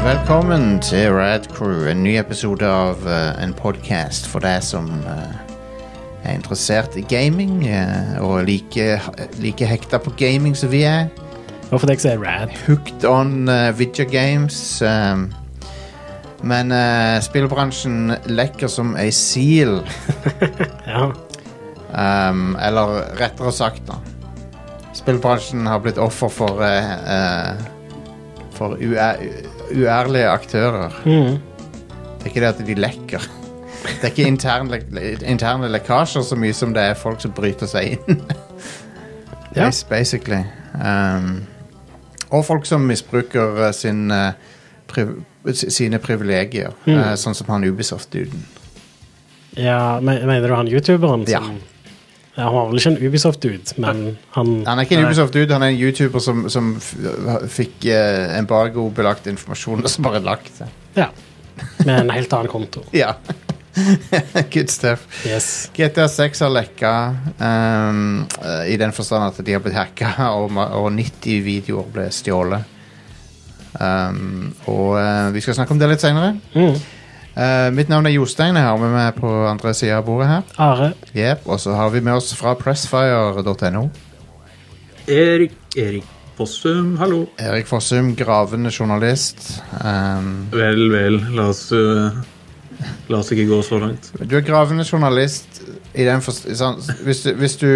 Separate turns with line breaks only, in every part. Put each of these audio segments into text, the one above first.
Velkommen til Rad Crew, en ny episode av eh, en podcast for deg som eh, er interessert i gaming eh, og like, like hekta på gaming som vi er.
Hvorfor det ikke så er rad?
Hooked on eh, video games. ehm, men eh, spillbransjen lekker som ei sil.
Ja.
ehm, eller rettere sagt, da. Spillbransjen har blitt offer for eh, eh, For uæ- uærlige aktører.
Mm.
Det er ikke det at de lekker. Det er ikke interne, lek- interne lekkasjer så mye som det er folk som bryter seg inn.
Ja.
Bas- Basically. Um, og folk som misbruker eh, sin, eh, priv s- sine privilegier,
Mm.
eh, sånn som han Ubisoft-duden.
ja men, mener du han youtuberen som
Ja.
Ja, Han var vel ikke en Ubisoft-dude, men han
Han er ikke en
Nei.
Ubisoft-dude, han er en YouTuber som, som f fikk eh, embargo-belagt informasjon og som bare lagt det.
Ja. Med en helt annen konto.
Ja. Good stuff.
Yes.
GTA 6 har lekka ehm, eh, i den forstand at de har blitt hacka, og, ma- og 90 videoer ble stjålet. Ehm, og eh, vi skal snakke om det litt seinere.
Mm.
mitt navn er Jostein. Jeg har med meg på andre sida av bordet her.
Are.
Jep, og så har vi med oss fra pressfire.no.
Erik Erik Fossum, hallo.
Erik Fossum, gravende journalist. Ehm,
Vel, vel, la oss, eh, la oss ikke gå så langt.
du er gravende journalist i den forstand sånn, hvis, du- hvis du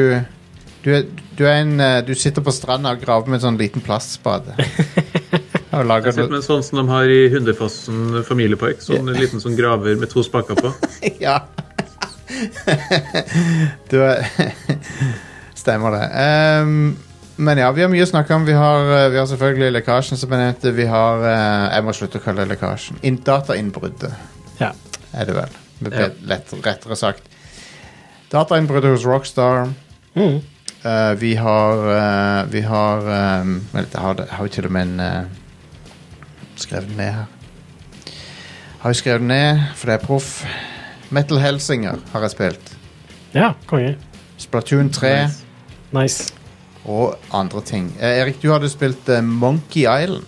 du, er, du, er en, eh, du sitter på stranda og graver med en sånn liten plastspade. Og lager
Jeg sitter med en sånn som de har i Hundefossen familiepark. Sånn en liten sånn graver med to spaker på.
Ja. du er Stemmer det. Ehm, men ja, vi har mye å snakke om. Vi har, eh, vi har selvfølgelig lekkasjen som jeg nevnte. Vi har eh, Jeg må slutte å kalle det lekkasjen. In datainnbruddet
Ja.
er det vel. Med
Ja.
bet- lett, rettere sagt. Datainnbruddet hos Rockstar.
Mm.
Eh, vi har eh, Vi har ehm, Vent, jeg har, det- jeg har jo til og med en eh, Skrevet den ned her. Har jo skrevet den ned, for det er proff. Metal Helsinger har jeg spilt.
ja. Konge.
Splatoon 3
Nice.
Nice.
og andre ting. Eh, Erik, du hadde spilt eh, Monkey Island.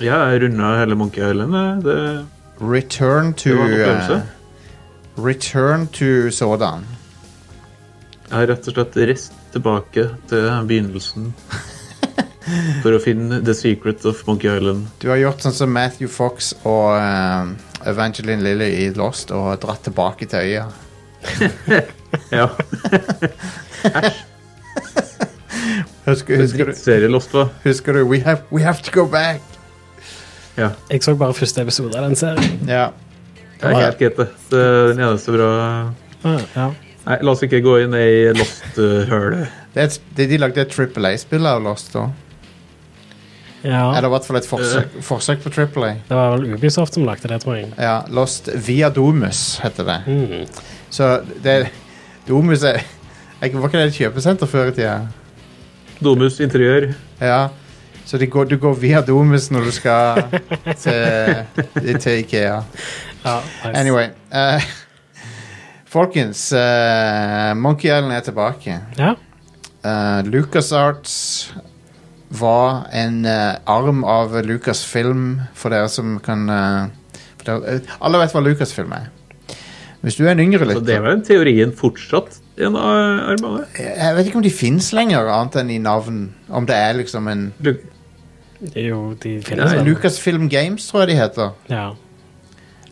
Ja, jeg runda hele Monkey Island. jeg. Det,
Return to
det var en
eh,
opplevelse.
Return to sådan.
Jeg har rett og slett reist tilbake til begynnelsen for å finne The Secret of Monkey Island.
Du har gjort sånn som Matthew Fox og eh, Evangeline Lilly i Lost og dratt tilbake til øya.
Ja,
Husker, husker, du,
Drittserie Lost, hva?
husker du we have, we have to go back!
Ja.
Jeg så bare første episode av den serien.
Ja.
Det er helt greit, det. Det er den eneste bra
Ah, ja.
Nei, la oss ikke gå inn i Lost-hølet.
Det er et, det, de lagde et Triple A-spill av Lost da.
ja.
Eller i hvert fall et forsøk, forsøk på Triple A.
Det var vel Ubisoft som lagde det, tror jeg.
Ja, Lost via Domus heter det.
Mm.
Så det Domus er jeg, Var ikke det et kjøpesenter før i tida?
Domus interiør.
Ja. Så det går, du går via Domus når du skal til, til Ikea.
Ja, nice.
Anyway. eh, folkens, eh, Monkey Island er tilbake.
Ja.
Uh, LucasArts var en eh, arm av Lucasfilm for dere som kan eh, for dere, eh, Alle vet hva Lucasfilm er. Hvis du er en yngre
Så det
lytter
er vel teorien fortsatt en av armene?
Jeg jeg vet ikke om de fins lenger, annet enn i navn. Om det er liksom en
Lu-
Jo, de finnes
Nei,
vel.
Lucasfilm Games, tror jeg de heter.
Ja.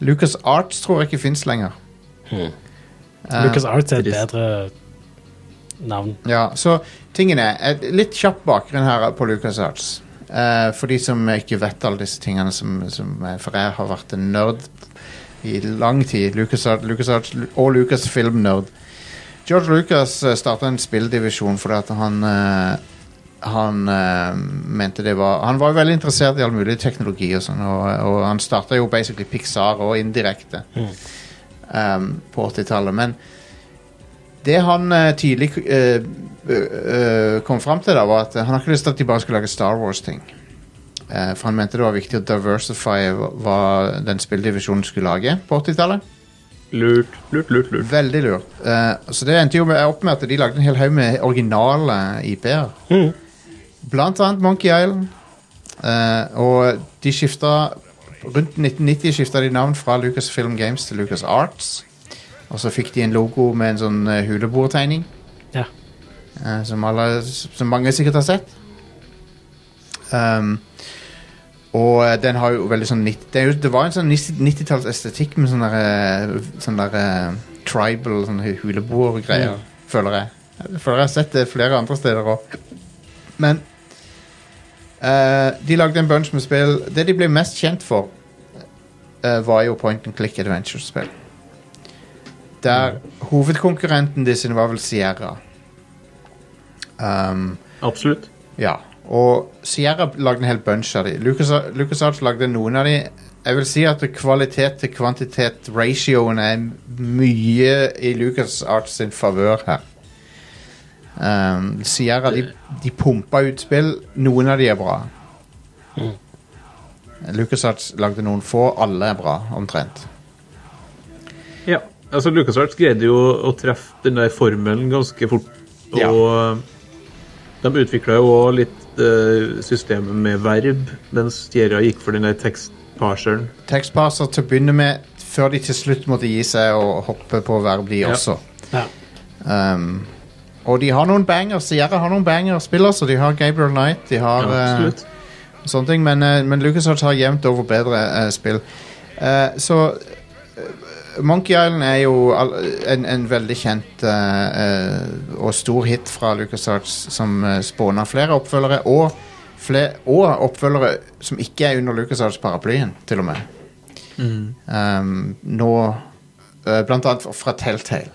LucasArts tror jeg ikke fins lenger.
Hmm.
Eh,
Lucas Arts er et
Trist.
bedre navn.
Ja, så tingen er et Litt kjapp bakgrunn her på LucasArts. Eh, for de som ikke vet alle disse tingene som, som eh, For jeg har vært en nerd i lang tid. LucasArts LucasArts og Lucasfilm-nerd. George Lucas eh, startet en spilldivisjon fordi at han eh, han eh, mente det var Han var jo veldig interessert i all mulig teknologi og sånn, og, og han starta jo basically Pixar og indirekte ehm, på 80-tallet. Men det han eh, tidlig eh, eh, kom fram til, da, var at han har ikke lyst til at de bare skulle lage Star Wars-ting. Eh, for han mente det var viktig å diversify hva- hva den spilldivisjonen skulle lage på 80-tallet.
Lurt, lurt, lurt. lurt.
Veldig lurt. Eh, så det endte jo med, opp med at de lagde en hel haug med originale IP-er.
Mhm.
Blant annet Monkey Island. Eh, og de skifta Rundt 1990 skifta de navn fra Lucasfilm Games til Lucas Arts. Og så fikk de en logo med en sånn eh, huleboertegning.
Ja.
eh, som, alle, som mange sikkert har sett. Um, og eh, den har jo veldig sånn nitt- Det, er jo, det var en sånn 90-talls estetikk med sånne, der, eh, sånne der, eh, tribal sånne huleboergreier,
Ja.
føler jeg. Jeg føler jeg har sett det flere andre steder òg. Men eh, de lagde en bunch med spill. Det de ble mest kjent for, eh, var jo point and click adventure-spill. Der hovedkonkurrenten de sin var vel Sierra. Um,
Absolutt.
ja, og Sierra lagde en hel bunch av de. Lucas, LucasArts lagde noen av de. Jeg vil si at kvalitet til kvantitet, ratioen, er mye i LucasArts sin favør her. Um, Sierra, de, de pumpa ut spill. Noen av de er bra. LucasArts lagde noen få. Alle er bra, omtrent.
Ja. Altså, LucasArts greide jo å treffe den der formelen ganske fort. Og de utvikla jo òg litt eh, systemet med verb, mens Tierra gikk for den der tekstparseren.
Tekstpasser til å begynne med, før de til slutt måtte gi seg og hoppe på verb, de
Ja.
også.
ja.
Um, og de har noen bangers. Sierra har noen bangers spiller, så de har Gabriel Knight. De har eh,
Absolutt.
sånne ting, men, uh, men LucasArts har jevnt over bedre eh, spill. Eh, så eh, Monkey Island er jo all, en, en veldig kjent eh, eh, og stor hit fra LucasArts som uh, spåna flere oppfølgere, og, fle og oppfølgere som ikke er under LucasArts-paraplyen, til og med. Um, nå eh, Blant annet fra Telltale.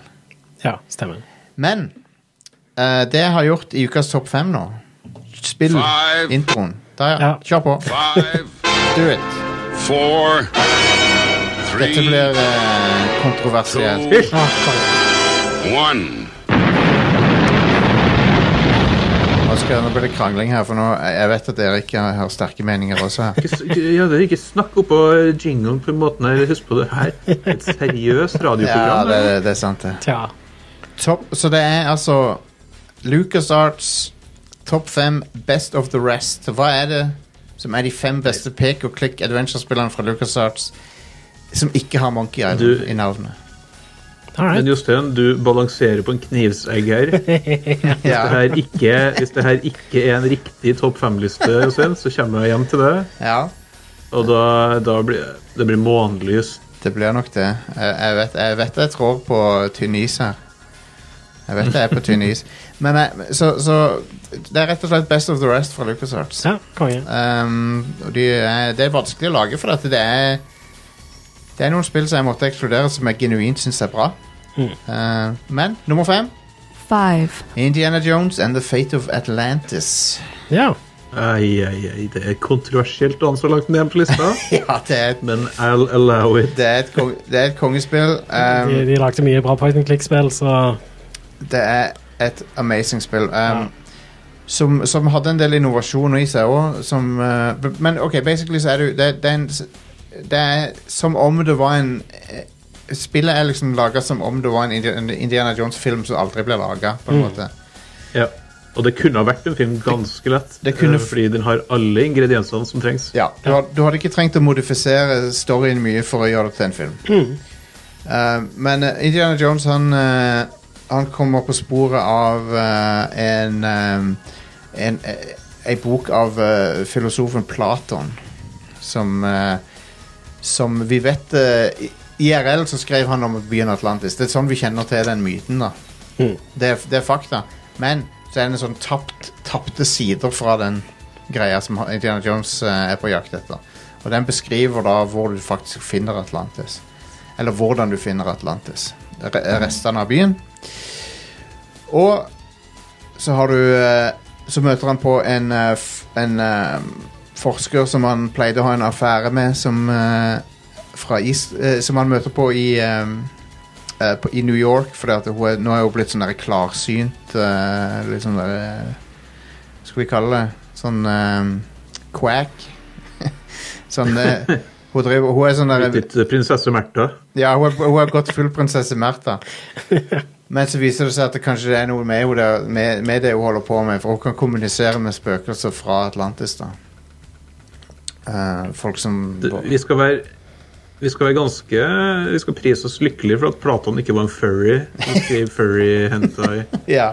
ja, stemmer.
Men eh, det jeg har gjort i ukas topp fem nå Spill
Five.
introen. Der, ja.
Ja.
Kjør på.
Five,
Do it.
four,
Dette
three,
blir eh, kontroversielt.
two,
Ah, faen.
one.
Nå, skal, nå blir det krangling her, for nå, jeg vet at dere ikke har, har sterke meninger også her.
Ikke s- Ja, det er ikke snakk oppå jinglen på den måten her. Husk på det her. Et seriøst
Ja,
radioprogram.
det,
det,
det er sant, det.
Tja.
Topp, så det er altså Lucas Arts topp fem Best of the Rest. Hva er det som er de fem beste pek og klikk adventure-spillerne fra Lucas Arts som ikke har Monkey Island
Du-
i navnet?
All
Men
right.
Jostein, du balanserer på en knivsegg her.
Ja.
Det her ikke, hvis det her ikke er en riktig topp fem-liste, Jostein, så kommer jeg hjem til det.
ja.
Og da, da blir det blir månelys.
Det blir nok det. Jeg, jeg, vet, jeg vet jeg trår på tynn is her. Jeg vet jeg er på tynn is. Men jeg, så, så Det er rett og slett Best of the Rest fra LucasArts.
Ja, konge.
Um, og de er, det er vanskelig å lage, for at det er Det er noen spill som jeg måtte ekskludere, som jeg genuint syns er bra.
Mm.
Uh, men nummer fem
five,
Indiana Jones and the Fate of Atlantis.
Ja.
Ai, ai, ai, det er kontroversielt å ha den så langt ned på lista,
Ja, det er et,
men I'll allow it.
det er et, kong, det er et kongespill. Um,
De, de lagde mye bra point and click-spill, så
Det er et amazing spill. Um, som, som hadde en del innovasjon i seg òg. men OK, basically så er det jo det, det, er en, s- det er som om det var en eh, Spillet er liksom laga som om det var en Indi- en Indiana Jones-film som aldri ble laga.
Mm.
Ja. Og det kunne ha vært en film ganske lett,
Det kunne
eh,
f-
fordi den har alle ingrediensene som trengs.
Ja, du, had- du hadde ikke trengt å modifisere storyen mye for å gjøre det til en film. Eh, men eh, Indiana Jones han, eh, han kommer på sporet av eh, en, eh, en eh, Ei bok av eh, filosofen Platon som eh, Som vi vet eh, i- IRL så skrev han om byen Atlantis. Det er sånn vi kjenner til den myten. da
Mhm.
det, er, det er fakta. Men så er det en sånn tapt, tapte sider fra den greia som Indiana Jones eh, er på jakt etter. Og den beskriver da hvor du faktisk finner Atlantis. Eller hvordan du finner Atlantis. Re restene av byen. Og så har du eh, Så møter han på en, eh, f- en eh, forsker som han pleide å ha en affære med, som eh, fra is, eh, Som han møter på i eh, eh, på, i New York, fordi at hun er, nå er hun blitt sånn der klarsynt eh, Litt sånn der eh, Skal vi kalle det sånn eh, quack. sånn eh, hun, driver, hun er sånn der
Litt prinsesse Märtha.
Ja, hun er- hun har gått full prinsesse Märtha. Men så viser det seg at det kanskje det er noe med, henne der- med, med det hun holder på med, for hun kan kommunisere med spøkelser fra Atlantis. da Eh, folk som
Det- Vi skal være vi skal være ganske Vi skal prise oss lykkelige for at Platon ikke var en furry. Han skrev furry hentai.
Ja.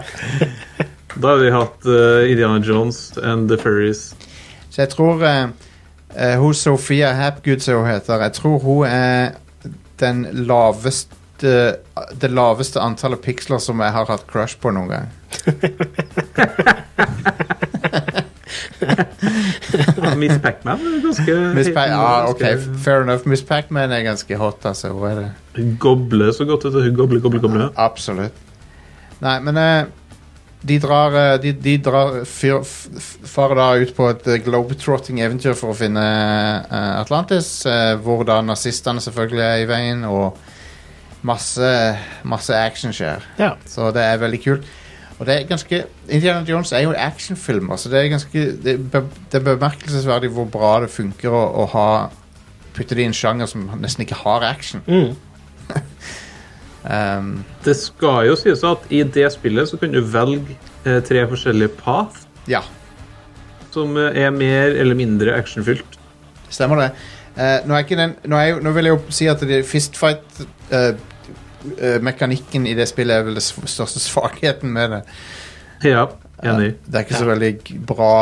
Da har vi hatt eh, Indiana Jones and the Furries.
Så jeg tror eh, eh, hun Sofia Hapgood, som hun heter, jeg tror hun er den laveste det laveste antallet piksler som jeg har hatt crush på noen gang.
Miss Pacman er ganske
Miss pa ja, ok,
ganske-
fair enough. Miss Pacman er ganske hot, altså. Hun er det.
Hun Goble så godt ut. Hun goble, goble, goble.
Absolutt. Nei, men eh, de drar, eh, de, de drar fyr, f, f- far da ut på et eh, globetrotting-eventyr for å finne eh, Atlantis, eh, hvor da nazistene selvfølgelig er i veien, og masse, masse action skjer.
Ja.
Så det er veldig kult. Og det er ganske, Indiana Jones er jo en actionfilm. Altså det, er ganske, det, er be, det er bemerkelsesverdig hvor bra det funker å, å ha, putte det i en sjanger som nesten ikke har action.
Mm.
Um,
Det skal jo sies at i det spillet så kan du velge eh, tre forskjellige path
ja,
som eh, er mer eller mindre actionfylt.
Stemmer det. Eh, nå, er ikke den, nå, er jo, nå vil jeg jo si at det- fistfight-mekanikken eh, i det spillet er vel den sv- største svakheten med det.
Ja, enig.
Eh, Det er ikke så veldig g- bra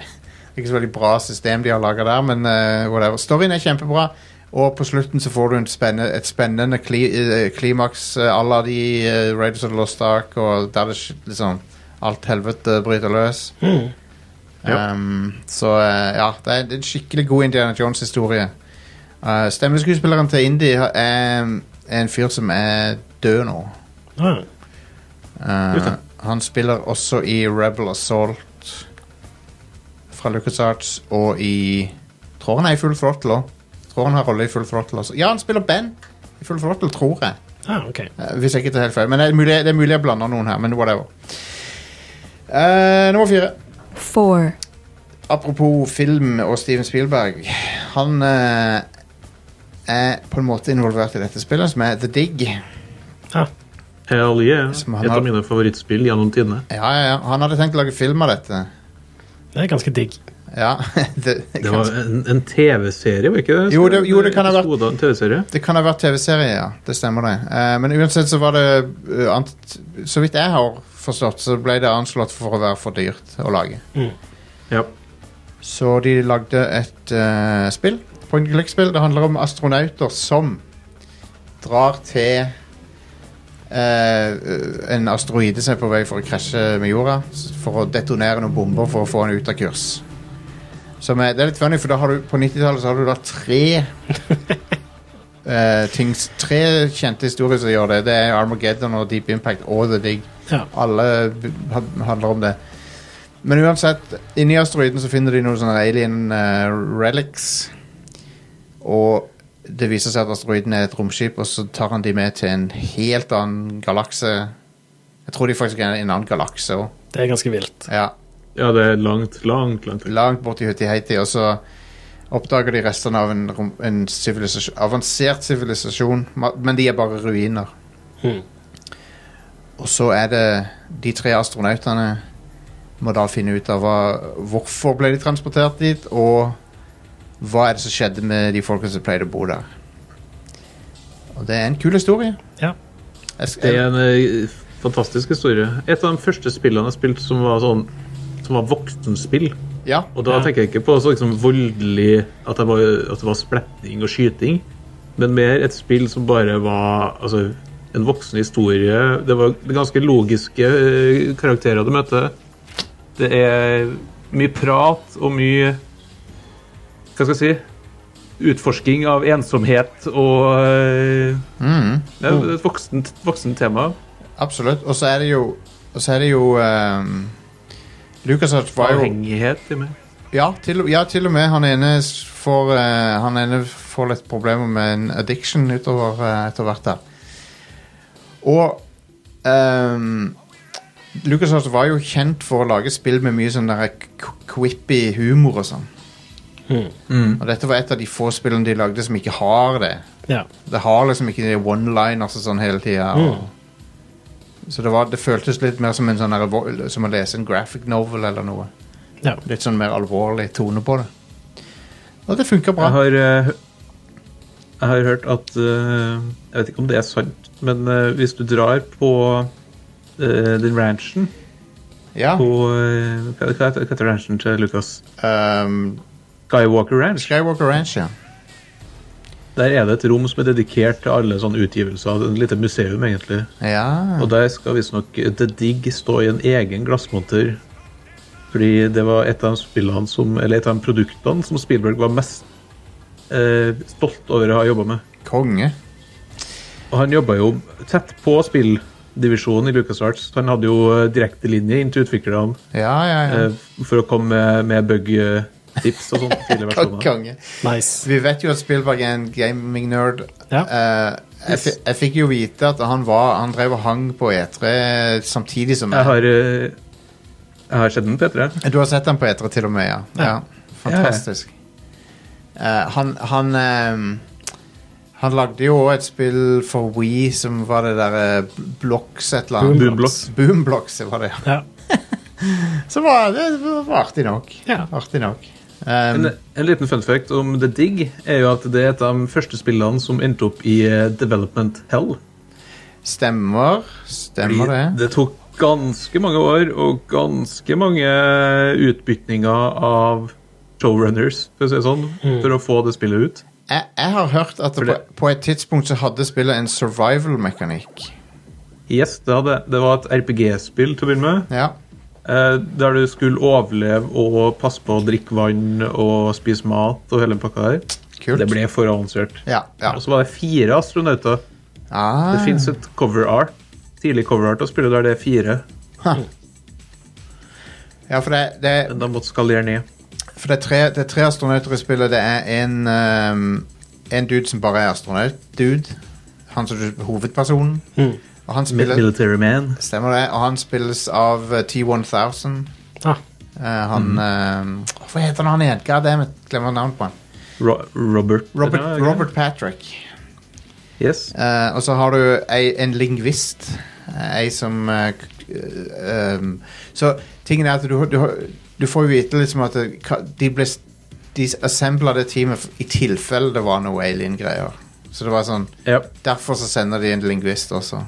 det er ikke så veldig bra system de har laga der, men eh, whatever. Storyen er kjempebra, og på slutten så får du en spenne, et spennende kli, eh, klimaks eh, à la de eh, Raiders of the Lost Ark, og der det sk- liksom alt helvete bryter løs.
Mm.
Ja.
Um, så eh, ja, det er det er en skikkelig god Indiana Jones-historie. Eh, stemmeskuespilleren til Indie har- er, er en fyr som er død nå. Eh,
Ah.
Just det.
han spiller også i Rebel Assault fra LucasArts og i Tror han er i Full Throttle òg. Tror han har rolle i Full Throttle også. Ja, han spiller Ben i Full Throttle, tror jeg.
ah, ok.
Eh, Hvis jeg ikke tar helt feil. Men det er mulig, det er mulig jeg blander noen her, men whatever. Eh, nummer fire.
four,
Apropos film og Steven Spielberg. Han eh, er på en måte involvert i dette spillet, som er The Dig.
Ah.
Hell yeah.
Som han
Et
har-
av mine favorittspill gjennom tidene.
Ja, ja, ja. Han hadde tenkt å lage film av dette.
Det er ganske digg.
Ja, det,
Det var en, en TV-serie, var ikke det?
Jo, det- jo, det kan ha vært-
Episode av en TV-serie.
det kan ha vært TV-serie, ja. Det stemmer det. Eh, men uansett så var det eh, ant, Så vidt jeg har forstått, så ble det anslått for å være for dyrt å lage.
Ja.
Så de lagde et eh, spill. Point and click-spill. Det handler om astronauter som drar til eh, en asteroide som er på vei for å krasje med jorda. s- For å detonere noen bomber for å få den ut av kurs. Som er, det er litt funny, for da har du, på 90-tallet så har du da tre eh, ting, s- Tre kjente historier som gjør det. Det er Armageddon og Deep Impact og The Dig.
Ja.
Alle b- ha- handler om det. Men uansett, inni asteroiden så finner de noen sånne alien eh, relics. Og det viser seg at asteroiden er et romskip, og så tar han de med til en helt annen galakse. Jeg tror de faktisk er i en annen galakse òg.
Det er ganske vilt.
Ja,
ja, det er langt, langt, langt.
langt borti Hutti-Heiti, og så oppdager de restene av en, rom- en sivilisasjon, avansert sivilisasjon, ma- men de er bare ruiner.
Hmm.
Mm.
Og så er det de tre astronautene må da finne ut av hva, hvorfor ble de transportert dit, og hva er det som skjedde med de folkene som pleide å bo der. Og det er en kul historie.
Ja.
Jeg, sk-
Det er en eh, fantastisk historie. Et av de første spillene jeg spilte som var sånn som var voksenspill.
ja,
Og da
Ja.
tenker jeg ikke på så liksom voldelig at det, var, at det var spletning og skyting, men mer et spill som bare var altså, en voksen historie. Det var ganske logiske eh, karakterer du møter. Det er mye prat og mye Hva skal jeg si? Utforsking av ensomhet og eh,
mm,
Det er et voksent, voksent tema.
absolutt. Og så er det jo, og så er det jo ehm, LucasArts var jo
Avhengighet. til og med.
Ja, til, ja, til og med han ene s- får, eh, han ene får litt problemer med en addiction utover eh, etter hvert der. Og um, LucasArts var jo kjent for å lage spill med mye sånn der qu- quippy humor og sånn. Og dette var et av de få spillene de lagde som ikke har det.
Ja.
Det har liksom ikke de one-liners og sånn hele tida. Så det, var, det føltes litt mer som, en sånn der vo- som å lese en graphic novel eller noe
ja.
litt sånn mer alvorlig tone på det. Og det funker bra.
Jeg har, eh, jeg har hørt at eh, Jeg vet ikke om det er sant, men eh, hvis du drar på eh, den ranchen
Ja.
på, eh, Hva hva heter hva heter ranchen til Lucas?
Um,
Skywalker Ranch.
Skywalker Ranch, ja.
Der er det et rom som er dedikert til alle sånne utgivelser. Det er Et lite museum, egentlig.
ja.
Og der skal visstnok eh, The Dig stå i en egen glassmonter. Fordi det var et av de spillene som, eller et av de produktene som Spielberg var mest eh, stolt over å ha jobba med.
Konge.
Og han jobba jo tett på spilldivisjonen i LucasArts. Han hadde jo eh, direktelinje inn til utviklerne
Ja, ja, ja.
eh, for å komme med, med bug-tips og sånn.
Kon-
tidligere versjoner.
Konge.
Nice.
Vi vet jo at Spielberg er en gaming-nerd.
Ja.
Eh, jeg, fi- jeg fikk jo vite at han, var, han drev og hang på E3 samtidig som
Jeg
meg.
har, eh, jeg har sett den, Petre.
Du har sett han på E3 til og med, ja. ja. Fantastisk. Eh, han han ehm, han lagde jo også et spill for Wii som var det derre Blocks et eller annet.
Boomblocks.
Boomblocks det var det.
Ja.
Så var det var artig nok.
Ja.
Artig nok. Ehm,
En, en liten fun fact om The Dig er jo at det er et av de første spillene som endte opp i eh, Development Hell.
stemmer. Stemmer det.
Det tok ganske mange år og ganske mange eh, utbytninger av showrunners, for å si det sånn,
Mm.
for å få det spillet ut.
jeg, jeg har hørt at det,
det-
på, på et tidspunkt så hadde spillet en survival-mekanikk.
Yes, det, hadde, det var et RPG-spill til å begynne med,
Ja.
eh, der du skulle overleve og passe på å drikke vann og spise mat og hele den pakka der.
Kult.
Det ble for avansert.
Ja, ja.
Og så var det fire astronauter.
Ah,
Det fins et cover art, tidlig cover art å spille der det er fire,
ja, for det, det,
men de måtte skalere ned.
for det, er, tre, det er tre astronauter i spillet. Det er en, ehm, en dude som bare er astronaut-dude. Han som er hovedpersonen. Og han
Mil-
spiller,
Military Man.
stemmer det, og han spilles av eh, T1000.
Ah,
Eh, han ehm, Hva heter han igjen? Goddammit, glemmer navnet på han.
Ro Robert.
Robert,
Ja, ja.
Robert Patrick.
Yes.
Eh, og så har du ei, en lingvist. Eh, Ei som eh, k- eh, um, Så tingen er at du, du, har- du får jo vite liksom at det, ka- de ble s- De assembla det teamet f- i tilfelle det var noe alien-greier. Så det var sånn
Ja.
Derfor så sender de en lingvist også.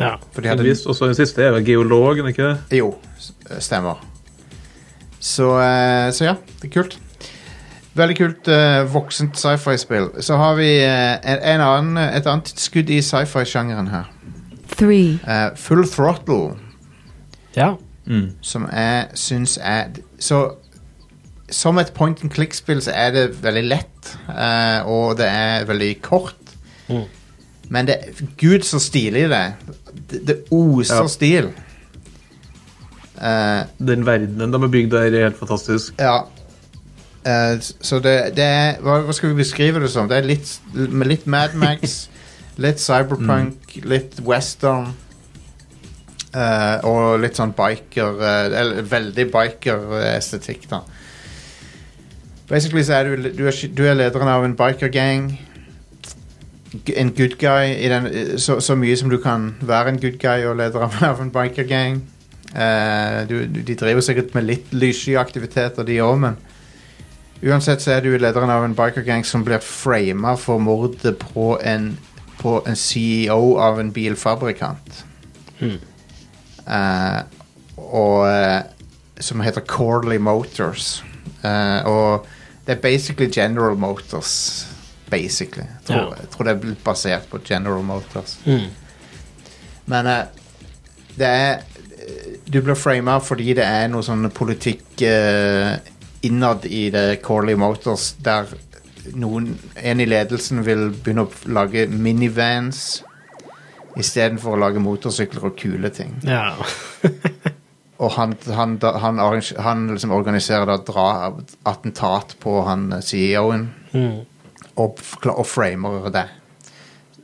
ja.
For de hadde
Heldigvis. Og så den siste er vel geologen, ikke det?
Jo, s- stemmer. Så, eh, så ja, det er kult. Veldig kult eh, voksent sci-fi-spill. Så har vi eh, en, en annen, et annet skudd i sci-fi-sjangeren her.
three,
Eh, Full Throttle,
ja.
som jeg syns er Så som et point and click-spill så er det veldig lett, eh, og det er veldig kort.
Mm.
Men det Gud, så stilig det er. Det, det oser
Ja.
stil. Eh,
Den verdenen de har bygd der, er helt fantastisk.
ja. Eh, s- så det, det er hva, hva skal vi beskrive det som? Det er litt, med litt Mad Max, litt cyberpunk, litt western. eh, og litt sånn biker eh, Eller veldig biker-estetikk, da. Basically så er du, du, er, sk- du er lederen av en biker-gang. G- En good guy i den, eh, så, så mye som du kan være en good guy og leder av, av en biker-gang. Eh, du, du, de driver sikkert med litt lyssky aktiviteter, de òg, men Uansett så er du lederen av en biker-gang som blir frama for mordet på en, på en CEO av en bilfabrikant.
Mhm.
Eh, og eh, Som heter Corley Motors. Eh, og det er basically General Motors. Basically. Jeg tror,
Ja.
jeg tror det er blitt basert på General Motors.
Mm.
Men eh, det er eh, Du blir frama fordi det er noe sånn politikk eh, innad i det Corley Motors der noen, en i ledelsen vil begynne å lage minivans istedenfor å lage motorsykler og kule ting.
ja.
Og han, han, da- han, arrange- han liksom organiserer da dra, attentat på han eh, CEO-en
Mm.
og, f- kla- og framer det.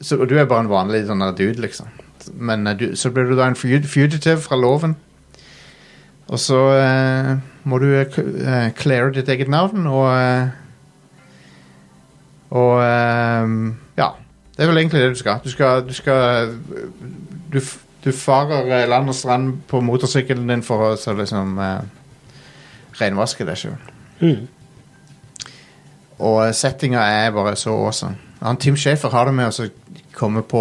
Så og du er bare en vanlig sånn der dude, liksom. Men eh, du, så blir du da en fug- fugitive fra loven. Og så eh, må du eh, k- eh, cleare ditt eget navn og eh, Og eh, ja. Det er vel egentlig det du skal. Du skal, du, skal eh, du, f- du farer eh, land og strand på motorsykkelen din for å så liksom eh, renvaske deg sjøl.
Mm.
Og settinga er bare så awesome. Han Tim Schafer har det med å så komme på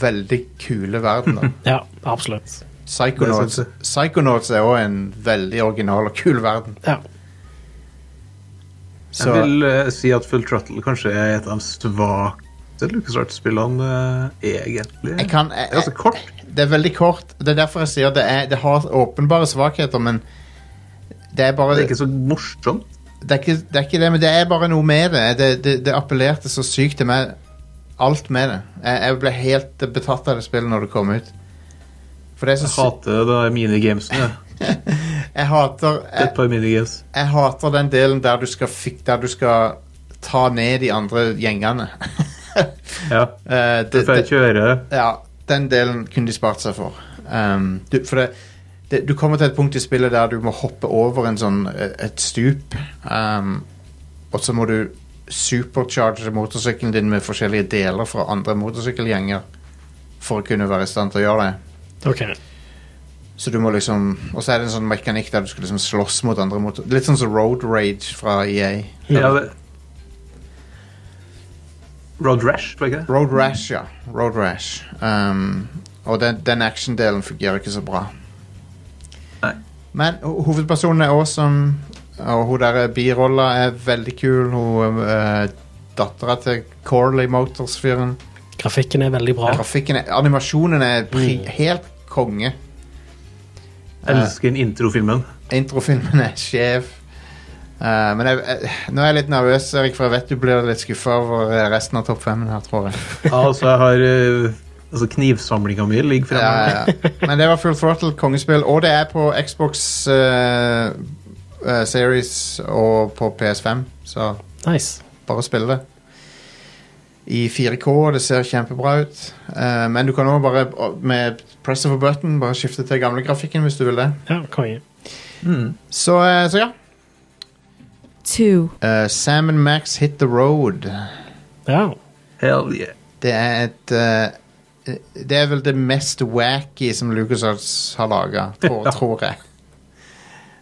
veldig kule verdener.
Ja, absolutt.
Psychonauts,
Det er sant,
Psychonauts er òg en veldig original og kul verden.
Ja.
Så
Jeg vil eh, si at Full Trottle kanskje er et av de svakeste LucasArts-spillene, eh, egentlig.
jeg kan
det er altså kort.
Det er veldig kort. Det er derfor jeg sier det, er, det har åpenbare svakheter, men det er bare
Det er ikke så morsomt.
det er, ikke, det er ikke det, men det er bare noe med det. Det, det, det appellerte så sykt til meg. Alt med det. Jeg, jeg ble helt betatt av det spillet når det kom ut. For det er så
Jeg
sykt.
hater de minigamesene.
Jeg hater jeg,
Et par minigames.
jeg hater den delen der du skal fik, der du skal ta ned de andre gjengene.
Ja.
Eh,
Du
det,
får
det,
kjøre
ja, den delen kunne de spart seg for. Um, du, for det, det, du kommer til et punkt i spillet der du må hoppe over en sånn, eh, et stup, um, og så må du supercharge motorsykkelen din med forskjellige deler fra andre motorsykkelgjenger for å kunne være i stand til å gjøre det.
OK.
Så du må liksom Og så er det en sånn mekanikk der du skal liksom slåss mot andre motor... Litt sånn som Road Rage fra E EA.
ja, det. Road Rash, var det ikke det?
Road Rash, ja. Road Rash. Um, og den, den action-delen fungerer ikke så bra.
Nei.
Men ho- hovedpersonen er awesome, og hun der birolla er veldig kul. Hun uh, dattera til Corley Motors-fyren.
Grafikken er veldig bra.
Grafikken er Animasjonen er pri helt konge.
Jeg elsker den introfilmen.
Introfilmen er skjev. Eh, men jeg, jeg, nå er jeg litt nervøs, Erik, for jeg vet du blir litt skuffa over eh, resten av topp fem-en her, tror jeg.
Altså, jeg har eh, altså, Knivsamlinga mi ligger fremme.
Ja, ja, ja. Men det var Full Throttle, kongespill, og det er på Xbox eh, eh, Series og på PS5, så
Nice.
bare spill det. I 4K, og det ser kjempebra ut. Eh, men du kan òg bare å- med press of a button bare skifte til gamle grafikken hvis du vil det.
Ja, konge.
Så, eh, så ja.
Two.
Eh, Sam and Max Hit The Road.
Ja.
Hell yeah.
Det er et eh, Det er vel det mest wacky som LucasArts har laga, tror, tror jeg.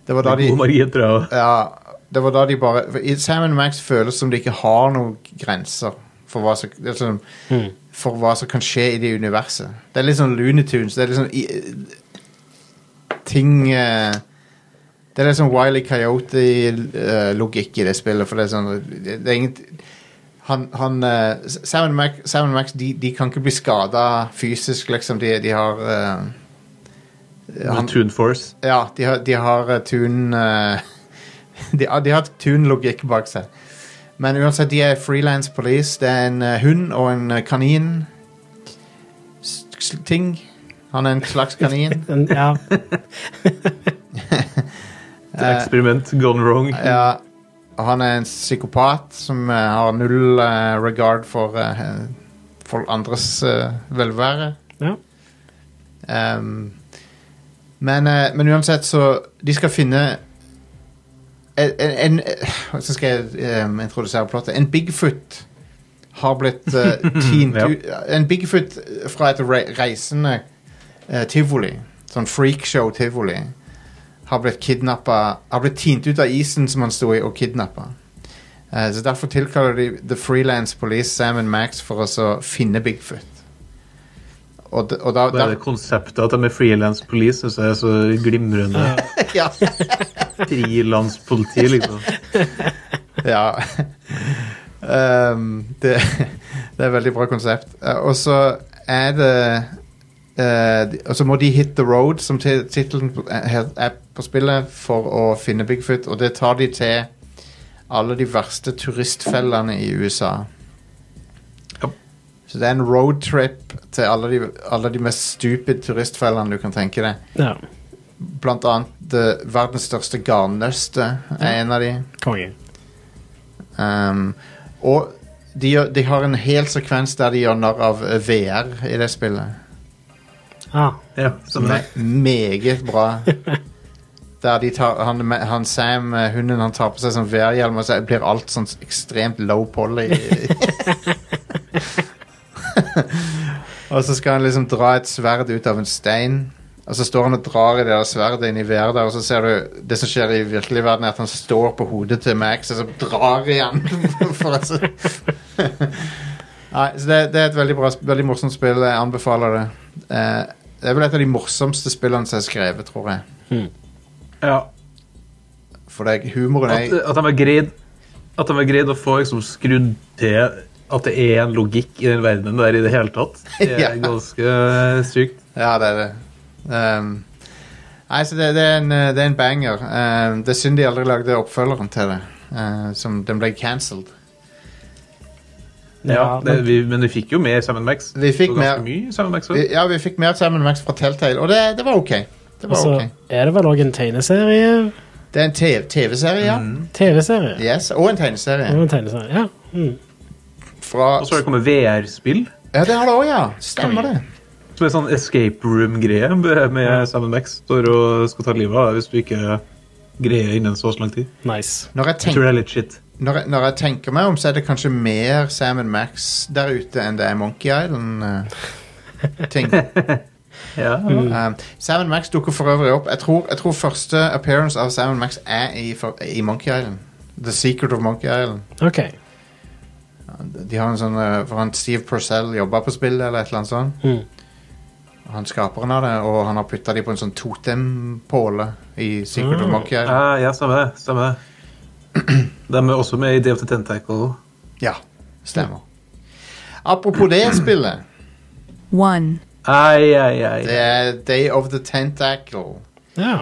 Det var da de
God margin, tror jeg.
Ja, det var da de bare for i Sam Max føles som de ikke har noen grenser for hva som, det er sånn-
Mm.
for hva som kan skje i det universet. Det er litt sånn Looney Tunes. Det er liksom Ting eh, Det er litt sånn Wiley Coyote-logikk i det spillet, for det er sånn Det, det er ingen han, han eh, Sam Max, Sam Max de, de kan ikke bli skada fysisk, liksom. De, de har eh, han-
Tune Force.
ja, de har, de har eh, tun eh, de, har- de har tun-logikk bak seg. Men uansett, de er freelance police. Det er en eh, hund og en eh, kanin. S s- ting. Han er en slags kanin.
En- ja.
Et eksperiment gone wrong.
Ja, og han er en psykopat som eh, har null eh, regard for, eh, for andres eh, velvære.
ja.
Ehm, men, eh, men uansett, så De skal finne eh, en, en, en Så skal jeg ehm, introdusere plottet. En Bigfoot har blitt eh, tint
Ja.
ut eh, En Bigfoot fra et re reisende eh, tivoli, sånn freakshow-tivoli, har blitt kidnappet- Har blitt tint ut av isen som han sto i, og kidnappa. så derfor tilkaller de The Freelance Police Sam and Max for å så finne Bigfoot. Og, d- og da,
Bare det konseptet at de er freelance police, synes jeg er så glimrende.
ja.
Frilandspoliti, liksom.
ja. Ehm, det, det er et veldig bra konsept. Eh, og så er det eh, de- Og så må de hit the road, som ti- tittelen på- er er på spillet, for å finne Bigfoot. Og det tar de til alle de verste turistfellene i USA.
Ja.
Så det er en roadtrip til alle de, alle de mest stupid turistfellene du kan tenke deg.
ja.
Blant annet eh, verdens største garnnøste er en av de.
Konge.
Um, og de, gjør- de har en hel sekvens der de gjør narr av eh, VR i det spillet.
Ah,
Ja,
Som
som det.
er meget bra. Der de tar, han, han Sam, eh, hunden, han tar på seg sånn VR-hjelm, og så blir alt sånn ekstremt low poly. og så skal han liksom dra et sverd ut av en stein. Og så står han og drar i det der sverdet inn i været, der, og så ser du det som skjer i virkelig verden, er at han står på hodet til Max og så drar igjen. for at så... Nei, så det, det er et veldig bra, sp- veldig morsomt spill. Jeg anbefaler det. Eh, det er vel et av de morsomste spillene som er skrevet, tror jeg.
Ja.
For det, er- humoren
At,
er
at de har greid At de har greid å få liksom, skrudd til at det er en logikk i den verdenen der i det hele tatt, det er
Ja.
ganske eh, sykt.
Ja, det er det. Ehm, nei, så det, det, er en, eh, det er en banger. Ehm, det er synd de aldri lagde oppfølgeren til det. eh, som Den ble cancelled.
Ja, det, vi, men vi fikk jo mer Sam Max.
Vi fikk
Og ganske
mer.
mye Sam Max. også.
Vi, ja, vi fikk mer Sam Max fra Telltale, og det, det var ok. Det, var
Altså,
ok.
er det vel òg en tegneserie?
det er en te- TV-serie, ja.
Mm.
TV-serie?
Yes, og en
Det var
tegneserie.
en tegneserie, ja. Mm.
Fra,
Og så har det kommet VR-spill,
ja, det har det òg, ja. Stemmer det.
som er sånn escape room-greie med med Sam Max. Står og skal ta livet av deg hvis du ikke greier innen så lang tid.
Nice.
Når jeg,
Jeg
tenk,
tror det er litt shit.
når, jeg, når jeg tenker meg om, så er det kanskje mer Sam Max der ute enn det er Monkey Island-ting.
Ja.
Um, Sam Max dukker for øvrig opp. Jeg tror, jeg tror første appearance av Sam Max er i, for, i Monkey Island. The Secret of Monkey Island.
OK.
De har en sånn, eh, for han Steve Purcell jobba på spillet, eller et eller annet sånt.
Mm.
Han skaperen av det, og han har putta de på en sånn totempåle i Secret of
Ah.
Monkey Island.
Ja, ja, stemmer det. Stemmer det. De er også med i Day of the Tentacle.
Ja, stemmer. Apropos det spillet.
One.
Ai, ai, ai.
Det er Day of the Tentacle.
Ja.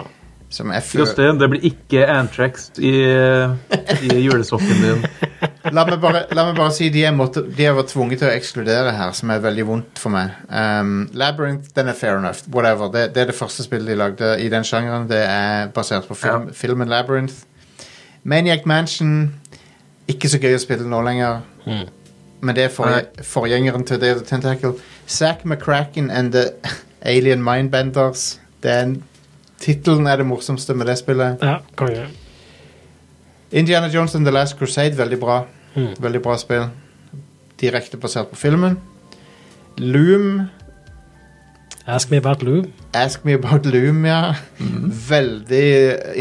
Som er før
Jostein, det blir ikke Antrax i, i julesokken din.
la, meg bare, la meg bare si de jeg, måtte, de jeg var tvunget til å ekskludere her, som er veldig vondt for meg. Um, Labyrinth den er fair enough. Whatever. Det, det er det første spillet de lagde i den sjangeren. Det er basert på film, filmen Labyrinth. Maniac Mansion Ikke så gøy å spille nå lenger. Men det er forgje- forgjengeren til Day of the Tentacle. Zack McCracken and the Alien Mindbenders. Det er en- Tittelen er det morsomste med det spillet.
ja. Konge.
Indiana Jones and The Last Crusade, veldig bra.
Mm.
Veldig bra spill. Direkte basert på filmen. Loom,
Ask me about Lou.
Ask Me About Loom, ja. Veldig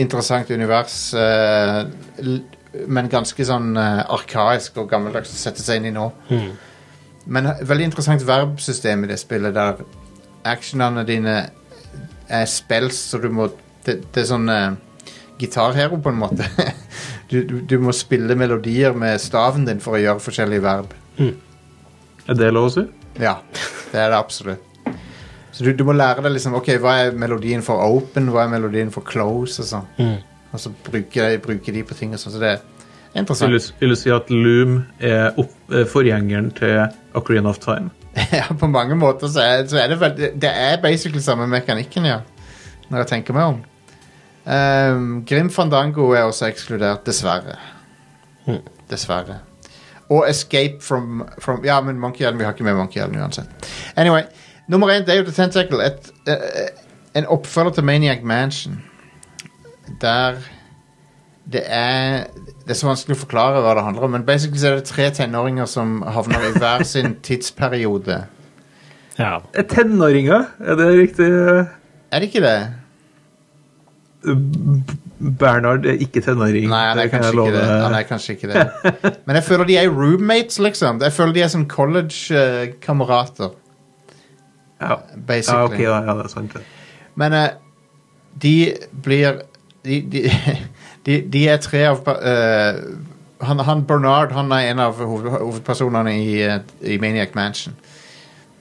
interessant univers, eh, l- men ganske sånn eh, arkaisk og gammeldags å sette seg inn i nå.
Mm.
Men eh, veldig interessant verbsystem i det spillet, der actionene dine er spells, så du må Det, det er sånn eh, gitarhero, på en måte. du, du, du må spille melodier med staven din for å gjøre forskjellige verb.
Er det lov å si?
Ja, det er det absolutt. Så du, du må lære deg liksom, ok, hva er melodien for open, hva er melodien for close og sånn.
Mm.
Og så bruke, bruke de på ting og sånn, så det er
Så vil
interessant.
du, vil du si at Loom er opp, eh, forgjengeren til Ocarina of Time?
ja, på mange måter så er, så er det veldig, det er basically samme mekanikken, ja. Når jeg tenker meg om. Ehm, Grim Fandango er også ekskludert, dessverre.
Mm.
Dessverre. Og Escape from, from Ja, men Monkey Island, vi har ikke med Monkey Island uansett. Anyway, nummer én, Day of the Tentacle. Et, eh, eh, en oppfølger til Maniac Mansion. Der det er Det er så vanskelig å forklare hva det handler om, men basically så er det tre tenåringer som havner i hver sin tidsperiode.
Ja.
Er Tenåringer, er det riktig?
Er det ikke det?
Mm, Bernhard er ikke tenåring.
Nei, han er,
kan jeg
kanskje ikke det. han er kanskje ikke det. Men jeg føler de er roommates, liksom. Jeg føler de er som eh, college-kamerater,
Ja. ja, ok,
basically.
da, ja, det er sant. det.
Men eh, de blir De, de, de, de er tre av eh, han, han Bernard han er en av hoved, hovedpersonene i, eh, i Maniac Mansion.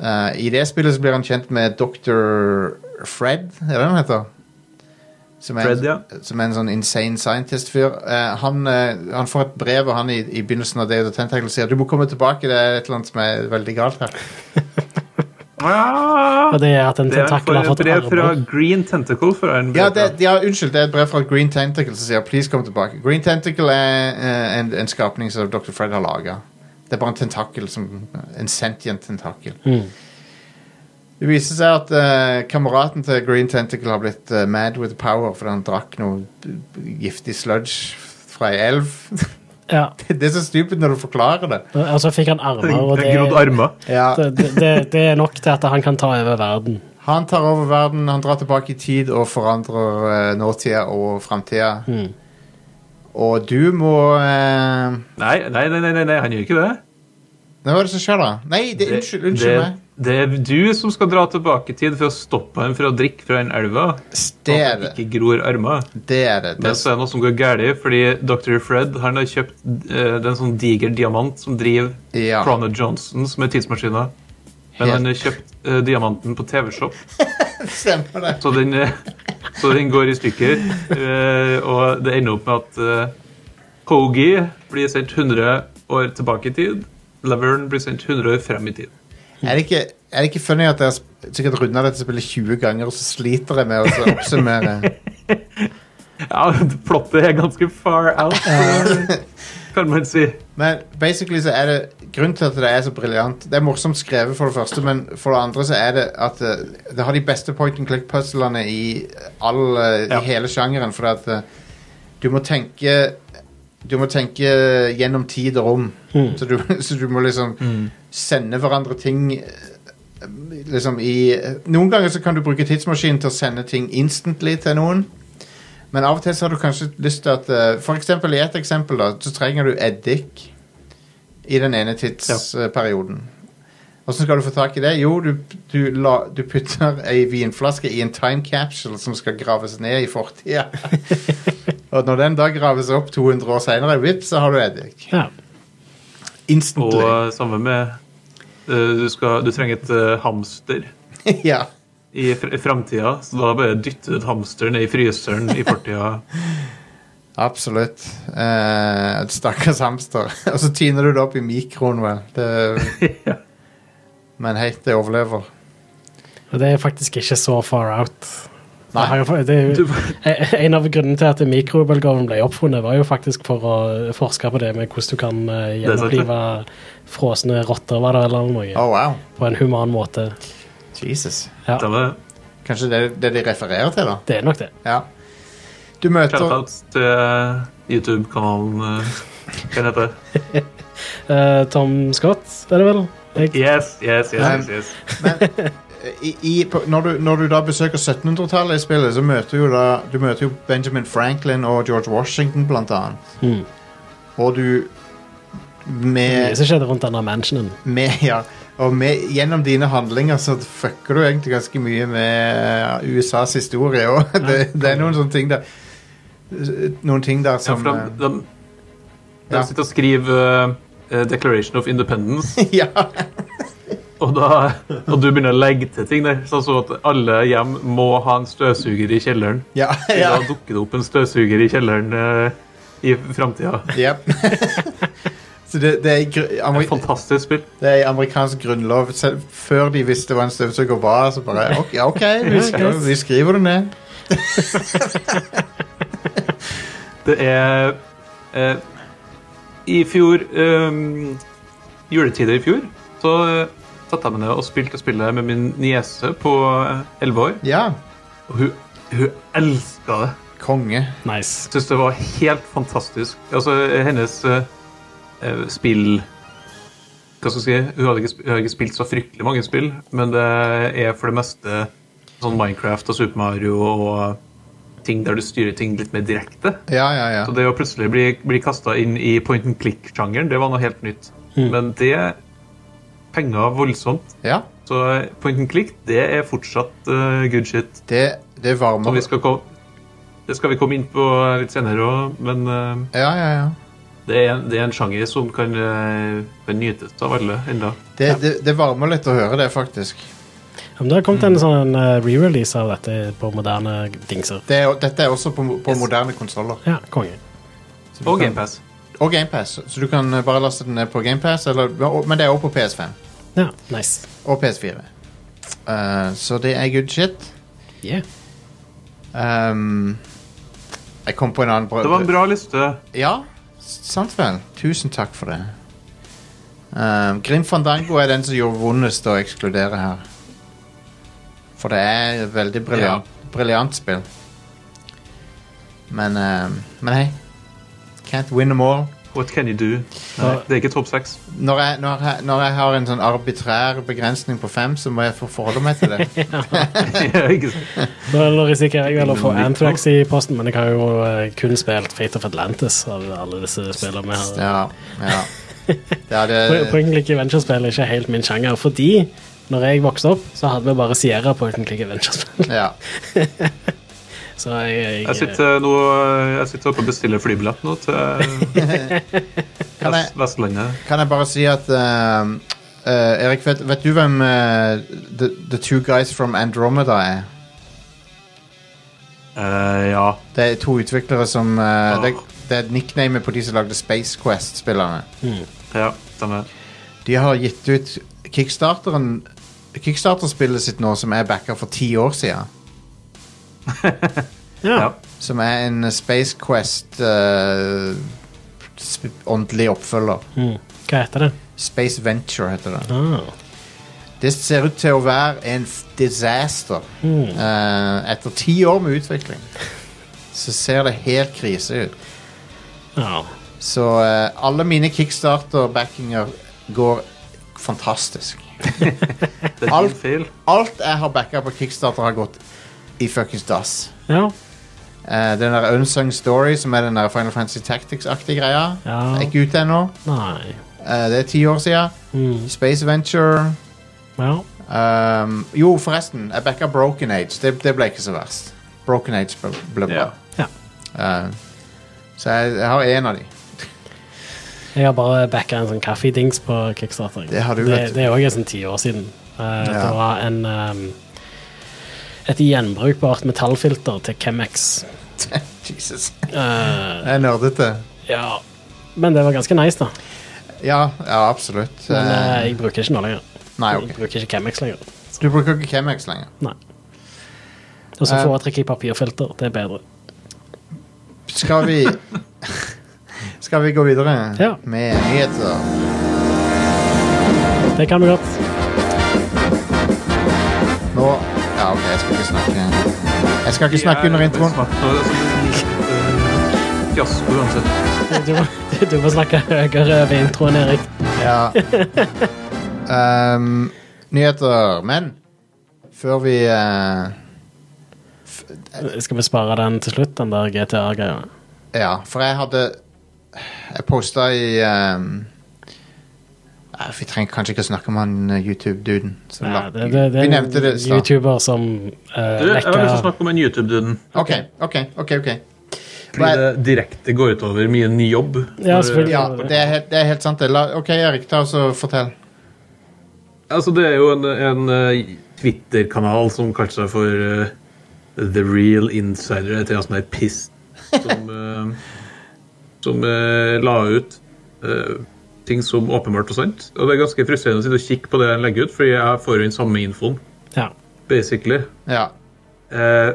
Eh, I det spillet så blir han kjent med Dr. Fred, er det han heter? Som er, en-
Fred, ja.
som er en sånn insane scientist-fyr. Eh, han, eh, han får et brev og han i, i begynnelsen av Day of the Tentacle sier du må komme tilbake, det er et eller annet som er veldig galt her.
Og
Ah,
det er at en
det er
tentakel har
for-
fått
brev fra
arver.
Green Tentacle. Fra en
Ja, det, ja, unnskyld, det er et brev fra Green Tentacle som sier please kom tilbake. Green Tentacle er eh, en, en skapning som Dr. Fred har laga. Det er bare en tentakel som En sentient tentakel.
Mm.
Det viser seg at eh, kameraten til Green Tentacle har blitt eh, mad with power fordi han drakk noe b- b- giftig sludge fra ei elv.
Ja.
det er så stupid når du forklarer det.
Og så fikk han armer, og
Det
det,
er grodd armer.
Ja,
det, det, det er nok til at han kan ta over verden.
Han tar over verden, han drar tilbake i tid og forandrer eh, nåtida og framtida. Og du må eh,
Nei, nei, nei, nei, nei, nei, han gjør ikke det.
Nei, Hva er det som skjer, da? Nei, det, unnskyld, unnskyld
det,
meg.
det er du som skal dra tilbake i tid for å stoppe ham fra å drikke fra den elva.
Det
At
er
han
det.
ikke gror armer.
Det er det.
Men
det.
så er det noe som går galt, fordi Dr. Fred han har kjøpt eh, det er en sånn diger diamant som driver
Ja.
Planet Johnson, som er tidsmaskina. Men
Helt-
han har kjøpt eh, diamanten på TV-shop,
Stemmer det.
så, den, eh, så den går i stykker. Eh, og det ender opp med at eh, Hoagie blir sendt 100 år tilbake i tid. Laverne blir sendt 100 år frem i tid.
Er det ikke, er det ikke funny at jeg sp- sikkert runda dette spillet 20 ganger, og så sliter jeg med å så oppsummere?
Ja, plottet er ganske far out, så kan man si.
Men basically så er det grunnen til at det er så briljant. Det er morsomt skrevet, for det første, men for det andre så er det at eh, det har de beste point and click-puzzlene i, all, eh,
Ja.
i hele sjangeren. Fordi at eh, du må tenke Du må tenke gjennom tid og rom. Så, du, så du må liksom sende hverandre ting eh, Liksom i Noen ganger så kan du bruke tidsmaskinen til å sende ting instantly til noen. Men av og til så har du kanskje lyst til at eh, For eksempel i et eksempel da Så trenger du eddik I den ene tidsperioden Hvordan skal du få tak i det? Jo, du, du, la, du putter ei vinflaske i en time capsule Som skal graves ned i fortida Og når den da graves opp 200 år senere, vipp, så har du eddik
Ja.
Og
Instantly
eh, samme med eh, du, skal, du trenger et eh, hamster
Ja,
i fr framtida, så da bare dytter du et hamster ned i fryseren i fortida.
absolutt Eh, Et stakkars hamster Og så tyner du det opp i mikroen, vel det, Men hei, det overlever
Og det er faktisk ikke så far out.
Nei.
Det har jo- Det er jo, Eh, en av grunnene til at mikrobølgeovnen ble oppfunnet, var jo faktisk for å forske på det med hvordan du kan eh,
er sant, det.
gjenopplive frosne rotter var det, eller noe,
Oh, wow
på en human måte.
Jesus
Ja,
Da var
Kanskje det er det de refererer til, da?
det er nok det.
Ja. Du møter
shoutouts til eh, YouTube-kanalen eh, Hva heter det?
Eh, Tom Scott, er det vel? Jeg,
Yes, yes, yes, yes, yes.
i, i, på, når, du, når du da besøker 1700-tallet i spillet, så møter jo da, du møter jo Benjamin Franklin og George Washington, blant annet.
Mhm.
Og du
Mye
med,
som skjedde rundt denne mansionen.
med, ja, og med, Gjennom dine handlinger så fucker du egentlig ganske mye med eh, USAs historie òg. Det, det er noen sånne ting der Noen ting der
Ja,
som
for de,
eh,
de, de
Ja.
sitter og skriver eh, Declaration of Independence.
eh, Ja,
Og, da, og du begynner å legge til ting der, sånn som at alle hjem må ha en støvsuger i kjelleren.
ja,
Da
ja.
dukker det opp en støvsuger i kjelleren eh, i framtida.
Yep. så det, det er gr- amer-
Fantastisk spill.
Det er i amerikansk grunnlov. Selv før de visste hva en støvsuger var, så bare OK, ja, ok, vi, skriver, vi skriver det ned.
Det er eh, I fjor eh, Juletider i fjor så eh, satte jeg meg ned og spilte spillet med min niese på eh, elleve år.
Ja.
Og hun, hun elska det.
Konge.
Nice.
Syns det var helt fantastisk. Altså, hennes eh, eh, spill Hva skal jeg si? Hun hadde ikke, sp- hun har ikke spilt så fryktelig mange spill, men det er for det meste sånn Minecraft og Super Mario og ting der du styrer ting litt mer direkte.
Ja, ja, ja.
Så det å plutselig bli, bli kasta inn i point and click-sjangeren, det var noe helt nytt. Men det penga voldsomt.
ja
Så eh, point and click, det er fortsatt eh, good shit.
det, det
Og
varmer.
vi skal ko- det skal vi komme inn på eh, litt senere òg, men eh,
Ja, ja, ja.
det, er en, det er en sjanger som kan, eh, kan nytes av alle enda.
Det, det, det varmer litt å høre det, faktisk.
Ja, Men det har kommet en sånn eh, re-release av dette på moderne dingser.
Det er, jo- dette er også på, mo- på
Yes.
moderne konsoller.
Ja, konge.
Og GamePass.
Og GamePass. Så du kan eh, bare laste den ned på GamePass, men det er også på PS5
Ja, nice.
og PS4. Eh, så det er good shit.
Yeah.
Ehm, jeg kom på en annen bra
Det var en bra liste.
Ja, s- sant vel. Tusen takk for det. Um, Grim Fandango er den som gjorde vondest å ekskludere her. For det er et veldig briljant, briljant spill. Men, um, men hei. Can't win them all.
What can you do? Nei, det er ikke topp seks.
Når jeg, når, jeg, når jeg har en sånn arbitrær begrensning på fem, så må jeg få forholde meg til det.
Ja, ikke sant?
Nå risikerer jeg vel å få Anthrax i posten, men jeg har jo eh, kun spilt Fate of Atlantis av alle disse spillene vi har.
Ja, ja. Det er
Po-
det,
Point and click adventure-spill er ikke helt min sjanger, fordi når jeg vokste opp, så hadde vi bare Sierra point and click adventure-spill.
ja.
Så jeg,
Jeg
jeg,
sitter, eh, nå, jeg sitter oppe og bestiller flybillett nå til
Kan jeg,
Vest Vestlandet.
kan jeg bare si at ehm, eh, Erik, vet, vet du hvem eh, the, the Two Guys from Andromeda er?
Eh, ja.
Det er to utviklere som eh,
Ah.
det, det er nicknamet på de som lagde Space Quest-spillerne.
ja stemmer.
De har gitt ut Kickstarteren Kickstarter-spillet sitt nå, som jeg backa for ti år siden.
eh, ja.
Ja.
Som er en Space Quest eh, sp ordentlig oppfølger.
Mm. Hva heter det?
Space Venture heter det.
Ah.
Det ser ut til å være en f- disaster. Eh, etter ti år med utvikling så ser det helt krise ut.
Ja.
Så eh, alle mine kickstarter-backinger går fantastisk.
Det er
Alt-
din feil.
Alt jeg har backa på kickstarter, har gått i fuckings dass.
Ja.
Eh, den der Unsung Story, som er den der Final Fantasy Tactics-aktige greia,
Ja.
er ikke ute ennå.
Nei.
Eh, det er ti år siden.
Mm.
Space Venture
Ja.
Um, jo, forresten, jeg backa Broken Age. Det, det ble ikke så verst. Broken Age ble, ble bra.
Ja.
Uh, så jeg, jeg har én av de.
Jeg har bare backa en sånn kaffedings på Kickstarter.
Det har du,
det,
vet du.
det er òg sånn ti år siden. Eh,
Ja.
Det var en ehm, et gjenbrukbart metallfilter til Chemex.
Jesus.
Eh,
Jeg er nerdete.
ja. Men det var ganske nice, da.
Ja, ja, absolutt.
Men eh,
Eh,
jeg bruker ikke nå lenger.
nei,
Jeg
ok.
bruker ikke Chemex lenger.
Du bruker ikke Chemex lenger.
Nei. Og så
Eh.
foretrekker jeg papirfilter. Det er bedre.
Skal vi Skal vi gå videre
Ja.
med nyheter?
Det kan vi godt.
Nå Ja, OK, jeg skal ikke snakke Jeg skal ikke snakke under introen.
Fiasko uansett.
Du må, du må snakke høyere ved introen, Erik.
Ja. Ehm, nyheter. Men før vi eh,
Skal vi spare den til slutt, den der GTA-greia?
Ja, for jeg hadde Jeg posta i ehm, nei, Vi trenger kanskje ikke å snakke om han eh, YouTube-duden. som
Nei,
la-
det, det, det
vi
er
nevnte det
en
i stad.
YouTuber som uh,
Du, jeg har lyst til å
lekker
snakke om en YouTube-duden.
OK, OK. ok, ok
Fordi det direkte går utover min jobb.
Ja, selvfølgelig.
Ja, det er, helt, det er helt sant. det. La, OK, Erik, ta og så fortell.
Altså, det er jo en, en eh, Twitter-kanal som kaller seg for eh, The Real Insider. Det er en sånn der piss som, eh, som eh, la ut eh, ting som åpenbart og sant. Og det er ganske frustrerende å sitte og kikke på det han legger ut, fordi jeg får jo den samme infoen,
Ja.
basically.
Ja.
Eh,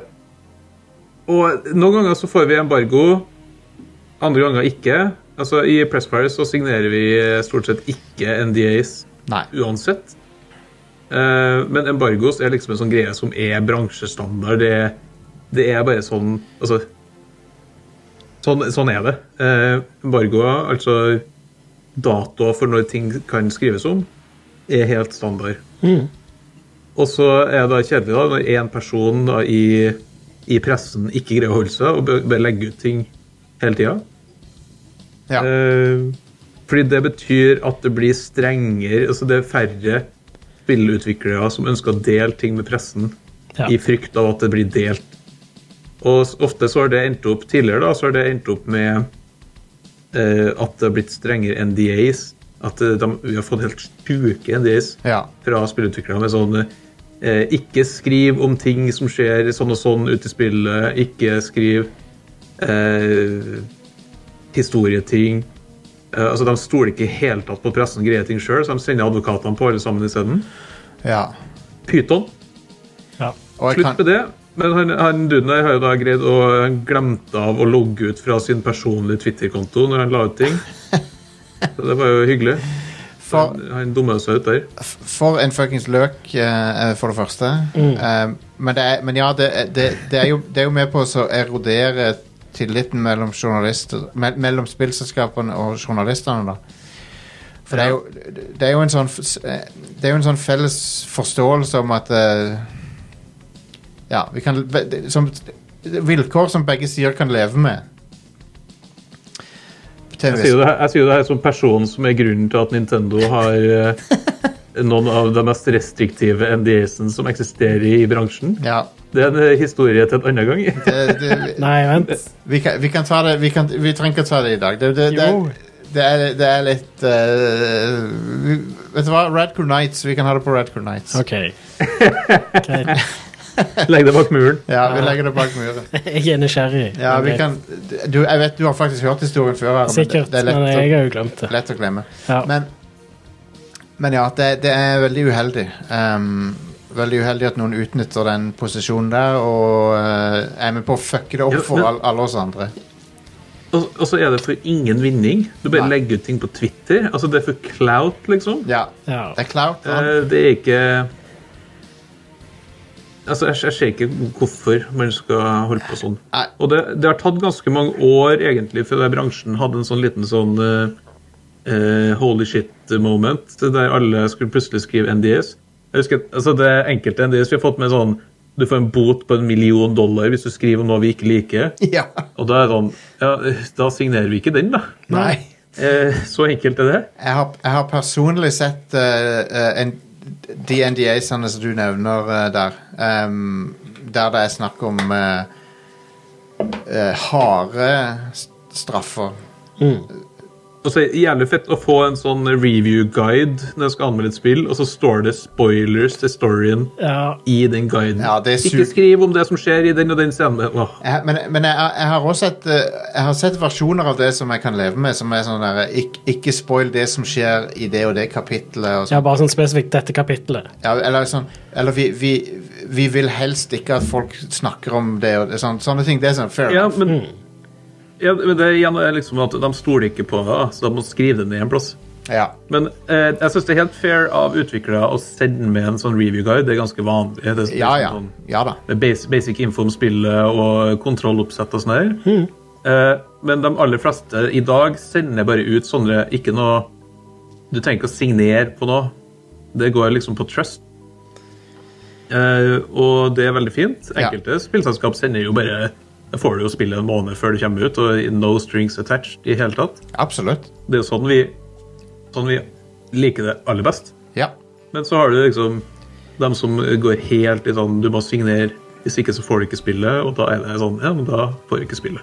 og noen ganger så får vi embargo, andre ganger ikke. Altså, I Pressfire så signerer vi eh, stort sett ikke NDAs
Nei.
uansett. Eh, men embargos er liksom en sånn greie som er bransjestandard. Det, det er bare sånn Altså Sånn, sånn er det. Eh, embargoer, altså datoer for når ting kan skrives om, er helt standard. Og så er det da kjedelig da, når én person da, i, i pressen ikke greier å holde seg og bør- bare legger ut ting hele tida.
Ja.
Eh, Fordi det betyr at det blir strengere altså Det er færre spillutviklere som ønsker å dele ting med pressen
Ja.
i frykt av at det blir delt. Og s- ofte så har det endt opp tidligere da, så har det endt opp med eh, at det har blitt strengere NDAs. At eh, de, vi har fått helt sjuke NDAs
Ja.
fra spillutviklere med sånn eh, Ikke skriv om ting som skjer sånn og sånn ute i spillet. Ikke skriv eh, historieting. Eh, altså, De stoler ikke i hele tatt på pressen og greier ting sjøl, så de sender advokatene på alle sammen isteden.
ja.
Pyton.
ja.
Og jeg
Slutt
kan,
med det. Men han, han duden der har jo da greid å han glemte av å logge ut fra sin personlige Twitter-konto når han la ut ting. Så det var jo hyggelig.
for,
Han dumma seg ut der.
for en fuckings løk, eh, eh, for det
Mm.
første. Eh, men, det er, men ja, det, er- det, det, er jo, det er jo med på å så erodere tilliten mellom, journalister- me mellom spillselskapene og journalistene. da. For det er, jo, det er jo en sånn f- s- eh, Det er jo en sånn felles forståelse om at eh, Ja, vi kan be- det- som, Vilkår som begge sider kan leve med. Til en
Jeg
viss-
sier, jo det her, jeg sier jo det her som person som er grunnen til at Nintendo har eh, noen av de mest restriktive NDS-ene som eksisterer i bransjen.
Ja,
Det er en eh, historie til en annen gang.
det, det,
Nei, vent.
Vi, kan, vi kan ta det vi, kan, vi trenger ikke å ta det i dag. Det, det, det,
Jo.
det, er, det er litt eh, vi, Vet du hva? Radcool Nights. Vi kan ha det på Radcool Nights.
OK. Greit.
Legg det bak muren.
Ja, Vi legger det bak muren.
Jeg er nysgjerrig.
Ja, vi kan, du, jeg vet du har faktisk hørt historien før, her, men det,
Sikkert,
det er
men
lett
jeg
å,
har jo glemt det.
lett å glemme.
Ja.
Men, men ja, det, det er veldig uheldig. Um, veldig uheldig at noen utnytter den posisjonen der og eh, er med på å fucke det
Ja,
opp for
men-
all- alle oss andre.
Og, og så er det for ingen vinning. Du bare
Nei.
legger ut ting på Twitter. Altså, det er for clout, liksom.
Ja,
Ja.
Det er clout. da.
Eh, Det er ikke Altså, jeg, jeg ser ikke hvorfor man skal holde på sånn.
Nei.
Og det, det har tatt ganske mange år, egentlig, før den bransjen hadde en sånn liten sånn eh, eh, holy shit-moment, der alle skulle plutselig skrive NDS. Jeg husker, at- altså Det er enkelte NDS vi har fått med sånn Du får en bot på en million dollar hvis du skriver om noe vi ikke liker.
Ja.
Og da er det sånn Ja, da signerer vi ikke den, da.
Nei.
Eh, så enkelt er det.
jeg har, jeg har personlig sett eh, eh, en, de NDA-ene som du nevner eh, der. ehm, der det er snakk om eh, eh, harde s- straffer.
Og så er det jævlig fett å få en sånn review-guide når jeg skal anmelde et spill, og så står det spoilers til storyen
ja.
i den guiden.
Ja, det er su-
Ikke skriv om det som skjer i den og den scenen. Åh.
Jeg, men men jeg, jeg har også sett, eh, jeg har sett versjoner av det som jeg kan leve med, som er sånn der Ikke, ikke spoil det som skjer i det og det kapitlet. Og
ja, bare sånn spesifikt dette kapitlet.
Ja, eller sånn Eller vi, vi, vi vil helst ikke at folk snakker om det og det, sånn, sånne ting. Det er sånn fair
Ja,
enough.
men, ja, men det er igjen er liksom at de stoler ikke på det, da, så de må skrive det ned en plass.
Ja.
Men eh, jeg syns det er helt fair av utviklere å sende med en sånn review-guide. Det er ganske vanlig. Det er liksom
Ja, ja.
sånn-
Ja da.
med basic, basic info om spillet og kontrolloppsett og sånn her. Eh, men de aller fleste i dag sender bare ut sånne Ikke noe Du trenger ikke å signere på noe. Det går liksom på trust. Eh, og det er veldig fint.
Ja.
Enkelte spillselskap sender jo bare Da får du jo spillet en måned før det kommer ut, og no strings attached i hele tatt.
Absolutt.
Det er jo sånn vi, sånn vi liker det aller best.
Ja.
Men så har du liksom dem som går helt i sånn Du må signere, hvis ikke så får du ikke spillet. Og da er det sånn Ja, men da får du ikke spillet.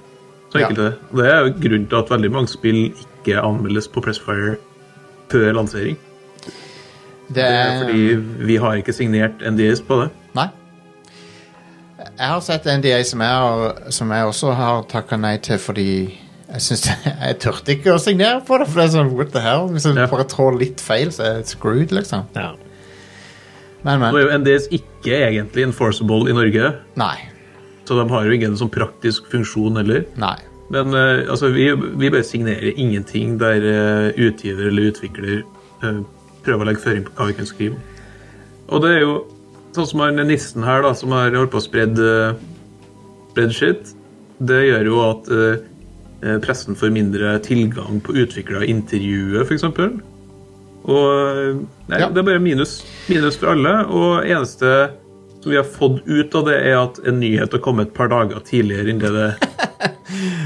Så
Ja.
enkelt er det. Og Det er jo grunnen til at veldig mange spill ikke anmeldes på Pressfire før lansering.
Det
Det er
er
fordi vi har ikke signert NDS på det.
Nei. Jeg har sett NDA som jeg, har, som jeg også har takka nei til fordi jeg synes Jeg turte ikke å signere på det, for det er sånn what the hell? Hvis jeg
Ja.
bare trår litt feil, så er jeg screwed, liksom.
Ja.
Men,
Nå
men.
er jo NDS ikke egentlig enforceable i Norge,
Nei.
så de har jo ingen sånn praktisk funksjon heller.
Nei.
Men eh, altså, vi, vi bare signerer ingenting der eh, utgiver eller utvikler eh, prøver å legge føring på hva vi kan skrive. Og det er jo sånn som han nissen her, da, som har holdt på å spredde spread shit. Det gjør jo at eh, eh, pressen får mindre tilgang på utviklere og intervjuet, f.eks. Og eh, nei,
Ja.
det er bare minus. Minus for alle. Og eneste som vi har fått ut av det, er at en nyhet har kommet et par dager tidligere enn det det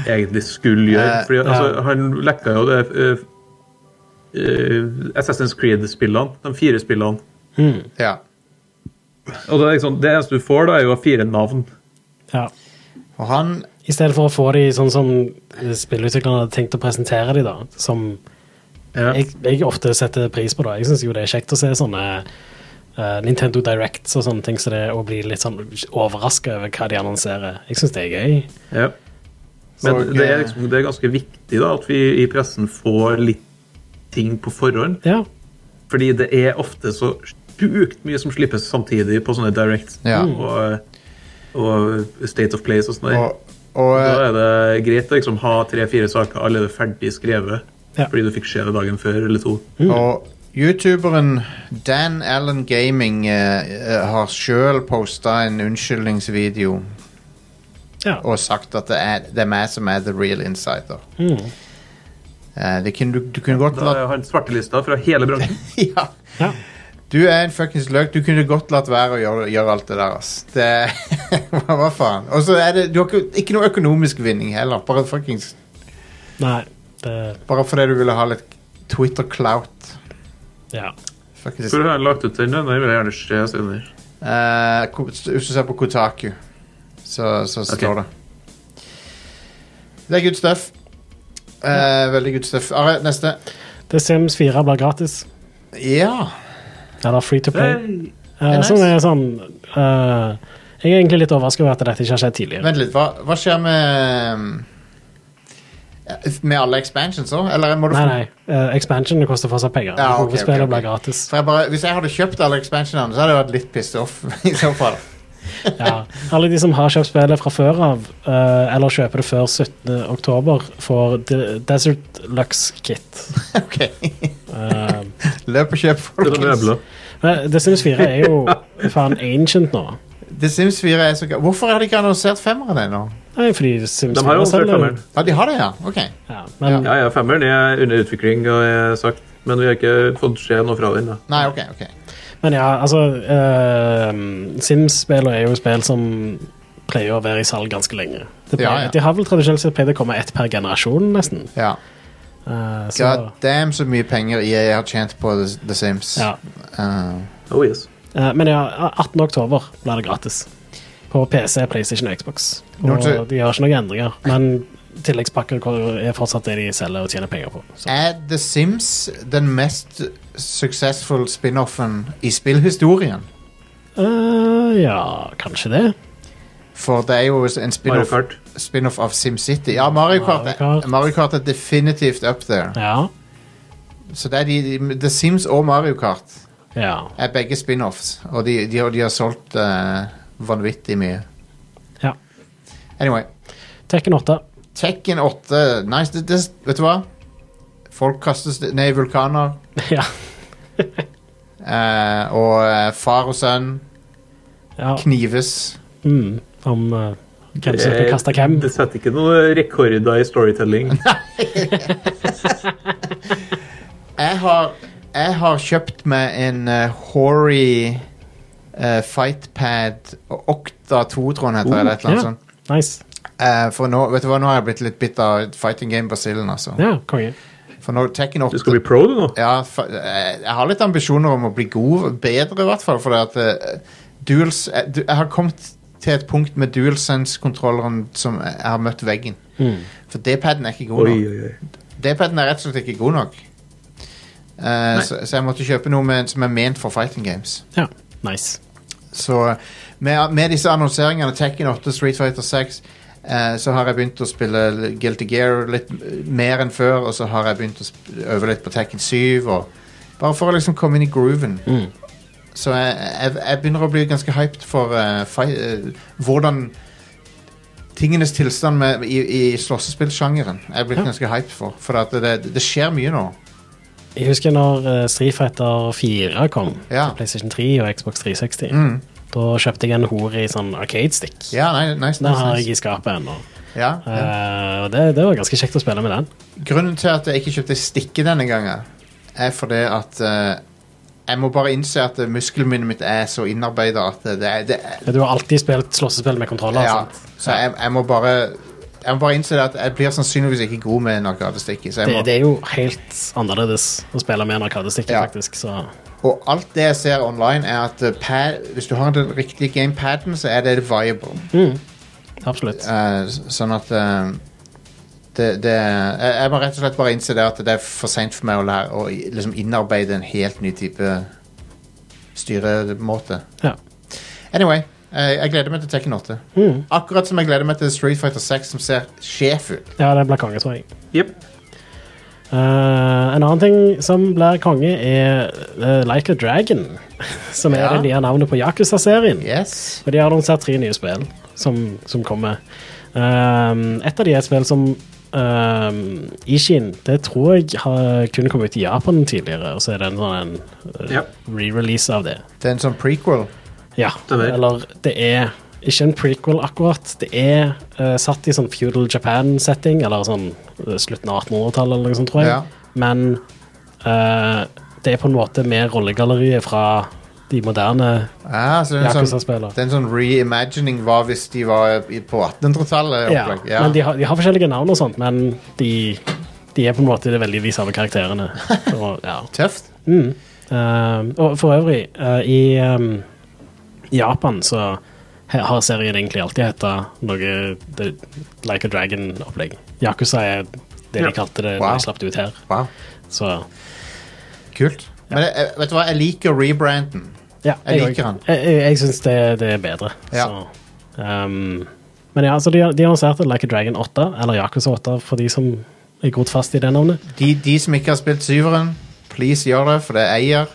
egentlig skulle gjøre.
Eh,
Fordi
ja.
altså, Han lekka jo det eh, eh, Assassin's Creed-spillene, de fire spillene.
Ja.
Og det, er liksom, det eneste du får, da, er jo fire navn.
ja.
Og han
I stedet for å få de sånn som spillutviklerne hadde tenkt å presentere de da, som
Ja.
jeg, jeg ofte setter pris på da. Jeg synes jo det er kjekt å se sånne eh, Nintendo Directs og sånne ting, så det å bli litt sånn overrasket over hva de annonserer. Jeg synes det er gøy.
Ja. Men
Og,
det, er
eh,
liksom, det er ganske viktig da, at vi i pressen får litt ting på forhånd.
Ja,
Fordi det er ofte så sjukt mye som slippes samtidig på sånne directs
Ja.
og, og State of Place og sånn. der.
og, og
Da er det greit å liksom ha tre-fire saker allerede ferdig skrevet.
Ja.
Fordi du fikk se det dagen før eller to.
eh, Og youtuberen Dan Allen Gaming eh, eh, har sjøl posta en unnskyldningsvideo
Ja.
og sagt at det er, det er meg som er the real insider.
Mm.
Eh, det kunne, du, du kunne godt
Da
latt
er han svartelista fra hele bransjen.
ja.
Ja.
Du er en fuckings løk. Du kunne godt latt være å gjøre, gjøre alt det der, ass. Det, hva, hva faen? Og så er det Du har ikke, ikke noe økonomisk vinning heller. Bare fuckings
Nei, det
Bare fordi du ville ha litt Twitter-clout.
Ja.
Fuckings-
Hvor har han lagt ut den? da? Den vil jeg gjerne se senere.
Eh, ko- Hvis du ser på Kotaku, så, så står det. Det er good stuff. Eh, Veldig good stuff. Are, neste.
The Sims 4 blir gratis.
Ja.
Eller free to play.
Hey.
Eh,
nice.
Som er sånn eh, Jeg er egentlig litt overrasket over at dette ikke har skjedd tidligere.
Vent litt, hva, hva skjer med um, Med alle expansions òg? Eller må du
Nei, nei. eh, expansion koster fortsatt penger.
Ja, ok, ok,
Hovedspillet
ok.
blir gratis.
For jeg bare, Hvis jeg hadde kjøpt alle expansionene, så hadde jeg vært litt pissed off. I så fall
Ja. Alle de som har kjøpt spillet fra før av, eh, eller kjøper det før 17. oktober, får De- Desert Lux Kit.
Ok,
Eh,
Løp og kjøp,
Det er noen
folkens.
møbler.
men The Sims 4 er jo faen ancient nå.
The Sims 4 er så gøy. Hvorfor har de ikke annonsert femmeren ennå?
Nei, fordi Sims 4
De har jo annonsert
selger
femmeren.
jo-
Ja, de har det, ja. Ok.
Ja, men
Ja, ja, femmeren er under utvikling, og jeg har sagt, men vi har ikke fått se noe fra den. da.
Nei, ok, ok.
Men ja, altså eh, Sims-spill er jo spill som pleier å være i salg ganske lenge. Det pleier,
Ja, ja.
De har vel tradisjonelt sett pleid å komme ett per generasjon, nesten.
Ja.
Eh, så,
God damn så mye penger EA har tjent på The, The Sims.
ja.
Eh,
Oh, yes.
Eh, men ja, 18. oktober blir det gratis. På PC, PlayStation og Xbox. Og
Nå til-
de gjør ikke noen endringer. Men tilleggspakker er fortsatt det de selger og tjener penger på. Så.
er The Sims den mest successful spin-offen i spillhistorien?
Eh, ja, kanskje det.
For det er jo en
Mario
spin-off
Kart.
spin av SimCity. Ja, Mario Kart,
Mario Kart.
Mario Kart er definitivt up there.
Ja.
Så det er de, de, The Sims og Mario Kart
ja.
er begge spin-offs, og de, de, har- de har solgt eh, vanvittig mye.
Ja.
Anyway.
Tekken 8.
Tekken 8 nice, det, det, Vet du hva? Folk kastes ned i vulkaner.
ja.
eh, og eh, far og sønn
ja.
knives.
Mm. Om eh, hvem som skal
Eh,
kaste hvem.
Det setter ikke noen rekorder i storytelling.
Jeg har, jeg har kjøpt meg en eh, hoary eh, fightpad Okta 2, tror jeg den heter.
Oh,
eller et eller annet
ja.
sånt.
Nice.
Eh, for nå, vet du hva, nå har jeg blitt litt bitt av fighting game Basillen, altså.
Ja, konge.
For nå, Tekken 8
Du skal bli pro, du nå.
ja, fa- eh, jeg har litt ambisjoner om å bli god, bedre i hvert fall, fordi at eh, duals, eh, du, jeg har kommet til et punkt med DualSense-kontrolleren som jeg har møtt veggen.
Mm.
For D-paden er ikke god
Oi,
nok.
oi, oi.
D-paden er rett og slett ikke god nok. Eh, så, så jeg måtte kjøpe noe med, som er ment for fighting games.
Ja, nice.
Så med, med disse annonseringene, Tekken 8, Street Fighter 6, eh, så har jeg begynt å spille Guilty Gear litt eh, mer enn før, og så har jeg begynt å sp- øve litt på Tekken 7, og bare for å liksom komme inn i grooven.
Mm.
Så jeg, jeg, jeg begynner å bli ganske hyped for eh, fi, eh, hvordan tingenes tilstand med, i, i slåssespillsjangeren er jeg blitt
Ja.
ganske hyped for. For at det, det, det skjer mye nå.
Jeg husker når eh, Street Fighter 4 kom
Ja.
til PlayStation 3 og Xbox 360.
Mm.
Da kjøpte jeg en hore i sånn arcade stick.
Ja, nei, nice,
Den har
nice, nice.
jeg i skapet ennå.
Ja, ja.
Eh, og det, det var ganske kjekt å spille med den.
Grunnen til at jeg ikke kjøpte stikke denne gangen, er fordi at eh, jeg må bare innse at muskelminnet mitt er så innarbeidet at det, det, er- det er
Du har alltid spilt slåssespill med kontroller.
ja,
sant?
Så jeg, jeg må bare jeg må bare innse det at jeg blir sannsynligvis ikke god med en arkadestikke. Så jeg
Det,
må,
det er jo helt annerledes å spille med en arkadestikke,
Ja.
faktisk. Så
Og alt det jeg ser online, er at eh, pad, hvis du har den riktige gamepaden, så er det viable.
absolutt.
Eh, s- sånn at eh, det, det, jeg, jeg må rett og slett bare innse det at det er for seint for meg å lære å i- liksom innarbeide en helt ny type styremåte.
Ja.
Anyway, eh, jeg gleder meg til Tekken 8.
Mm.
Akkurat som jeg gleder meg til Street Fighter 6, som ser sjef ut.
ja, det blir konge, tror jeg.
Jep.
Eh, en annen ting som blir konge, er eh, Like a Dragon. Som er
Ja.
det nye navnet på Yakuza-serien.
Yes.
Og de har annonsert tre nye spill som, som kommer. Ehm, et av de er et spill som ehm, Ishin Det tror jeg har, kunne komme ut i Japan tidligere, og så er det en sånn en, eh,
Ja.
re-release av det.
Det er en sånn prequel.
Ja.
Stemmer.
Eller det er ikke en prequel akkurat. Det er eh, satt i sånn feudal Japan-setting, eller sånn eh, slutten av 1800-tallet, eller noe sånt, tror jeg.
Ja.
Men eh, det er på en måte med rollegalleriet fra de moderne
Ah, så det er en sånn,
Yakuza-spillere.
det er en sånn reimagining hva hvis de var i- på 1800-tallet.
Ja,
opplegg.
men de har, de har forskjellige navn og sånt, men de, de er på en måte det veldig de samme karakterene. Og, ja.
Tøft.
Mm. Eh, og for øvrig, eh, i ehm, Japan så he- har serien egentlig alltid heta noe The Like a Dragon-opplegg. Yakuza er det
Ja.
de kalte det
Wow.
da de slapp det ut her.
Wow.
Så
Kult. Men jeg, jeg- vet du hva, jeg liker rebranden.
ja,
Jeg
òg-
liker han.
Jeg, jeg, jeg syns det, det er bedre.
Ja.
Så, ehm, men ja, så de, de annonserte Like a Dragon 8, eller Yakuza 8, for de som er grodd fast i det navnet.
De, de som ikke har spilt syveren, please gjør det, for det er eier.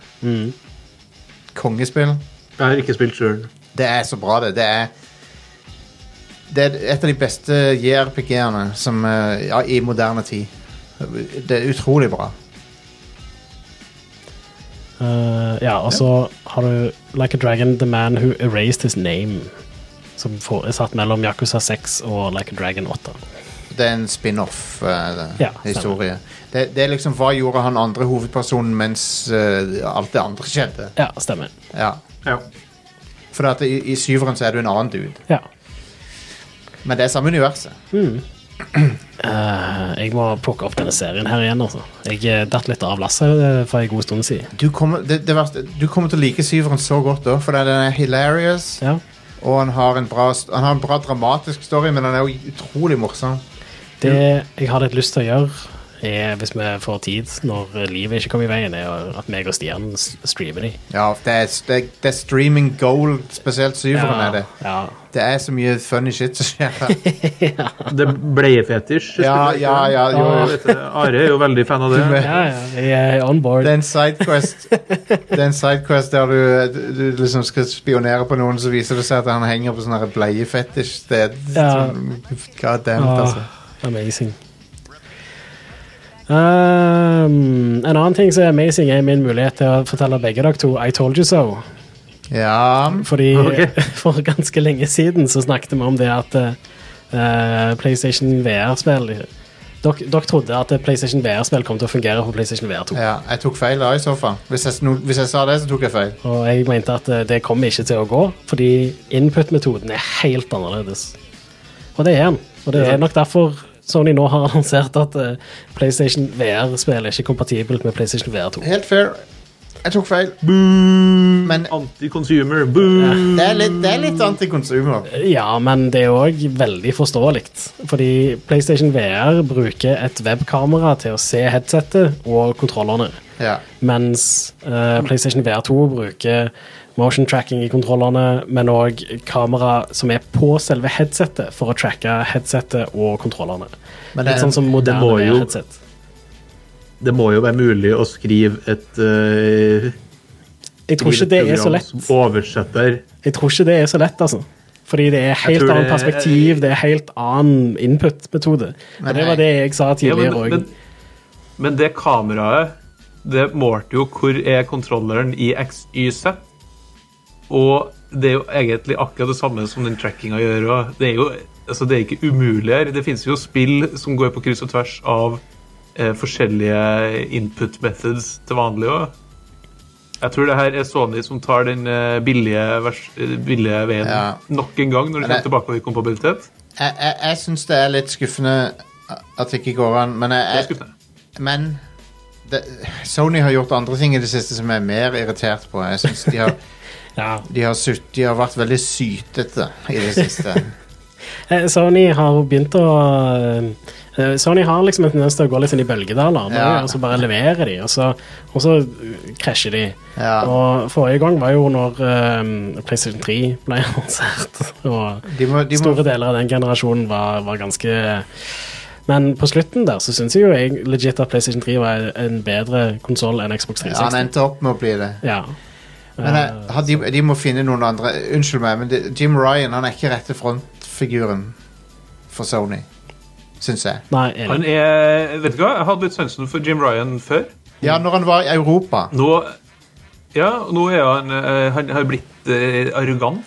Kongespill.
Jeg har ikke spilt sjøl.
Det er så bra, det. Det er det er et av de beste JRPG-ene som, eh, ja, i moderne tid. Det er utrolig bra.
Eh, ja, og så har du Like a Dragon, The Man Who Erased His Name. Som får, er satt mellom Yakuza 6 og Like a Dragon 8.
Det er en spin-off-historie.
Ja,
det, det er liksom hva gjorde han andre hovedpersonen mens eh, alt det andre skjedde.
Ja, stemmer.
Ja.
Ja.
For at i, i syveren så er du en annen dude.
Ja.
Men det er samme universet.
Eh, jeg må plukke opp denne serien her igjen, altså. Jeg eh, datt litt av lasset eh, for en god stund siden.
Du kommer, det, det verste, du kommer til å like syveren så godt da, for den er hilarious,
Ja.
og han har, en bra, st- han har en bra dramatisk story, men han er jo utrolig morsom.
Det jeg har litt lyst til å gjøre, er, hvis vi får tid når eh, livet ikke kommer i veien, er jo at meg og Stian s- streamer de.
Ja, det er, det, er- det er streaming gold, spesielt syveren er det.
ja.
Det er så mye funny shit som skjer her.
Det er bleiefetisj.
Ja, ja, ja, jo,
Ja,
jo.
vet det. Are er jo veldig fan av det.
Du-
ja, ja. Jeg er on board.
Det er en sidequest Det er en sidequest der du, du liksom skal spionere på noen Så viser det seg at han henger på sånn her bleiefetisj sted
Ja.
God damn it,
Ah,
altså
Amazing. Um, en annen ting som er amazing, er min mulighet til å fortelle begge dere to I told you so.
Ja,
Fordi
Ok.
for ganske lenge siden så snakket vi om det at eh, PlayStation VR-spill Dere dere trodde at PlayStation VR-spill kom til å fungere på PlayStation VR 2.
ja jeg tok feil da i så fall hvis jeg, sno- hvis jeg sa det så tok jeg feil
Og jeg mente at eh, det kommer ikke til å gå, fordi input-metoden er helt annerledes. Og det er den. Og det er nok derfor Sony nå har annonsert at eh, PlayStation VR-spill er ikke kompatibelt med PlayStation VR 2.
Helt fair Jeg tok feil Men
Anti-consumer. Boo!
det er litt, det er litt antikonsumer
Ja, men det er òg veldig forståelig. Fordi PlayStation VR bruker et webkamera til å se headsetet og kontrollerne.
Ja,
Mens eh, PlayStation VR 2 bruker motion tracking i kontrollerne, men òg kamera som er på selve headsetet, for å tracke headsetet og kontrollerne.
Men det-
Litt sånn som
det
moderne
må jo-
headset.
Det må jo være mulig å skrive et eh,
Jeg tror ikke det er så lett.
som oversetter.
Jeg tror ikke det er så lett, altså. Fordi det er helt
tror
annet
det-
perspektiv, det er helt annen input-metode. Og det var det jeg sa
Ja,
tidligere òg.
men, men det kameraet det målte jo hvor er kontrolleren i XYZ. Og det er jo egentlig akkurat det samme som den trackinga gjør. og Det er jo altså det er ikke umulig her. Det finnes jo spill som går på kryss og tvers av eh, forskjellige input methods til vanlig òg. Jeg tror det her er Sony som tar den eh, billige, vers, eh, billige veien
Ja.
nok en gang når det
Men
kommer tilbake til kompabilitet.
jeg, jeg, jeg synes det er litt skuffende At det ikke går an Men jeg,
Det er
jeg,
skuffende.
Men det, Sony har gjort andre ting i det siste som jeg er mer irritert på. Jeg synes de har,
Ja.
de har, sutt, de har vært veldig sytete i det siste.
Eh, Sony har begynt å eh, Sony har liksom en tendens til å gå litt inn i bølgedaler. nå,
Ja.
Og så bare leverer de, og så, og så eh, krasjer de.
Ja.
Og forrige gang var jo når eh, PlayStation 3 ble annonsert. Og
De må, de må,
store deler av den generasjonen var, var ganske Men på slutten der så syns jeg jo jeg legit at PlayStation 3 var en bedre konsoll enn Xbox
ja, han
360.
endte opp med å bli det.
Ja,
Men jeg, har de, de må finne noen andre. Unnskyld meg, men det, Jim Ryan han er ikke rette frontfiguren for Sony, syns jeg.
Nei,
Han
enig.
er, vet du hva, Jeg hadde litt sansen for Jim Ryan før.
Ja, når han var i
Mm.
Europa.
Nå, ja, nå er han, eh, han har blitt eh, arrogant.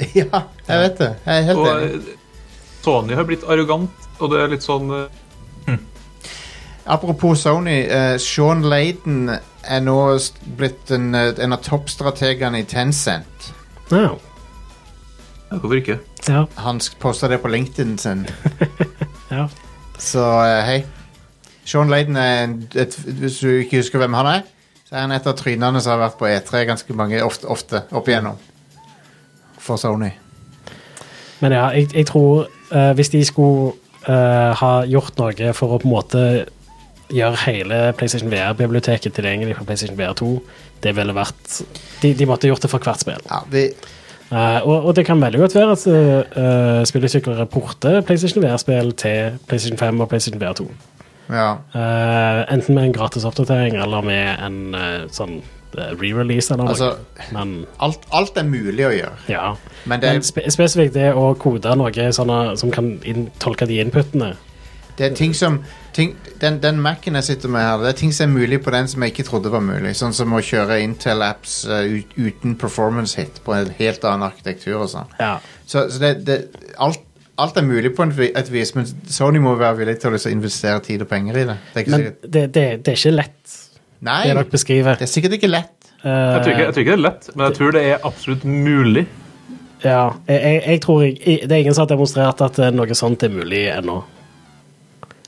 ja, jeg vet det. Jeg er helt
Og
enig.
eh, Sony har blitt arrogant, og det er litt sånn eh,
Apropos Sony. eh, Sean Laden er nå st- blitt en, eh, en av toppstrategene i Tencent.
Ja.
ja, Hvorfor ikke?
ja.
Han posta det på LinkedIn sin.
ja.
Så eh, hei. Sean Laden er en, et, Hvis du ikke husker hvem han er, så er han et av trynene som har vært på E3 ganske mange ofte, ofte opp igjennom. For Sony.
Men ja, jeg, jeg tror eh, hvis de skulle eh, ha gjort noe for å på en måte gjøre hele PlayStation VR-biblioteket tilgjengelig på PlayStation VR 2, det ville vært De, de måtte gjort det for hvert spill.
Ja, de,
Eh, og, og det kan veldig godt være at uh, spillutviklere porter PlayStation VR-spill til PlayStation 5 og PlayStation VR 2.
ja.
Eh, enten med en gratis oppdatering eller med en eh, sånn eh, re-release eller noe.
Altså-
men
Alt, alt er mulig å gjøre.
ja.
Men det,
Men spe spesifikt det å kode noe sånne, som kan inn tolke de inputene.
det er ting som ting, Den, den Mac-en jeg sitter med her, det er ting som er mulig på den som jeg ikke trodde var mulig. Sånn som å kjøre Intel-apps eh, ut- uten performance hit på en helt annen arkitektur og sånn.
Ja.
Så, så det, det alt, alt er mulig på en vi- et vis, men Sony må være villig til å liksom investere tid og penger i det. Det er ikke
Men
sikkert.
det, det, det er ikke lett,
Nei,
det dere beskriver. Eh,
det er sikkert ikke lett.
Jeg
Eh.
tror, ikke, jeg tror ikke det er lett, men jeg tror det er absolutt mulig.
Ja, jeg, jeg, jeg tror jeg, jeg- Det er ingen som har demonstrert at eh, noe sånt er mulig ennå.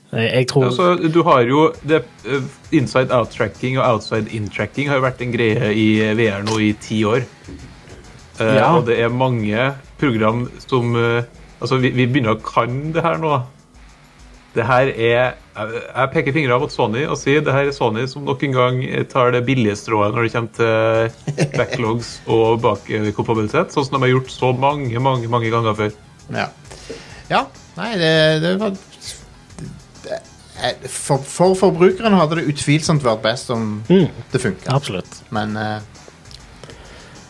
Jeg, jeg tror
Altså, du har jo det, eh, Inside out-tracking og outside in-tracking har jo vært en greie i VR nå i ti år. Eh,
Ja.
Og det er mange program som eh, Altså, vi, vi begynner å kan det her nå. Det her er Jeg jeg peker fingre mot Sony og sier det her er Sony som nok en gang tar det billige strået når det kommer til backlogs og bakkompabilitet, sånn som de har gjort så mange, mange, mange ganger før.
Ja. ja nei, det, det var det- eh, for, for forbrukeren hadde det utvilsomt vært best om
Mm.
det funka.
Absolutt.
Men eh,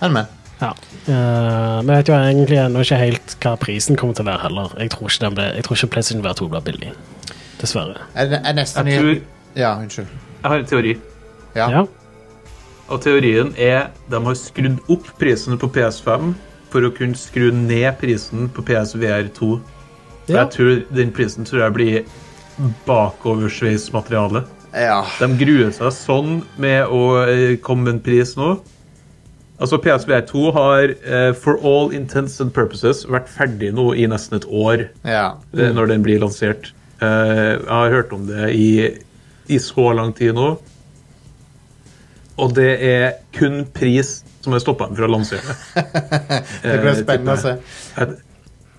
Men, men.
Ja. Eh, men jeg vet jo egentlig ennå ikke helt hva prisen kommer til å være heller. Jeg tror ikke, den ble, jeg tror ikke PlayStation VR 2 blir billig. Dessverre.
Er, er nesten
Jeg tror
i Ja, unnskyld.
Jeg har en teori.
Ja.
Ja.
Og teorien er de har skrudd opp prisen på PS5 for å kunne skru ned prisen på PSVR2. Og
Ja.
Jeg tror den prisen tror jeg blir bakoversveismateriale.
Ja.
De gruer seg sånn med å eh, komme med en pris nå. Altså PSVR2 har eh, for all intents and purposes vært ferdig nå i nesten et år
ja.
eh, når den blir lansert. Eh, jeg har hørt om det i, i så lang tid nå. Og det er kun pris som har stoppa dem fra å lansere det.
Det blir
Eh,
spennende å se.
Jeg,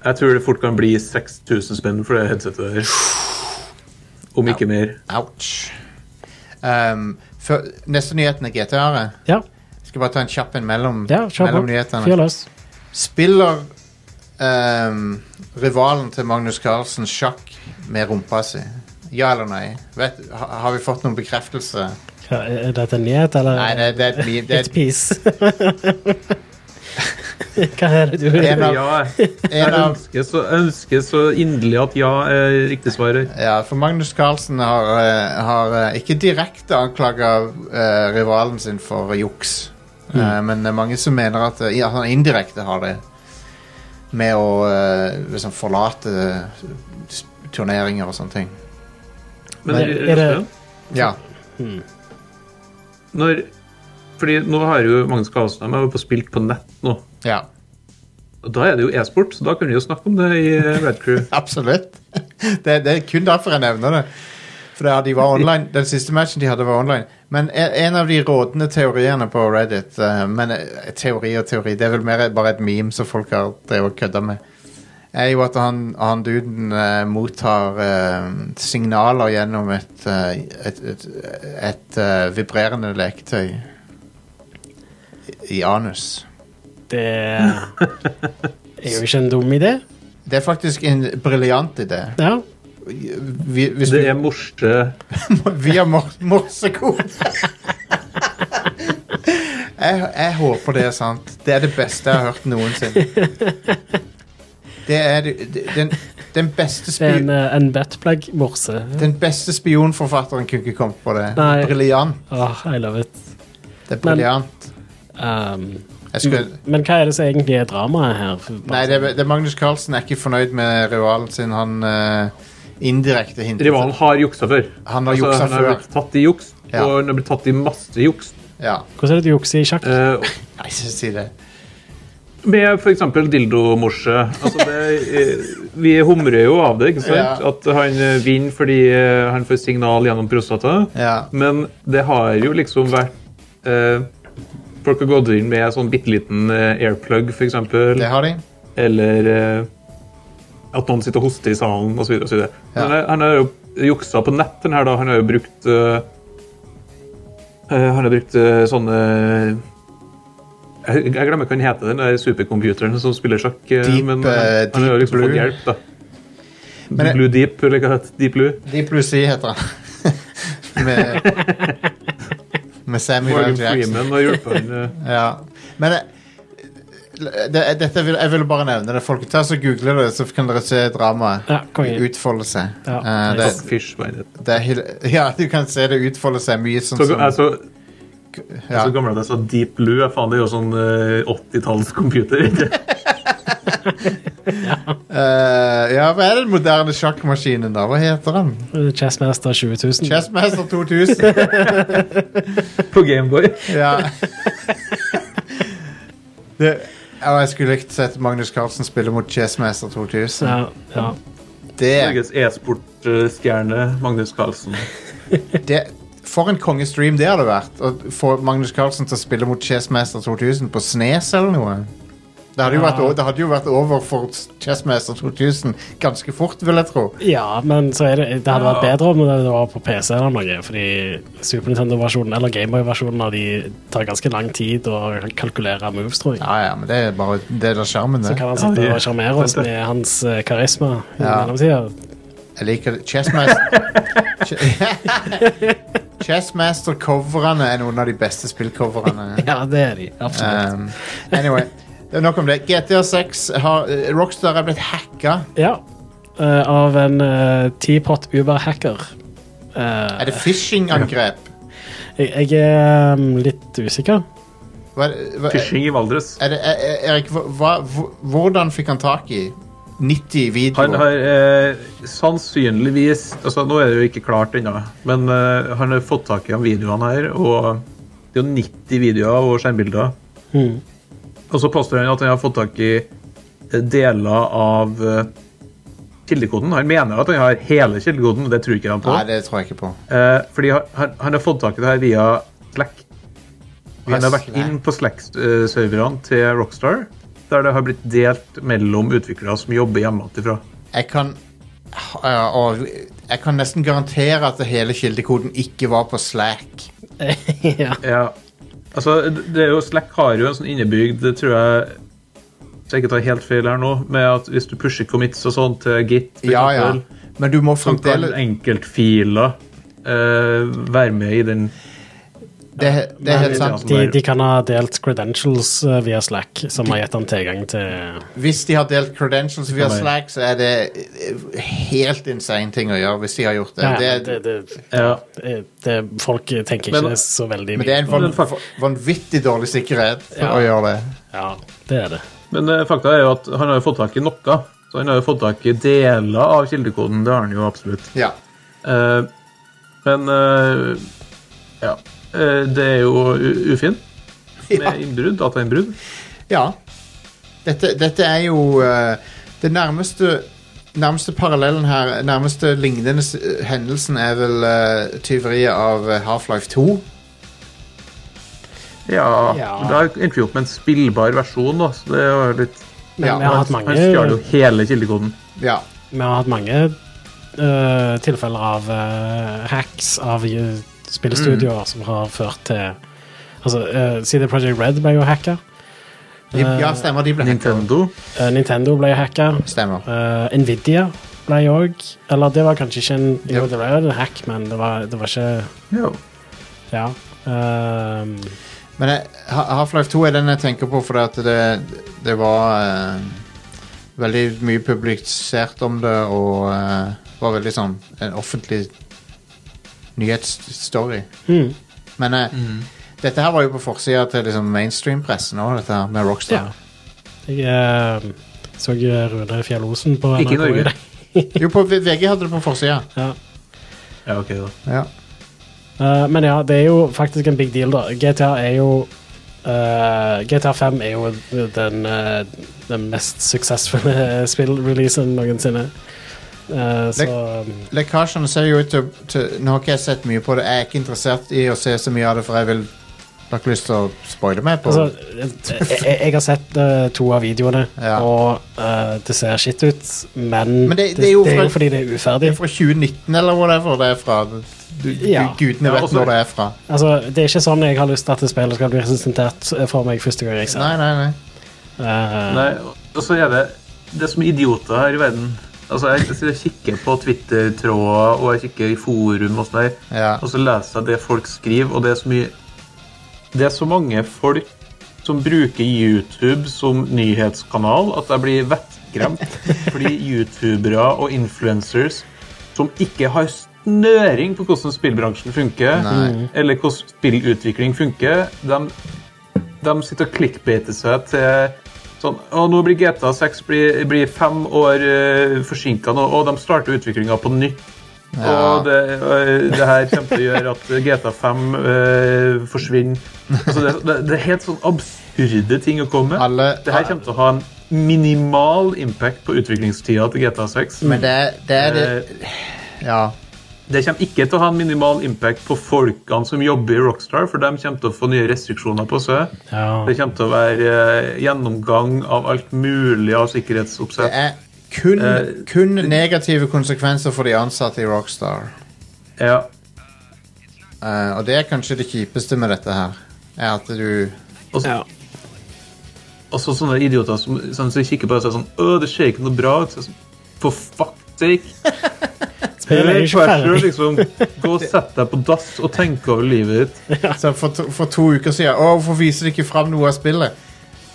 jeg tror det fort kan bli 6000 spenn for det headsetet der. Om ikke mer.
Ouch. Um, før- neste nyheten er GTR-et.
ja.
Skal bare ta en kjapp en mellom,
ja kjør på.
mellom nyhetene.
Fyr løs.
Spiller ehm, rivalen til Magnus Carlsen sjakk med rumpa si? Ja eller nei? Vet, ha, har vi fått noen bekreftelse?
Ja, Er dette en nyhet, eller
Nei, det, det, er et mi- det,
et piece? hva er det du vil?
En av-
Ja,
er
jeg
en av,
ønsker så, jeg ønsker så inderlig at ja er riktig svar. her.
ja, for Magnus Carlsen har, eh, har eh, ikke direkte anklaga rivalen sin for juks.
Mm.
Eh, men det er mange som mener at eh, ja, han indirekte har det. Med å eh, liksom forlate eh, s- turneringer og sånne ting.
Men eh,
Men er det-
Ja.
når, Fordi nå har jo Magnus Karlsen og jeg spilt på nett nå.
ja.
Og Da er det jo e-sport, så da kan vi jo snakke om det i eh, Red Crew.
Absolutt. Det, det er kun derfor jeg nevner det. For det, de var online, Den siste matchen de hadde, var online. Men e- en av de rådende teoriene på Reddit eh, Men eh, teori og teori, det er vel mer bare et meme som folk har drevet og kødda med. Er jo at han, han duden eh, mottar eh, signaler gjennom et, eh, et, et, et eh, vibrerende leketøy i- i anus.
Det er jo ikke en dum idé.
Det er faktisk en briljant idé.
Ja.
Vi, hvis
Det
du-
er morse
via mor morsekode. jeg, jeg håper det er sant. Det er det beste jeg har hørt noensinne. Det er det- det- den, den beste
Det er en,
spion...
eh, en buttplug-morse.
Den beste spionforfatteren kunne ikke kommet på det.
eh, Nei.
Briljant.
Åh, I love it.
Det er
Men-
briljant.
Um,
Jeg skulle,
Men hva er det som egentlig er dramaet her?
nei, det, er- det er Magnus Carlsen er ikke fornøyd med rivalen sin. Han eh, indirekte hintet
Rivalen har juksa før. Altså,
Han har juksa
han har
før.
blitt tatt i juks,
Ja.
og han har blitt tatt i masse juks.
Ja.
Hvordan er det du jukser i sjakk?
Eh,
Nei, ikke si det.
Med f.eks. dildomorse. Altså det, eh, vi humrer jo av det. ikke sant?
Ja.
At han eh, vinner fordi eh, han får signal gjennom prostata.
Ja.
Men det har jo liksom vært eh, Folk har gått inn med sånn bitte liten eh, airplug, f.eks.
Det har de.
Eller eh, at noen sitter og hoster i salen, osv.
Ja.
Ja. Han, er- eh, han har jo juksa på nett, den her, da. Han har jo brukt eh, eh, Han har brukt eh, sånne jeg, jeg glemmer hva han heter, den der supercomputeren som spiller sjakk. eh,
Deep,
men
eh,
han, han
Deep
har jo liksom
Blue.
fått hjelp, da.
Men jeg-
Blue Deep, eller hva det heter. Deep Blue.
Deep Blue Sea heter han. med, med Samuel
Morgan
L. Jackson.
Freeman har hjulpet han. eh.
Ja. Men jeg, det, eh, dette vil, jeg ville bare nevne det. Folk, ta så Google det, så kan dere se dramaet
Ja, konge.
utfolde seg.
Ja,
Eh, det,
nice.
Fish, hva er det?
det er, hil- ja, du kan se det utfolde seg mye sånn
Så,
som
altså,
ja.
så gammel at jeg sa Deep Blue. ja, Faen, det er jo sånn eh, 80-tallscomputer. ikke?
Eh, ja, hva er den moderne sjakkmaskinen, da? Hva heter den?
Chessmaster 20 000.
Chessmaster 2000?
På Gameboy.
ja. Det, ja, jeg skulle likt sett Magnus Carlsen spille mot Chessmaster 2000.
Ja, ja.
Det,
Norges e-sportstjerne Magnus Carlsen.
det, for en kongestream det hadde vært. Å få Magnus Carlsen til å spille mot Chessmaster 2000 på Snes eller noe. Det hadde, jo vært, o- det hadde jo vært over for Chessmaster 2000 ganske fort, vil jeg tro.
ja, men så er det, det hadde vært bedre om det var på PC eller noe, fordi Super Nintendo-versjonen eller Gameboy-versjonen av de tar ganske lang tid å kalkulere moves, tror jeg.
Ja, ja, men det er bare det er da sjarmen,
Så
det.
kan han sitte
Ja, det-
og sjarmere oss med hans eh, karisma i
Ja.
mellomtida.
Jeg liker det. Chessmaster Ch- Chessmaster-coverene er noen av de beste spillcoverne.
Ja, det er de. Absolutt.
Um, anyway, det er nok om det. GTA6 har eh, Rockstar er blitt hacka.
ja. eh, av en uh, teapot Uber-hacker. Eh,
Er det phishing-angrep?
jeg, jeg er mm, litt usikker.
Hva, hva,
Fishing i Valdres.
er det, er, er- Erik, hva, hva- hvor- hvordan fikk han tak i 90
Han
videoer?
har eh, sannsynligvis altså Nå er det jo ikke klart ennå, men eh, han har fått tak i de videoene her. Og det er jo 90 videoer og skjermbilder.
Mhm.
Og så påstår han at han har fått tak i eh, deler av eh, kildekoden. Han mener at han har hele kildekoden, men det tror ikke han på.
Nei, det tror jeg ikke på.
Eh, fordi han, han, han har fått tak i det her via Slack. Han
Via
har vært
Slack.
inn på Slack-serverne til Rockstar, der det har blitt delt mellom utviklere som jobber hjemmefra.
Jeg kan ja, og jeg kan nesten garantere at hele kildekoden ikke var på Slack.
ja.
Ja. Altså, det er jo, Slack har jo en sånn innebygd, det tror jeg Hvis jeg ikke tar helt feil her nå, med at hvis du pusher commits og sånn til Git, for
Ja, ja.
eksempel,
Men du må
så kan
fremdeles
enkeltfiler eh, være med i den
det, det er helt
Nei,
sant.
ja.
De, de kan ha delt credentials eh, via Slack, som har gitt han tilgang til
Hvis de har delt credentials via
altså. Nei.
Slack, så er det eh, helt insane ting å gjøre hvis de har gjort det.
Ja,
det,
det, det,
ja.
det, det Folk tenker ikke
Men-
så veldig
men det er en
på
van,
Men fuck.
vanvittig dårlig sikkerhet
Ja.
å gjøre det.
Ja, det er det.
Men eh, fakta er jo at han har jo fått tak i noe. Så han har jo fått tak i deler av kildekoden. Det har han jo absolutt.
Ja.
Eh, men eh, ja. Eh, det er jo u- ufint
ja.
med innbrudd, datainnbrudd.
Ja. Dette, dette er jo eh, Det nærmeste Nærmeste parallellen her Nærmeste lignende s- eh, hendelsen er vel eh, tyveriet av eh, Half-Life 2.
Ja.
Ja.
men Da endte vi opp med en spillbar versjon. Da, så det var litt
Men
Ja,
vi har
men
hatt mange
Han stjal jo hele kildekoden.
Ja.
Vi har hatt mange øh, tilfeller av øh, hacks av øh,
Mm.
spillstudioer som har ført til Altså, øh, CD Project Red ble jo hacka.
De, ja, stemmer. De ble hacka.
Nintendo.
øh, Nintendo ble hacka.
Stemmer.
øh, Nvidia ble òg Eller det var kanskje ikke en Jo,
Ja.
det var en hack, men det var, det var ikke
Ja.
Ja. Eh, Øhm,
Men jeg- Ha- Half-Life 2 er den jeg tenker på fordi at det, det var eh, veldig mye publisert om det, og eh, var veldig sånn en offentlig nyhetsstory.
mm,
Men eh, Dette her var jo på forsida til liksom mainstream-pressen òg, dette her med Rockstar.
Jeg eh, så jo Rune Fjell Osen på
Ikke i
NRK
Norge.
dag.
Jo, på V- VG hadde det på forsida.
Ja.
Ja, ok, da.
Ja.
Eh, men ja, det er jo faktisk en big deal, da. GTA er jo eh, GTA 5 er jo den, eh, den mest suksessfulle spillreleasen noensinne. Eh, så
Lekkasjene ser jo ut til, til Nå har ikke jeg sett mye på det. Jeg er ikke interessert i å se så mye av det, for jeg vil har ikke lyst til å spoile meg på
altså, jeg, jeg- jeg har sett eh, to av videoene,
Ja.
og eh, det ser skitt ut, men,
Men det- det er jo fra-
fordi det er
Det
uferdig.
er fra 2019 eller whatever det er fra. Du,
Ja.
du, gudene
Ja,
vet
også-
når det er fra.
Altså, det er ikke sånn jeg har lyst til at spillet skal bli resistentert for meg første gang jeg ser
Nei,
det.
nei, nei.
Eh,
Nei, og så er det Det er så mye idioter her i verden. Altså, Jeg, jeg kikker på Twitter-tråder og jeg kikker i forum og sånn der,
Ja.
og så leser jeg det folk skriver, og det er så mye Det er så mange folk som bruker YouTube som nyhetskanal at jeg blir vettskremt fordi youtubere og influencers som ikke har snøring på hvordan spillbransjen funker,
Nei.
eller hvordan spillutvikling funker, de de sitter og klikkbeter seg til sånn Og nå blir GTA 6 blir, blir fem år uh, forsinka nå, og de starter utviklinga på nytt. Og det, eh, det her kommer til å gjøre at GTA 5 eh, forsvinner. Altså det, det, det er helt sånn absurde ting å komme med.
Alle-
det her kommer til å ha en minimal impact på utviklingstida til GTA 6.
Men det, er- det er
Eh,
det Ja.
Det kommer ikke til å ha en minimal impact på folkene som jobber i Rockstar, for de kommer til å få nye restriksjoner på seg.
Ja.
Det kommer til å være eh, gjennomgang av alt mulig av
Det
sikkerhetsoppsett.
er kun,
Eh,
kun negative konsekvenser for de ansatte i Rockstar.
Ja.
Eh, og det er kanskje det kjipeste med dette her. Er at du
Og så- og så Altså, sånne idioter som, som, som kikker på deg og sier sånn Å, det ser ikke noe bra ut. Så jeg sånn, For fuck sake!
Spillet er jo ikke
Vær så snill,
ferdig.
liksom, gå og sett deg på dass og tenk over livet ditt.
Så for, to, for to uker siden Å, hvorfor viser de ikke fram noe av spillet?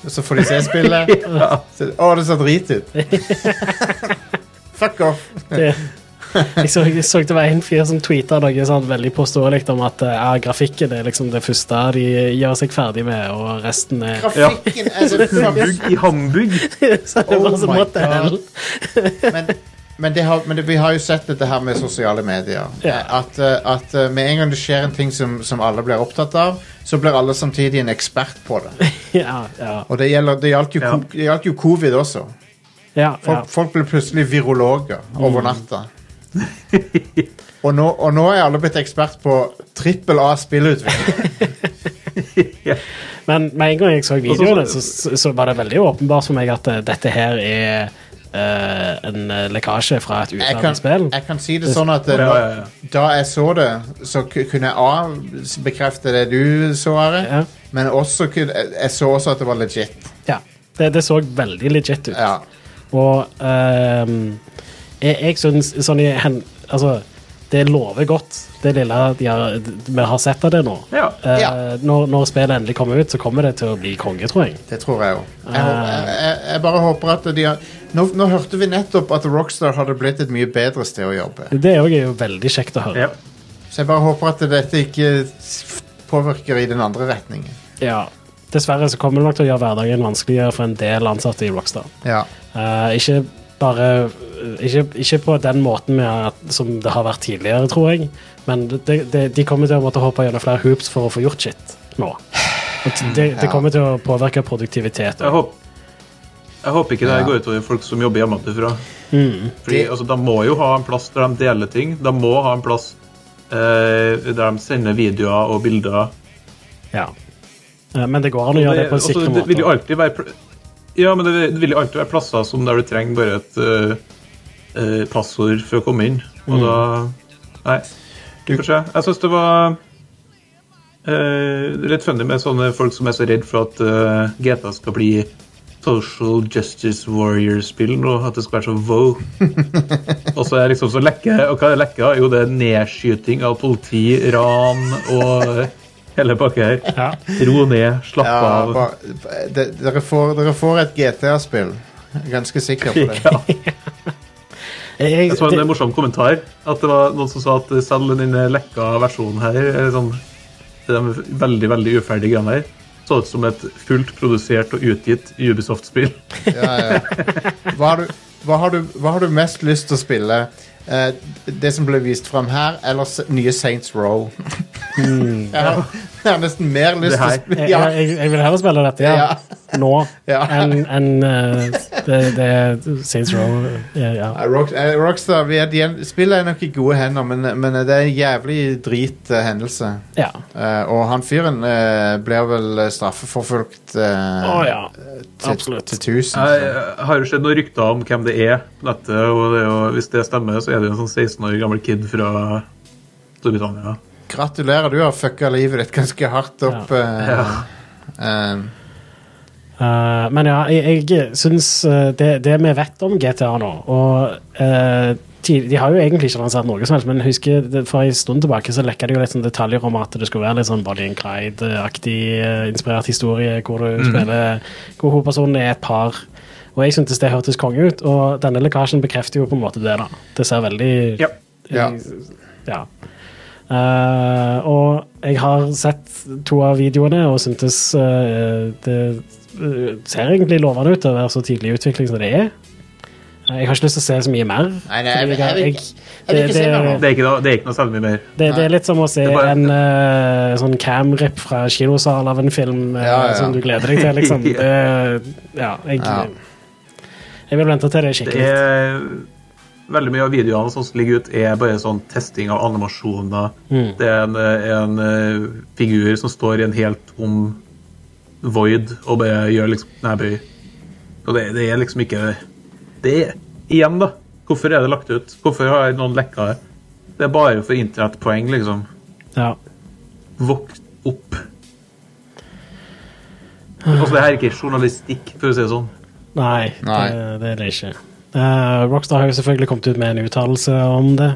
Og så får de se spillet. så, å, det ser drit ut. Fuck off.
Det- Jeg så, jeg så det var en fyr som tweeta noe sånn veldig påståelig om at eh, ja, grafikken er liksom det første de gjør seg ferdig med, og resten er
Grafikken er så fuck.
Humbug i Hamburg.
Så det var
Oh
så
my
måtte
God.
hell.
Men, men, det har, men det, vi har jo sett dette her med sosiale medier.
Ja.
At, eh, at eh, med en gang det skjer en ting som, som alle blir opptatt av, så blir alle samtidig en ekspert på det.
Ja, ja,
Og det, gjelder, det, gjaldt, jo,
Ja.
ko- det gjaldt jo covid også.
ja, ja.
Folk, folk ble plutselig virologer over natta. og, nå, og nå er alle blitt ekspert på trippel A spillutvikling.
Men med en gang jeg så videoene,
Og
så,
så-
så, så var det veldig åpenbart for meg at eh, dette her er eh, en eh, lekkasje fra et
Jeg kan,
uferdig spill.
jeg kan si det sånn at eh,
Ja, ja, ja.
da jeg så det, så ku- kunne jeg A s- bekrefte det du så, Are.
Ja.
Men også kunne, jeg- jeg så også at det var legit.
Ja. Det, det så veldig legit ut.
Ja.
Og ehm, jeg, jeg syns sånn i hen, Altså, det lover godt, det lille de har, vi har sett av det nå.
Ja.
Eh,
Ja.
når, når spillet endelig kommer ut, så kommer det til å bli konge, tror jeg.
Det tror jeg òg. Jeg,
Eh.
hå- jeg, jeg, jeg bare håper at de har nå, nå hørte vi nettopp at Rockstar hadde blitt et mye bedre sted å jobbe.
Det er jo veldig kjekt å høre.
Ja.
Så jeg bare håper at dette ikke s- påvirker i den andre retningen.
Ja. Dessverre så kommer det nok til å gjøre hverdagen vanskeligere for en del ansatte i Rockstar.
Ja.
Eh, ikke bare ikke, ikke på den måten vi har- som det har vært tidligere, tror jeg, men det, det, de kommer til å måtte hoppe gjennom flere hoops for å få gjort sitt nå. Og
Mm,
Det, det kommer til å påvirke produktivitet. også.
Jeg håper, jeg håper ikke det her går utover folk som jobber hjemmefra. Fordi,
Det-
altså, de må jo ha en plass der de deler ting. De må ha en plass eh, der de sender videoer og bilder.
Ja. Eh, Men det går an å gjøre
Det,
det på en
altså,
sikker
det vil jo
måte.
alltid være pl- Ja, men det vil, det vil jo alltid være plasser som der du trenger bare et eh, eh, passord for å komme inn.
Mm.
Og da Nei.
Du-
Kanskje. Jeg syns det var eh, litt funny med sånne folk som er så redd for at eh, GTA skal bli Social Justice Warrior-spill nå, at det skal være så wow. og så er det liksom så lekke. Og hva er lekke? Jo, det er nedskyting av politi, ran og eh, hele pakka her.
Ja.
Ro ned, slapp
Ja,
av.
bare, de, dere, får, dere får et GTA-spill. Jeg er Ganske sikker på det.
Ja.
Jeg, jeg,
Jeg så en
det,
morsom kommentar. At det var noen som sa at selv den lekka versjonen her er sånn de veldig veldig uferdige greiene der så ut som et fullt produsert og utgitt Ubisoft-spill.
Ja, ja. Hva, har du, hva, har du, hva har du mest lyst til å spille? Eh, det som ble vist fram her, eller s nye Saints Row? jeg, har, jeg har nesten mer lyst
Mm. Det
til å
her.
spille
Jeg,
ja,
jeg, jeg vil heller spille dette ja.
Ja.
nå
Ja.
enn enn, eh, det, det Saints Row. Ja, ja.
Nei, Rock, eh, Rockstar vi er, de er, spillet er nok i gode hender, men, men det er en jævlig drit eh, hendelse.
ja.
Eh, og han fyren eh, blir vel eh, straffeforfulgt eh,
Å ja.
til,
absolutt.
til 1000.
Jeg
så-
jeg har jo sett noen rykter om hvem det er på nettet, og det er jo, hvis det stemmer, så er det jo en sånn 16 år gammel kid fra Storbritannia.
Gratulerer, du har fucka livet ditt ganske hardt opp. eh,
Ja.
eh,
Eh, men ja, jeg, jeg syns eh, det, det vi vet om GTA nå og eh, ti- De har jo egentlig ikke lansert noe som helst, men husker det, for en stund tilbake så lekka det jo litt sånn detaljer om at det skulle være litt sånn Bonnie and Clyde-aktig eh, inspirert historie, hvor du spiller hvor hovedpersonen er et par. Og jeg syntes det hørtes konge ut, og denne lekkasjen bekrefter jo på en måte det. da Det ser veldig
Ja.
Ja.
ja. Eh, og jeg har sett to av videoene og syntes eh, det eh, ser egentlig lovende ut til å være så tidlig i utvikling som det er. Eh, Jeg har ikke lyst til å se så mye mer.
Nei, nei, jeg-
fordi
jeg vil ikke- jeg vil
det,
ikke
det,
se mer nå.
Det, er ikke, noe- det er ikke noe særlig mye mer.
det, det er litt som å se
Det er bare-
en eh, sånn cam-rip fra kinosal av en film eh,
Ja, ja.
som du gleder deg til, liksom. Det, ja, jeg,
Ja.
jeg vil vente til det er
Det
skikkelig.
er Veldig mye av videoene som ligger ut, er bare sånn testing av animasjoner. Det er en, eh, en eh, figur som står i en helt om void og bare gjør liksom knæbøy. Og det, det er liksom ikke Det er Igjen, da. Hvorfor er det lagt ut? Hvorfor har noen lekka det? Det er bare for internettpoeng, liksom.
Ja.
Vokt opp. Altså, det her er ikke journalistikk, for å si det sånn.
Nei,
Nei.
Det, det er det ikke. Eh, Rockstar har jo selvfølgelig kommet ut med en uttalelse om det.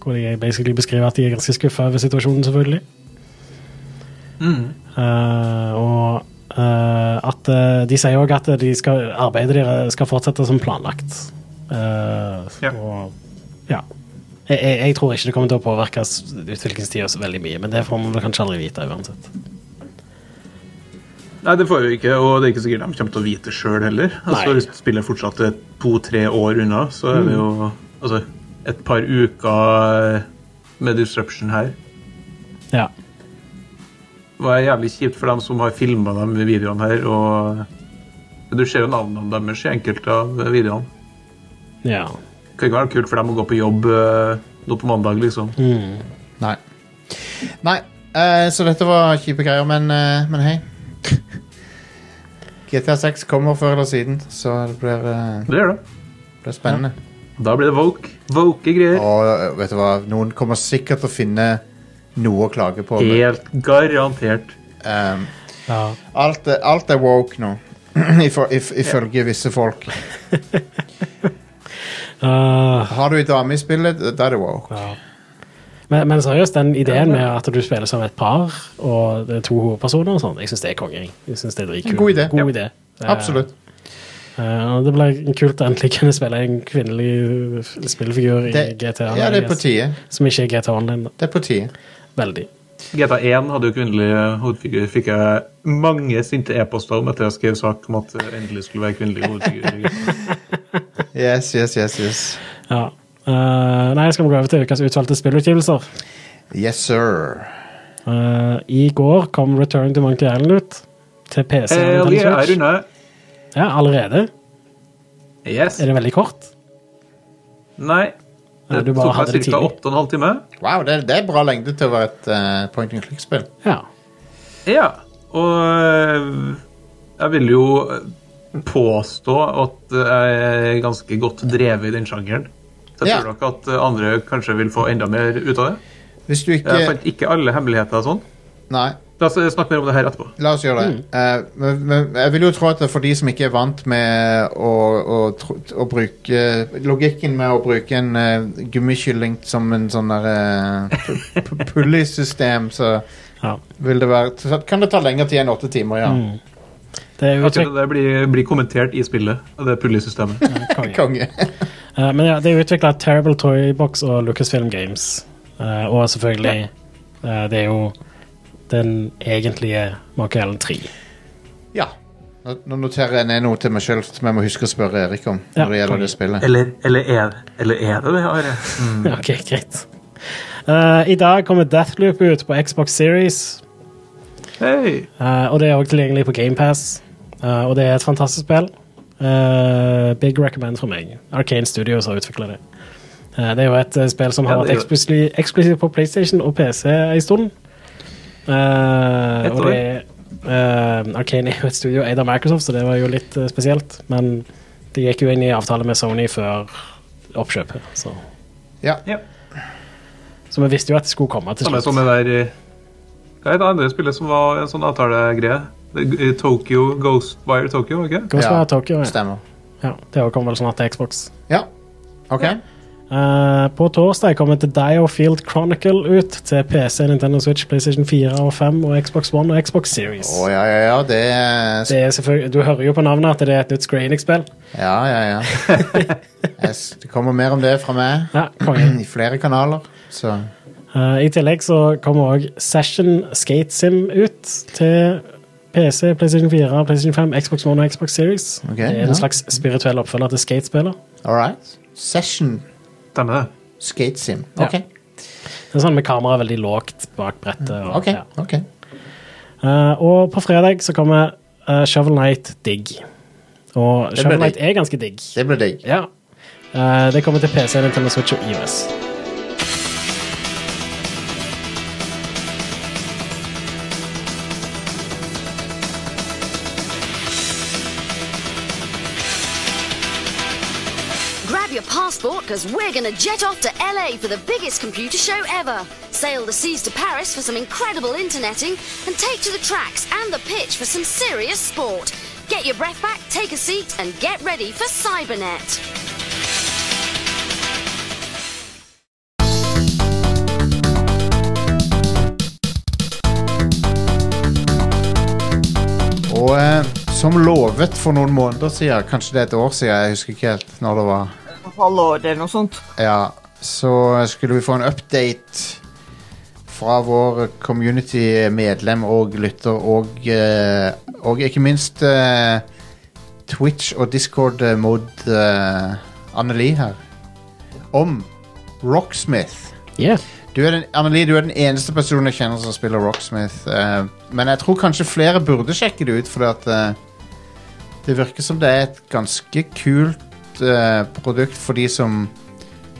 Hvor de basically beskriver at de er ganske skuffa over situasjonen, selvfølgelig. Eh, og eh, at eh, de sier òg at de skal, arbeidet deres skal fortsette som planlagt. Eh,
Ja.
Og ja. Jeg, jeg, jeg tror ikke det kommer til å påvirke s- utviklingstida så veldig mye, men det får vi vel kanskje aldri vite uansett.
Nei, det får vi ikke, og det er ikke sikkert de kommer til å vite sjøl heller. Altså,
Nei.
Hvis spillet fortsatt er to-tre år unna, så er det jo altså, et par uker eh, med disruption her.
Ja.
Det var jævlig kjipt for dem som har filma dem i videoene her, og du ser jo navnene deres i enkelte av videoene.
ja.
Det kan ikke være kult for dem å gå på jobb eh, nå på mandag, liksom.
Nei. Nei, eh, så dette var kjipe greier, men, eh, men hei. GTA 6 kommer før eller siden, så det blir, eh,
Det gjør det.
blir spennende.
Da blir det woke. Woke greier.
Og eh, vet du hva, noen kommer sikkert til å finne noe å klage på. men,
Helt garantert.
ehm,
ja.
alt, er- alt er woke nå, ifø- if- ifølge visse folk.
Ah.
Har du ei dame i spillet, da er det woke.
Ja. Men, men seriøst, den ideen med at du spiller som et par, og det er to hovedpersoner og sånn, jeg syns det er konge. jeg. Jeg synes det er dritkult.
God idé.
God
Ja.
idé. Eh,
Absolutt.
eh, og det blir kult å endelig kunne spille en kvinnelig spillfigur i
Det,
GTA.
ja, det
I
er på
guess.
tide.
Som ikke er GTA Online. da.
Det er på tide.
Veldig.
GTA1 hadde jo kvinnelig hovedfigur. Fikk jeg mange sinte e-poster om etter jeg skrev sak om at det endelig skulle være kvinnelig hovedfigur.
Yes, yes, yes, yes.
Ja. Eh, nei, skal vi gå over til ukas utvalgte spillutgivelser?
Yes, sir.
Eh, I går kom Return to Monkey Island ut. Til PC. Eh, og
Hell
Nintendo
yeah,
Switch.
jeg runder.
ja, allerede?
Yes.
Er det veldig kort?
Nei.
Nei,
Det
du
tok
bare hadde det
meg ca.
tidlig.
8,5 timer.
Wow, det, det er bra lengde til å være et eh, point and click-spill.
Ja.
Ja. Og øh, jeg vil jo eh, påstå at jeg er ganske godt drevet i den sjangeren. Så jeg
Ja.
tror nok at andre kanskje vil få enda mer ut av det.
Hvis du ikke
Jeg fant ikke alle hemmeligheter og sånn.
Nei,
La oss eh, snakke mer om det her etterpå.
la oss gjøre det. Eh, men, men jeg vil jo tro at det er for de som ikke er vant med å, å, tro- å bruke Logikken med å bruke en eh, gummikylling som en sånn der eh, pu- pu- pulley-system, så
ja.
vil det være så Kan det ta lenger tid enn åtte timer, ja.
Det er jo
Akkurat
utviklet
det der blir, blir kommentert i spillet, og det pullesystemet.
konge.
Konge.
Eh, men ja, det er utvikla Terrible Toy Box og Lucasfilm Games. Eh, og selvfølgelig eh, Det er jo den egentlige Machiavellan 3.
Ja. Nå, nå noterer jeg ned noe til meg sjøl som jeg må huske å spørre Erik om.
Ja,
når det gjelder det spillet.
Eller, eller, er, eller er det det, Are? Mm.
Ok, greit. Eh, I dag kommer Deathloop ut på Xbox Series,
Hei!
eh, og det er også tilgjengelig på GamePass. Uh, og det er et fantastisk spill. Eh, big recommend for meg. Arcane Studios har utvikla det. Eh, det er jo et eh, spill som har
Ja,
vært
det er jo-
eksklusivt eksklusivt på PlayStation og PC en stund. Eh,
Et
og det er eh, Arcane er jo et studio eid av Microsoft, så det var jo litt eh, spesielt. Men de gikk jo inn i avtale med Sony før oppkjøpet, så
Ja.
Ja.
Så vi visste jo at det skulle komme til
Samme
slutt.
som det der eh, Hva er det andre spillet som var en sånn avtalegreie? Det- eh, Tokyo, Ghostwire Tokyo, ikke
Ghostwire
Ja,
Tokyo, ja.
Stemmer.
ja. Det kom vel snart til Xbox.
Ja. OK.
Eh, på torsdag kommer The Dio Field Chronicle ut til PC, Nintendo Switch, PlayStation 4 og 5 og Xbox One og Xbox Series.
Å ja, ja, ja. Det er
Det er selvfølgelig, du hører jo på navnet at det er et nytt Screenix-spill.
Ja, ja, ja. Jeg s- Det kommer mer om det fra meg
Ja, konge.
i flere kanaler, så Mm.
Eh, I tillegg så kommer òg Session Skate Sim ut til PC, PlayStation 4, PlayStation 5, Xbox One og Xbox Series.
Ok,
det er en
ja.
slags spirituell oppfølger til skatespiller.
all right. Session
Denne.
skate sim.
Ja.
OK.
Det er sånn med kameraet veldig lågt bak brettet. Og,
Mm, ok,
ja.
ok.
Eh, og på fredag så kommer eh, Shovel Knight digg. Og
ble
Shovel Knight
digg.
er ganske digg.
Det blir digg.
Ja. Eh, det kommer til PC, Nintendo Switch og IOS.
Grab your passport because we're going to jet off to LA for the biggest computer show ever. Sail the seas to Paris for some incredible interneting and take to the tracks and the pitch for some serious sport. Get your breath back, take a seat, and get ready for Cybernet.
Og eh, som lovet for noen måneder siden, kanskje det er et år siden, jeg husker ikke helt når det var,
halvår eller noe sånt.
ja, så skulle vi få en update fra vår community-medlem og lytter, og, eh, og ikke minst eh, Twitch og Discord eh, mot eh, Anneli her, om Rocksmith.
Yeah.
Du er den, Anneli, du er den eneste personen jeg kjenner som spiller Rocksmith. eh, men jeg tror kanskje flere burde sjekke det ut, fordi at eh, det virker som det er et ganske kult eh, produkt for de som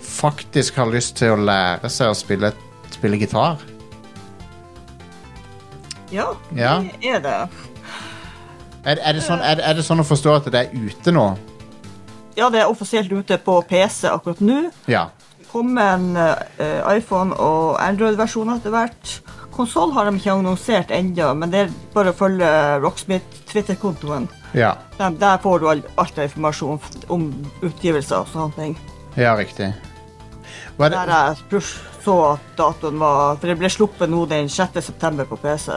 faktisk har lyst til å lære seg å spille, spille gitar.
Ja,
Ja.
det er det.
Er, er, det sånn, er, er det sånn å forstå at det er ute nå?
Ja, det er offisielt ute på PC akkurat nå.
Ja.
Kommer en eh, iPhone- og Android-versjon etter hvert. Konsoll har de ikke annonsert ennå, men det er bare å følge Rocksmith Twitter-kontoen.
Ja,
Der, der får du all, alt av informasjon f- om utgivelser og sånne ting.
ja riktig. Hva er
Der
det,
jeg pluss- så at datoen var For det ble sluppet nå den 6. september på PC.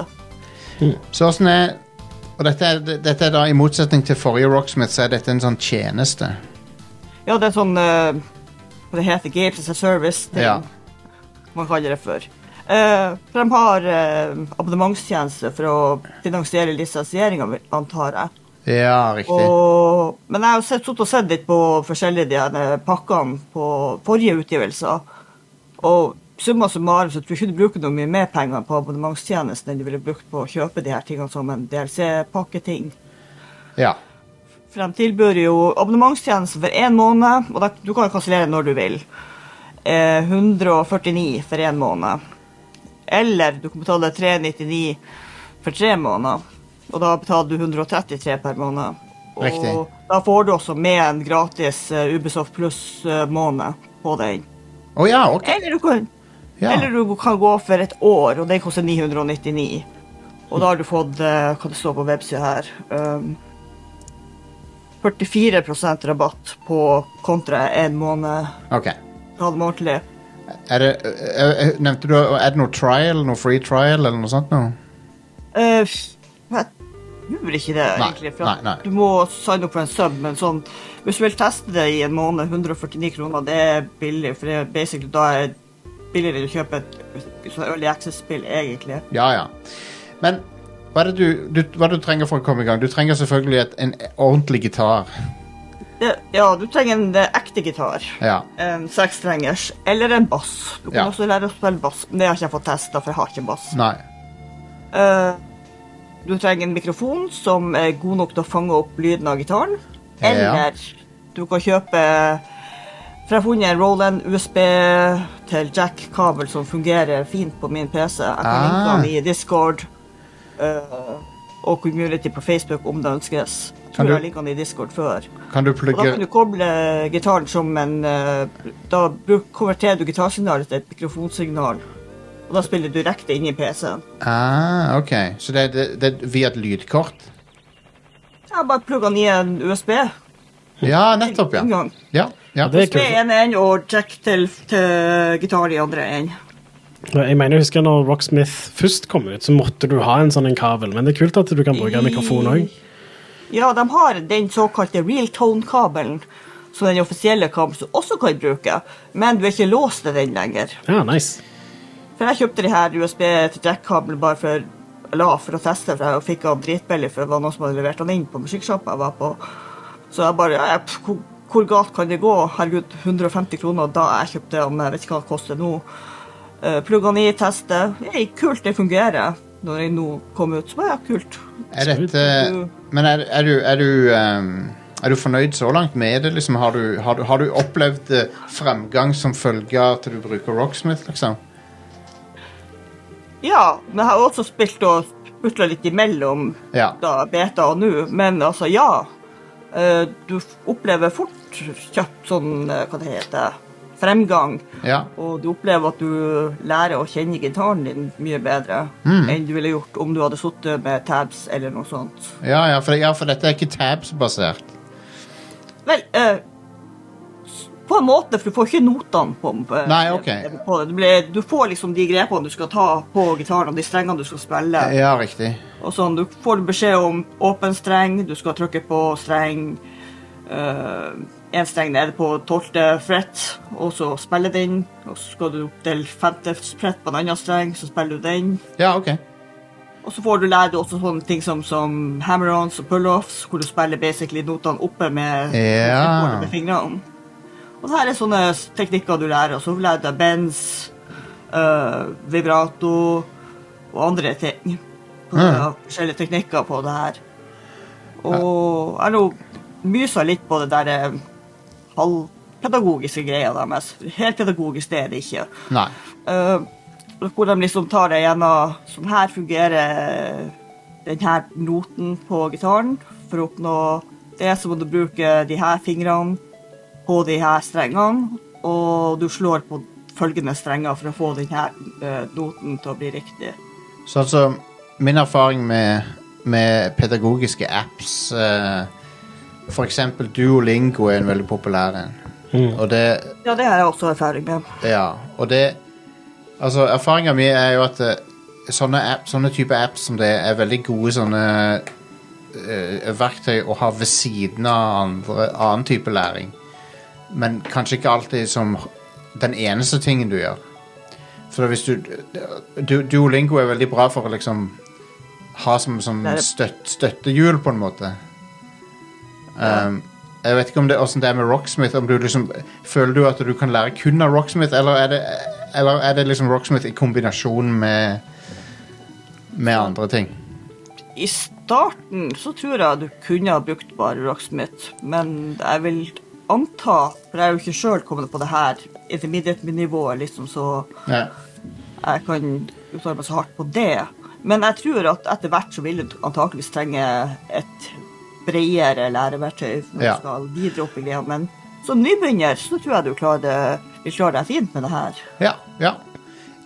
så åssen er Og dette er, dette er da i motsetning til forrige Rocksmith, så er dette en sånn tjeneste.
Ja, det er sånn eh, Hva det heter Games as a Service-ting.
Ja.
man kaller det for. Eh, for de har eh, abonnementstjeneste for å finansiere lisensieringa, antar jeg.
Ja, riktig.
Og, men jeg har jo sett, suttet og sett litt på forskjellige de her pakkene på forrige utgivelser. Og summa summarum så tror jeg ikke du bruker noe mye mer penger på abonnementstjenesten enn du ville brukt på å kjøpe de her tingene som en DLC-pakketing.
Ja.
For de tilbyr jo abonnementstjeneste for én måned, og da, du kan jo kansellere når du vil. Eh, 149 for én måned. Eller du kan betale 399 for tre måneder, og da betaler du 133 per måned. Og
Riktig.
da får du også med en gratis eh, Ubisoft Pluss-måned på den.
Å ja, ok.
Eller du, kan,
Ja.
E- eller du kan gå for et år, og den koster 999. Og da har du fått eh, hva det står på websida her um, 44 rabatt på kontra en måned
Ok.
halvmånedlig.
Er det, ø- ø- ø- nevnte du Er det noe trial, noe free trial eller noe sånt? Noe?
Uh, jeg tror ikke det,
Nei,
egentlig. For at
nei, nei.
Du må signe opp for en sub, men sånn, hvis du vil teste det i en måned, 149 kroner, det er billig, for det er basically da er billigere enn å kjøpe et sånn Early Access-spill, egentlig.
Ja, ja. Men hva er det du, du, hva er det du trenger for å komme i gang? Du trenger selvfølgelig et, en ordentlig gitar.
Det, ja, du trenger en eh, ekte gitar.
Ja.
En sekstrengers. Eller en bass. Du kan
Ja.
også lære å spille bass, men det har ikke jeg fått testa, for jeg har ikke en bass.
Nei.
Eh, du trenger en mikrofon som er god nok til å fange opp lyden av gitaren.
Ja.
Eller du kan kjøpe For jeg har funnet en Roland USB til Jack-kabel som fungerer fint på min PC. Jeg kan linke
Ah.
den i Discord eh, og community på Facebook om det ønskes. Jeg
Kan
tror
du-
jeg linket den i Discord før.
Kan du
Og da kan
plugge
du koble gitaren som en eh, Da bruk- konverterer du gitarsignalet til et mikrofonsignal. Og da spiller du direkte inn i PC-en.
ah, OK. Så det, det, det er via et lydkort?
Jeg bare plugger den i en USB.
Ja, nettopp, ja.
Inngang.
Ja, ja.
Det er
USB
kult.
en en, og jack til, til gitar i andre en.
Jeg mener, jeg husker når Rocksmith først kom ut, så måtte du ha en sånn en kabel. Men det er kult at du kan bruke en mikrofon òg.
Ja, de har den såkalte real tone-kabelen, som den offisielle kabelen som også kan bruke, men du er ikke låst til den lenger.
Ja, nice.
For jeg kjøpte de her USB til jack-kabelen bare for la for å teste, for jeg fikk han dritbillig, for det var noen som hadde levert den inn på musikksjappa jeg var på. Så jeg bare ja, jeg, pff, hvor, hvor galt kan det gå? Herregud, 150 kroner da jeg kjøpte den, jeg vet ikke hva det koster nå. Uh, Plugga den i, teste. Hey, kult, det fungerer. Når jeg nå kom ut, så var det kult.
Er dette Men er, er du, er du ehm, er du fornøyd så langt med det? Liksom, har, du, har, du, har du opplevd eh, fremgang som følge av at du bruker Rocksmith? liksom?
Ja, men jeg har også spilt og spurtla litt imellom
Ja.
da beta og nå, men altså, ja. Eh, du f- opplever fort kjapt sånn, eh, hva det heter, fremgang.
ja.
Og du opplever at du lærer å kjenne gitaren din mye bedre
Mm.
enn du ville gjort om du hadde sittet med tabs eller noe sånt.
Ja, ja, for, ja, for dette er ikke tabs-basert.
Vel, eh, s- på en måte, for du får ikke notene på, på,
Nei, ok.
på det. Du, blir, du får liksom de grepene du skal ta på gitaren, og de strengene du skal spille.
Ja, riktig.
Og sånn, du får beskjed om åpen streng, du skal trykke på streng Én streng nede på tolvte fret, og så spille den. Og så skal du opp til femte fret på en annen streng, så spiller du den.
Ja, OK.
Og så får du lære deg også sånne ting som, som hammer-ons og pull-offs, hvor du spiller basically notene oppe med,
Ja.
med fingrene. Og det her er sånne s- teknikker du lærer. Og så lærer du deg bends, eh, vibrato og andre ting. Og det er Forskjellige teknikker på det her. Og jeg nå mysa litt på det der eh, halvpedagogiske greia deres. Helt pedagogisk det er det ikke.
Nei.
Eh, hvor de liksom tar det gjennom Sånn her fungerer den her noten på gitaren. For å oppnå det, så må du bruke de her fingrene på de her strengene. Og du slår på følgende strenger for å få den her eh, noten til å bli riktig.
Så altså, min erfaring med, med pedagogiske apps eh, For eksempel Duolingo er en veldig populær en. Og det
Ja, det har jeg også erfaring med.
Ja, og det Altså, erfaringa mi er jo at eh, sånne, app, sånne type apps som det er veldig gode sånne eh, verktøy å ha ved siden av andre, annen type læring. Men kanskje ikke alltid som den eneste tingen du gjør. For hvis du, du Duolingo er veldig bra for å liksom ha som, som
Det er-
støtt, støttehjul, på en måte. Um, jeg vet ikke om det, hvordan det er med Rocksmith. Om du liksom, føler du at du kan lære kun av Rocksmith, eller er det, eller er det liksom Rocksmith i kombinasjon med, med andre ting?
I starten så tror jeg du kunne ha brukt bare Rocksmith, men jeg vil anta, for jeg er jo ikke sjøl kommet på det her intermediate-nivået, liksom, så
Ja.
jeg kan uttale meg så hardt på det. Men jeg tror at etter hvert så vil du antakeligvis trenge et bredere læreverktøy når
Ja.
du skal videre opp i greia, men som nybegynner så tror jeg du klarer det, vil klare deg fint med det her.
ja, ja.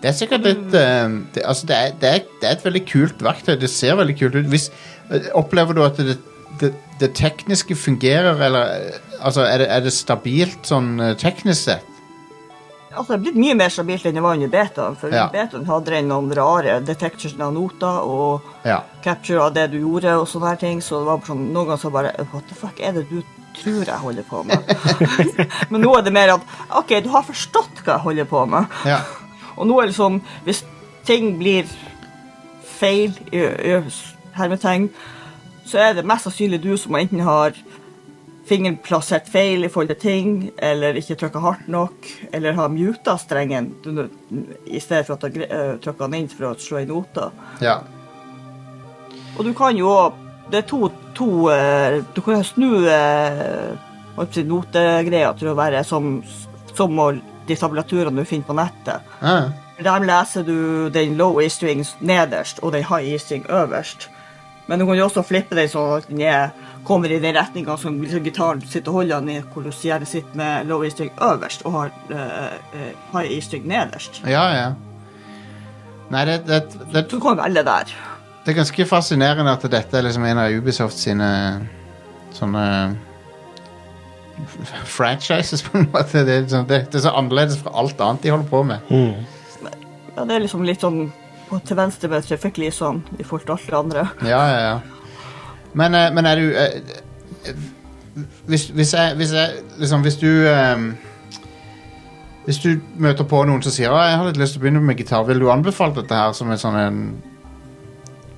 Det er sikkert et eh, det, altså det, er, det, er, det er et veldig kult verktøy. Det ser veldig kult ut. Hvis, eh, opplever du at det, det, det tekniske fungerer, eller eh, altså, er, det, er det stabilt sånn eh, teknisk sett?
Altså, det er blitt mye mer stabilt enn det var under betaen, for
Ja.
under betaen hadde den noen rare detection av noter og
Ja.
capture av det du gjorde og sånne her ting, så det var sånn, noen ganger så bare What the fuck er det du tror jeg holder på med? Men nå er det mer at OK, du har forstått hva jeg holder på med.
ja.
Og nå er det liksom Hvis ting blir feil, i, i hermetegn, så er det mest sannsynlig du som enten har fingeren plassert feil i forhold til ting, eller ikke trykka hardt nok, eller har muta strengen du- i stedet for å trykke eh, den inn for å slå i nota.
Ja.
Og du kan jo òg Det er to, to eh, Du kan jo snu eh, hva skal jeg si, notegreier til å være som, som å- de tablaturene du finner på nettet.
Ja.
Der leser du den low E-string nederst og den high E-string øverst. Men du kan jo også flippe den sånn at den er, kommer i den retninga som liksom gitaren sitter og holder den i, hvor du sier det sitter med low E-string øverst og har eh, eh, high E-string nederst.
ja, ja. Nei, det, det, det,
Så du kan velge der.
det er ganske fascinerende at dette er liksom en av Ubisoft sine eh, sånne f- franchises, på en måte. Det er, liksom, det, det er så annerledes fra alt annet de holder på med.
Ja, det er liksom litt sånn på- til venstre med traffic lysene i forhold til alt det andre.
Ja, ja, ja. Men, eh, men er du eh, eh, hvis, hvis jeg, hvis jeg liksom, Hvis du eh, Hvis du møter på noen som sier at jeg har litt lyst til å begynne med gitar, vil du anbefale dette her som en sånn en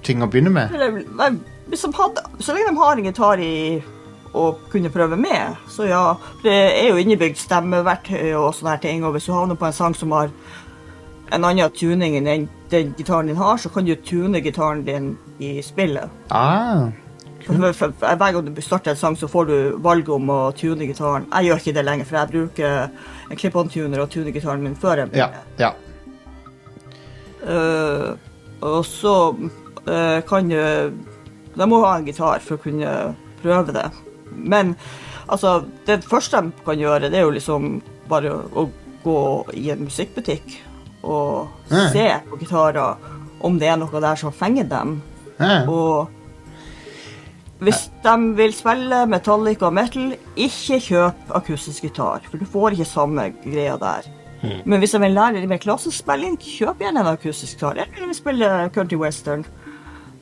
ting å begynne med?
Eller, nei, hvis de hadde, så lenge de har en gitar i å kunne prøve med, så ja. for Det er jo innebygd stemmeverktøy og sånne her ting, og hvis du havner på en sang som har en annen tuning enn den, den gitaren din har, så kan du tune gitaren din i spillet.
Ah,
For, for, for, hver gang du starter en sang, så får du valget om å tune gitaren. Jeg gjør ikke det lenger, for jeg bruker en klipp-on-tuner og tuner gitaren min før jeg
ja, ja.
Eh, og så eh, kan jo De må ha en gitar for å kunne prøve det. Men altså, det første de kan gjøre, det er jo liksom bare å, å gå i en musikkbutikk og
Mm.
se på gitarer, om det er noe der som fenger dem.
Eh,
Og hvis de vil spille Metallica og metal, ikke kjøp akustisk gitar, for du får ikke samme greia der.
Hmm.
Men hvis de vil lære litt mer klassisk spilling, kjøp gjerne en akustisk gitar. Eller vil spille country western,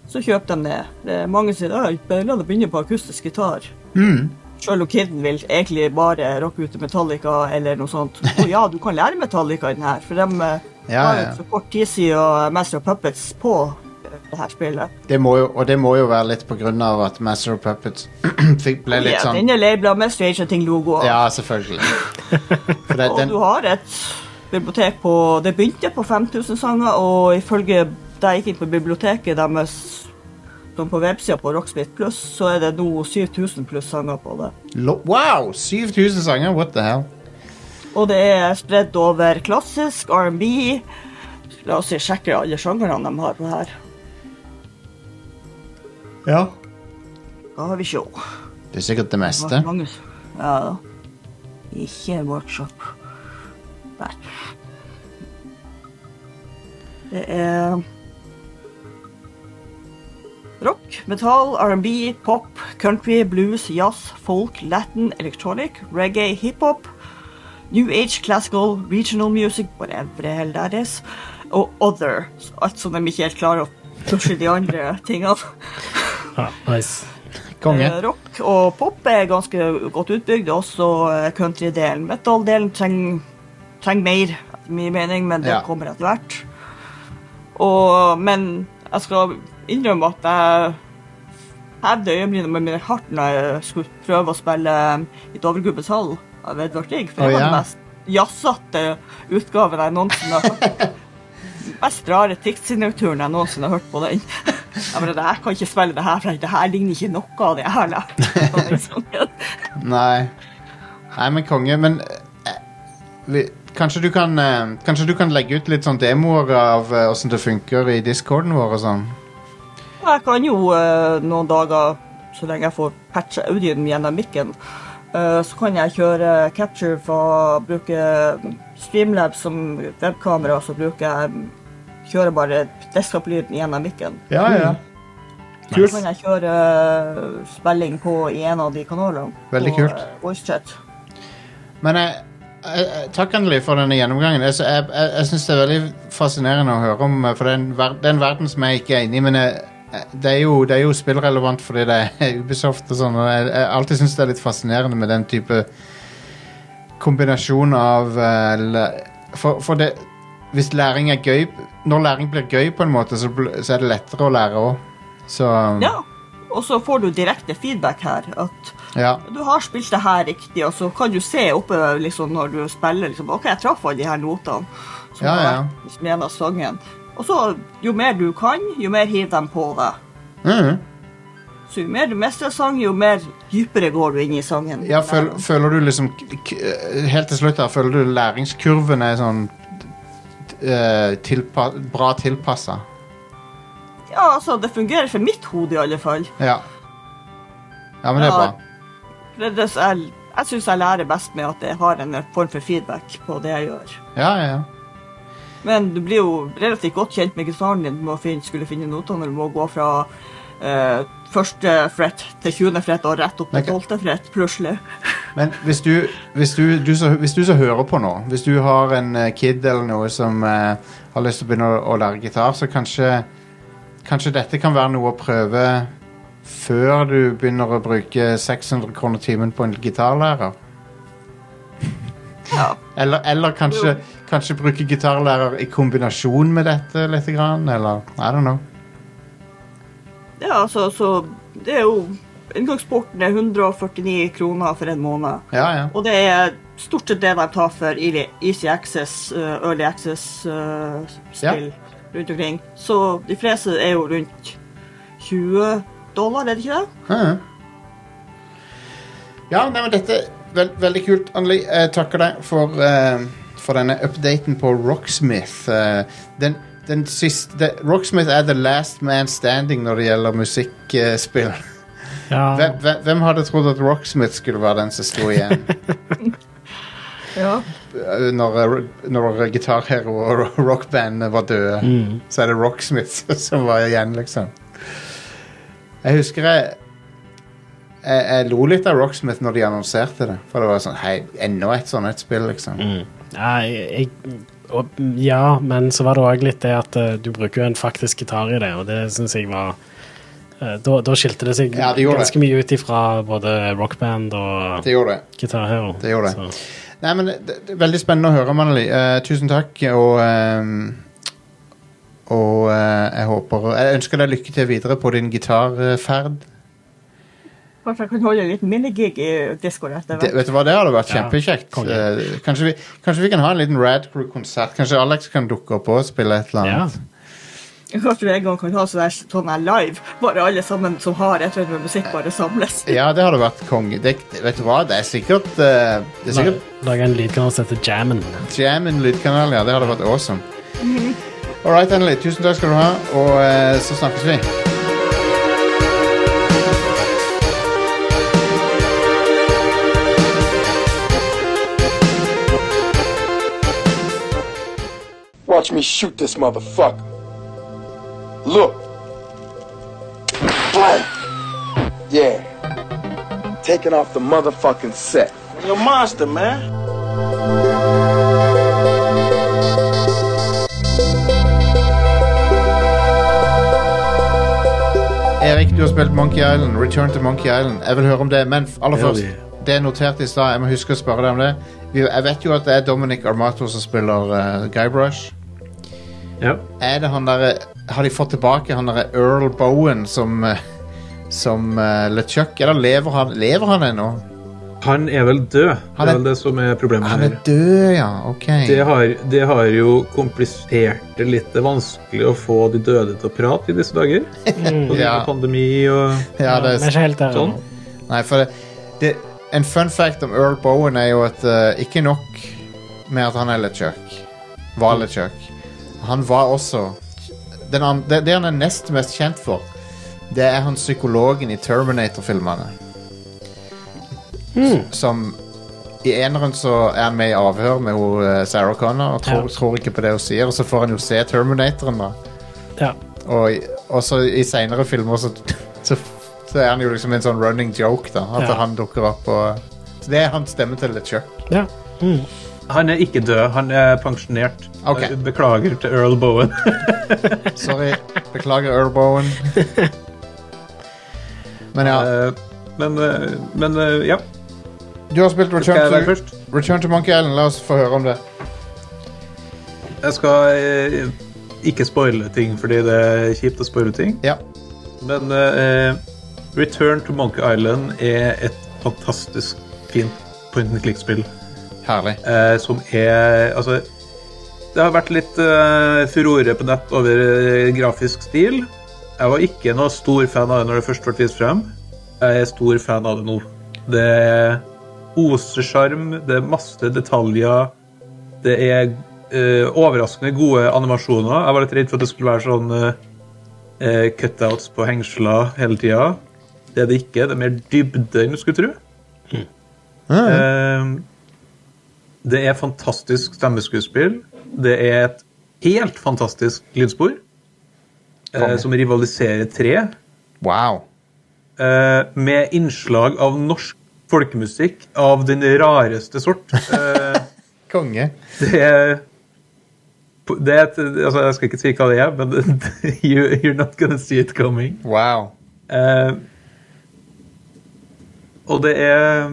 så kjøp dem det. det er mange som sier at la det begynne på akustisk gitar.
Hmm.
Selv om kiden vil egentlig bare rocke ut til Metallica eller noe sånt. Og ja, du kan lære Metallica i den her, for de eh,
Ja,
har jo
ja.
så kort tid siden Master of Puppets på eh, det her spillet.
Det må jo, og det må jo være litt på grunn av at Master of Puppets fikk- ble litt
Ja,
sånn
Den er labela med Stranger Things-logoer.
Ja, selvfølgelig. For det,
og
den,
du har et bibliotek på Det begynte på 5000 sanger, og ifølge da jeg gikk inn på biblioteket deres de på websida på Rocksmith Plus, så er det nå 7000 pluss sanger på det.
lo- wow! 7000 sanger, what the hell?
Og det er spredd over klassisk, R&B La oss si sjekke alle sjangerne de har på her.
Ja.
Da har vi sjå.
Det er sikkert det
Det
meste.
var mange s- Ja da. Ikke workshop. Der. Det er Rock, metal, R&B, pop, country, blues, jazz, folk, latin, electronic, reggae, hiphop, new age, classical, regional music, whatever the hell that is, og other. Så Alt som de ikke helt klarer å pushe de andre tingene.
Ja, nice.
Konge.
Eh, Rock og pop er ganske godt utbygd, også eh, country-delen. Metal-delen trenger treng mer, etter min mening, men det
Ja.
kommer etter hvert. Og, men jeg skal innrømme at jeg hevde øyenbrynene mine hardt når jeg skulle prøve å spille i Dovregubbens hall av Edvard Grieg, for
Å,
det var
ja.
den mest jazzete utgaven jeg noensinne har hørt. mest rare tekstsignaturene jeg noensinne har hørt på den. Jeg bare, det her kan ikke spille det her, for det her ligner ikke noe av det jeg har lært. Sånn, liksom. på den sangen.
Nei. Nei, men konge, men eh, vi, kanskje, du kan, eh, kanskje du kan legge ut litt sånn demoer av eh, åssen det funker i discorden vår og sånn?
Jeg kan jo eh, noen dager, så lenge jeg får patcha audioen min gjennom mikken, eh, så kan jeg kjøre capture for å bruke Streamlab som webkamera, så bruker jeg kjører bare desktop-lyden gjennom mikken.
Ja, ja.
Så kan jeg kjøre eh, spilling på i en av de kanalene.
Veldig
på,
kult.
eh, VoiceChat.
Men eh, eh, takk, Anneli, for denne gjennomgangen. Jeg, jeg, jeg, jeg syns det er veldig fascinerende å høre om, eh, for det er en, ver det er en verden som jeg ikke er inne i, men jeg, eh, det er, jo, det er jo spillrelevant fordi det er Ubisoft og sånn, og jeg, jeg alltid syns det er litt fascinerende med den type kombinasjon av eh, le- For, for det hvis læring er gøy Når læring blir gøy på en måte, så, bl- så er det lettere å lære òg. Så
Ja. Og så får du direkte feedback her. At
ja.
du har spilt det her riktig, og så kan du se oppe liksom, når du spiller liksom, OK, jeg traff alle de her notene
Ja,
som har
ja.
vært liksom, som gjennom sangen. Og så, jo mer du kan, jo mer hiver de på deg.
Mhm.
Så jo mer du mestrer sang, jo mer dypere går du inn i sangen.
ja føl, føler du liksom k- k- Helt til slutt her, føler du læringskurven er sånn eh, tilpa, bra tilpassa?
Ja, altså, det fungerer for mitt hode i alle fall.
Ja. Ja, men det er
Ja.
bra.
Det, det, jeg jeg syns jeg lærer best med at jeg har en form for feedback på det jeg gjør.
Ja, ja, ja.
Men du blir jo relativt godt kjent med gitaren din. Du må finne, skulle finne noter når du må gå fra eh, første fret til 20. fret og rett opp til
Ok.
12. fret, plutselig.
Men hvis du, hvis du, du, som- hvis du som hører på nå, hvis du har en eh, kid eller noe som eh, har lyst til å begynne å, å lære gitar, så kanskje, kanskje dette kan være noe å prøve før du begynner å bruke 600 kroner timen på en gitarlærer.
Ja.
Eller, eller kanskje, kanskje bruke gitarlærer i kombinasjon med dette litt, grann, eller I don't know.
ja, altså, så det er jo Inngangsporten er 149 kroner for en måned.
Ja, ja.
Og det er stort sett det de tar for Easy- Easy Access, eh, Early Access-spill rundt omkring. Så de fleste er jo rundt 20 dollar, er det ikke det?
Mhm. Ja, nei, men dette er vel- Veldig kult, Anneli. Jeg takker deg for, eh, for denne updaten på Rocksmith. Eh, den, den siste det- Rocksmith er the last man standing når det gjelder musikkspill.
Ja,
Hvem, hvem, hvem hadde trodd at Rocksmith skulle være den som sto igjen
Ja.
eh, når, eh, når gitarhero og rockband var døde? Så er det Rocksmith som var igjen, liksom. Jeg husker jeg jeg, jeg lo litt av Rocksmith når de annonserte det. For det var sånn Hei, enda et sånt et spill, liksom.
ja, jeg, og, ja, men så var det òg litt det at eh, du bruker jo en faktisk gitar i det, og det syns jeg var eh, da, da skilte det seg
Ja, det gjorde det.
ganske mye ut ifra både rockband og
Det gjorde det.
gitar her.
Det gjorde det. Nei, men det, det er veldig spennende å høre, Maneli. Eh, tusen takk, og ehm, Og eh, jeg håper Jeg ønsker deg lykke til videre på din gitarferd.
Kanskje jeg kan holde en liten minigig i discoen etter
Det,
hvert.
vet du hva, det hadde vært kjempekjekt.
konge.
Eh, kanskje, vi, kanskje vi kan ha en liten Rad Crew-konsert. Kanskje Alex kan dukke opp og spille et eller
Ja.
annet.
Kanskje vi en gang kan ha sånn her, sånn her live, bare alle sammen som har et eller annet med musikk, bare samles.
Ja, det hadde vært konge. Det, det- vet du hva, det er sikkert, eh, det er sikkert
Lage en lydkanal som heter Jammen.
Jam en lydkanal, ja. Det hadde vært awesome. All right, Anneli. Tusen takk skal du ha, og eh, så snakkes vi.
Watch me shoot this motherfucker. Look. Boom. Yeah. Taking off the motherfucking set.
You're a monster, man.
Erik, du har spilt Monkey Island. Return to Monkey Island. Jeg vil høre om det, men aller
Hell
først
yeah.
Det er notert i stad. Jeg må huske å spørre deg om det. Vi- Jeg vet jo at det er Dominic Armato som spiller eh, Guybrush.
Ja.
Er det han derre Har de fått tilbake han derre Earl Bowen som eh, Som uh, LeChuck? Eller lever han Lever han ennå?
Han er vel død.
Han er-
det er vel det som er problemet
Han
her.
er død, ja. OK.
Det har, det har jo komplisert det litt. Det er vanskelig å få de døde til å prate i disse dager. På grunn
Mm. Ja.
av pandemi og
Ja,
Vi
det
er
er,
ikke helt der.
sånn.
nei, for det, det En fun fact om Earl Bowen er jo at eh, ikke nok med at han er LeChuck. Var LeChuck. Han var også den an, det, det han er nest mest kjent for, det er han psykologen i Terminator-filmene. S- Som I eneren så er han med i avhør med hun, eh, Sarah Connor og tror,
Ja.
tror ikke på det hun sier, og så får han jo se Terminatoren, da.
Ja.
Og, i- og så i seinere filmer så, så, så er han jo liksom en sånn running joke, da. At
Ja.
han dukker opp og Så det er hans stemme til LeChuck.
ja. Mm.
Han er ikke død, han er pensjonert.
Ok.
Jeg Beklager til Earl Bowen.
Sorry. Beklager, Earl Bowen. Men ja,
Eh, men, eh, men eh, ja.
du har spilt
Skal jeg
Return
være
to,
først?
Return to Monkey Island. La oss få høre om det.
Jeg skal eh, ikke spoile ting fordi det er kjipt å spoile ting.
Ja.
Men eh, Return to Monkey Island er et fantastisk fint point and click-spill.
Herlig.
eh, som er Altså, det har vært litt eh, furore på nett over eh, grafisk stil. Jeg var ikke noe stor fan av det når det først ble vist frem. Jeg er stor fan av det nå. Det oser sjarm, det er masse detaljer. Det er eh, overraskende gode animasjoner. Jeg var litt redd for at det skulle være sånn eh, cutouts på hengsler hele tida. Det er det ikke. Det er mer dybde enn du skulle tro. Eh, det er fantastisk stemmeskuespill. Det er et helt fantastisk lydspor eh, som rivaliserer tre,
Wow.
eh, med innslag av norsk folkemusikk av den rareste sort. Eh,
Konge.
det er det er et, altså Jeg skal ikke si hva det er, men you, you're not gonna see it coming.
Wow.
Eh, og det er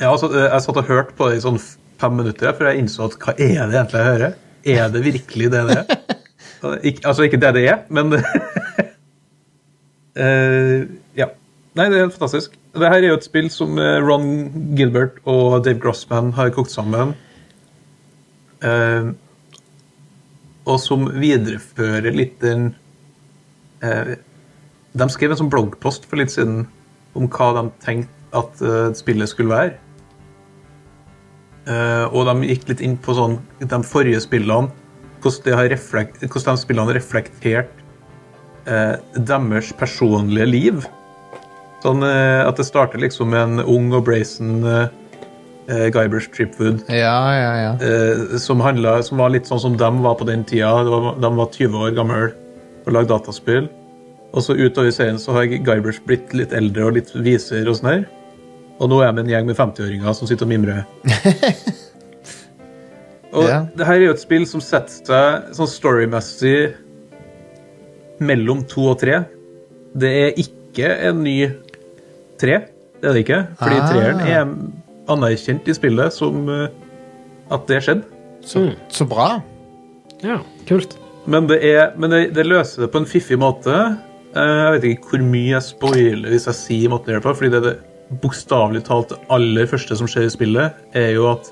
ja, altså, eh, Jeg satt og hørte på det i sånn f- fem minutter, for jeg innså at hva er det egentlig jeg hører? Er det virkelig det det er? Og det- ikke, altså ikke det det er, men eh, Ja. Nei, det er helt fantastisk. Det her er jo et spill som eh, Ron Gilbert og Dave Grossman har kokt sammen. Eh, og som viderefører litt den eh, de skrev en sånn bloggpost for litt siden om hva de tenkte at eh, spillet skulle være. Eh, og de gikk litt inn på sånn, de forrige spillene, hvordan, det har reflekt, hvordan de spillene har reflektert eh, deres personlige liv. Sånn eh, at det starter liksom med en ung og brazen uh, Guybrush Tripwood
Ja, ja, ja.
eh, som, handla, som var litt sånn som dem var på den tida. Det var- De var 20 år gamle og lagde dataspill. Og så utover serien så har Guybrush blitt litt eldre og litt visere og sånn her. Og nå er jeg med en gjeng med 50-åringer som sitter og mimrer. og
Ja.
det her er jo et spill som setter seg sånn storymessig mellom to og tre. Det er ikke en ny tre. Det er det ikke. Fordi
Ah.
treeren er anerkjent i spillet som eh, at det skjedde.
Så, så bra.
Ja, kult.
Men, det, er, men det, det løser det på en fiffig måte. Eh, Jeg vet ikke hvor mye jeg spoiler hvis jeg sier måten jeg gjør det på, fordi det, er det bokstavelig talt det aller første som skjer i spillet, er jo at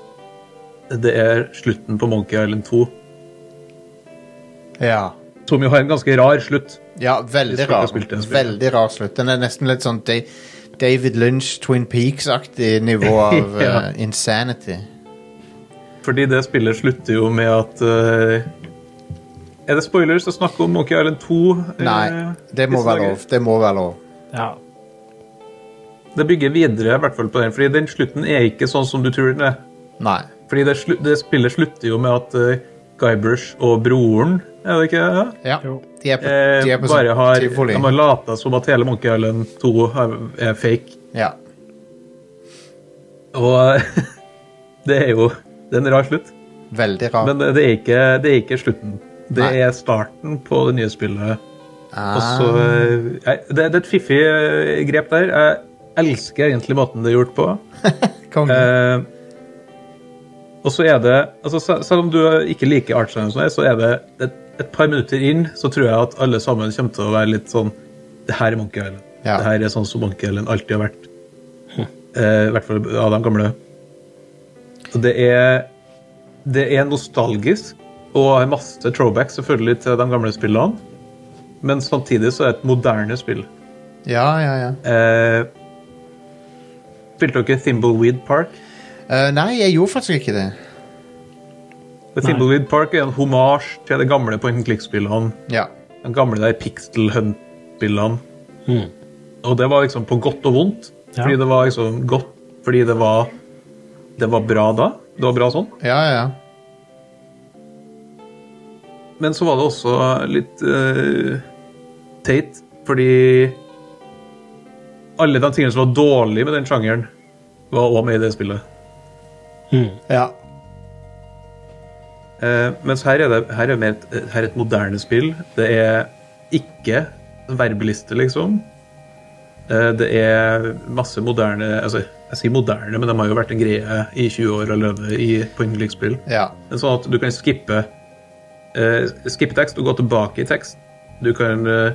det er slutten på Monkey Island 2.
Ja.
Som jo har en ganske rar slutt.
Ja, veldig
Hvis folk har
rar.
spilt det spillet.
Veldig rar slutt. Den er nesten litt sånn Da- David Lynch, Twin Peaks-aktig nivå av
Ja.
eh, insanity.
Fordi det spillet slutter jo med at eh, Er det spoilers å snakke om Monkey Island 2? eh,
Nei, det må
hvis
være
noe-
lov. Det må være lov.
Ja.
Det bygger videre i hvert fall på den, fordi den slutten er ikke sånn som du tror den er.
Nei.
Fordi det, slu, det spillet slutter jo med at eh, Guybrush og broren er det ikke det?
Ja.
Jo.
De er på,
Eh,
de er på
bare
sånn
har,
tivoli.
de har lata som at hele Monkey Island 2 har- er fake.
Ja.
Og det er jo det er en rar slutt.
Veldig rar.
Men det det er ikke, det er ikke slutten. Det
Nei.
er starten på det nye spillet.
Ah.
Og så, eh, jeg- det, det er et fiffig eh, grep der. Jeg elsker egentlig måten det er gjort på.
Konge.
Eh, og så er det altså, sel- Selv om du ikke liker artstyle, så er det et, et par minutter inn så tror jeg at alle sammen kommer til å være litt sånn Det her er Monkey Island.
Ja.
Det her er sånn som Monkey Island alltid har vært. Eh, I hvert fall av de gamle. Og det er Det er nostalgisk og har masse throwback selvfølgelig til de gamle spillene, men samtidig så er det et moderne spill.
Ja, ja, ja.
Eh, spilte dere Thimbleweed Park?
Eh, nei, jeg gjorde faktisk ikke det.
The Thimbleweed Park er en homasj til de gamle point and click-spillene.
Ja.
De gamle der Pixel Hunt-spillene. Og det var liksom på godt og vondt.
Ja.
Fordi det var liksom godt fordi det var Det var bra da. Det var bra sånn.
Ja, ja, ja.
Men så var det også litt eh, teit, fordi alle de tingene som var dårlige med den sjangeren, var òg med i det spillet.
Ja.
Eh, mens her er det her er mer et, eh, her er et moderne spill. Det er ikke verbeliste, liksom. Eh, det er masse moderne altså, Jeg sier moderne, men de har jo vært en greie i 20 år allerede i, på yndlingsspill.
Ja.
Men Sånn at du kan skippe eh, Skippe tekst og gå tilbake i tekst. Du kan eh,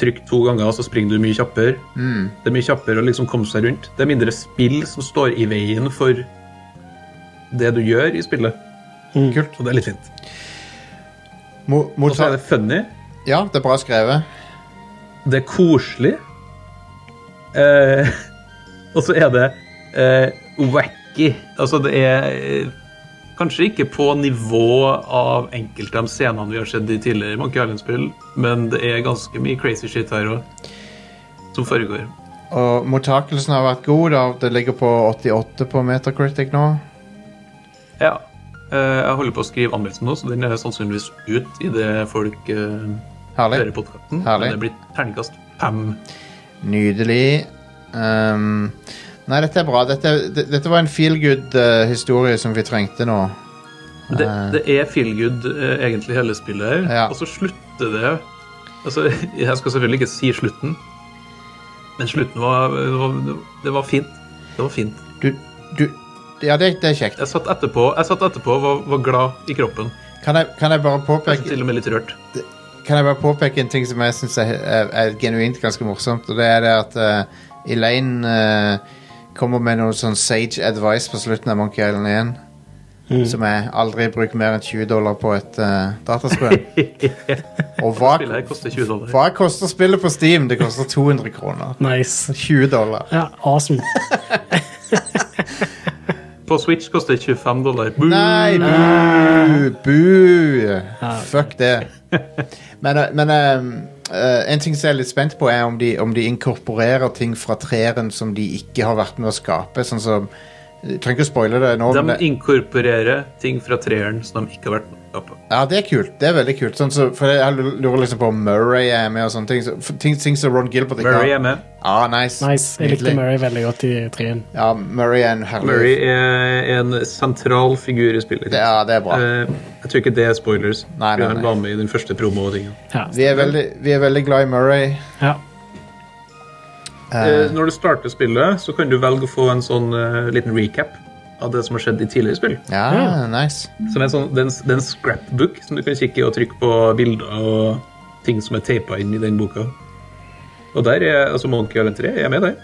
trykke to ganger, og så springer du mye kjappere. Det er mye kjappere å liksom komme seg rundt. Det er mindre spill som står i veien for det du gjør i spillet.
Kult.
Og det er litt fint.
Mo
Og så
motta
er det funny.
ja, det er bra skrevet.
Det er koselig. Eh, og så er det eh, wacky. Altså, det er eh, kanskje ikke på nivå av enkelte av scenene vi har sett i tidligere Monkey Island-spill, men det er ganske mye crazy shit her òg, som foregår.
Og mottakelsen har vært god. da. Det ligger på 88 på Metacritic nå.
Ja. Eh, jeg holder på å skrive anmeldelsen nå, så den er sannsynligvis ut idet folk eh, hører
Herlig.
podkasten.
Herlig.
Det blir terningkast fem.
Nydelig. Ehm, nei, dette er bra. Dette, det- dette var en feel good eh, historie som vi trengte nå.
Det, det er feel good, eh, egentlig, hele spillet her.
Ja.
Og så slutter det Altså, Jeg skal selvfølgelig ikke si slutten, men slutten var, var Det var fint. Det var fint.
Du, du Ja, det, det er kjekt.
Jeg satt etterpå jeg satt etterpå og var, var glad i kroppen.
Kan jeg, kan jeg bare
Kanskje
påpeke
til og med litt rørt.
Kan jeg bare påpeke en ting som jeg syns er, er, er genuint ganske morsomt, og det er det at eh, Elaine eh, kommer med noe sånn sage advice på slutten av Monkey Island 1. Som er aldri bruk mer enn 20 dollar på et uh, dataspill. og hva,
Spillet her koster 20 dollar.
hva koster spillet på Steam? Det koster 200 kroner.
Nice.
20 dollar.
Ja, awesome.
På Switch koster det 25 dollar. Boo!
Nei, bu! Bu! Fuck det. Men, eh, men eh, eh, en ting som jeg er litt spent på, er om de, om de inkorporerer ting fra treeren som de ikke har vært med å skape. Sånn som Jeg trenger ikke å spoile det nå.
De
Men det,
inkorporerer ting fra treeren som de ikke har vært med på.
ja, det er kult. Det er veldig kult. Sånn som- for jeg lurer liksom på om Murray er med og sånne ting. Så, for ting, ting som Ron Gilbert ikke
Murray er
har.
med.
Ah, nice.
nice. Jeg likte
Nydelig.
Murray veldig godt i trien.
Ja, Murray er en herlig
Murray er en sentral figur i spillet.
Det- Ja, det er bra.
Eh, jeg tror ikke det er spoilers.
Nei, nei,
for Han
nei.
var med i den første promo-tingen.
Ja.
Vi er, veldig, vi er veldig glad i Murray.
ja.
Eh, Når du starter spillet, så kan du velge å få en sånn eh, liten recap av det som har skjedd i tidligere spill.
Ja,
Ja.
nice.
Som er en sånn, det er en- det er en scrapbook som du kan kikke i og trykke på bilder og ting som er teipa inn i den boka. Og der er altså Monkey Island 3 er med der.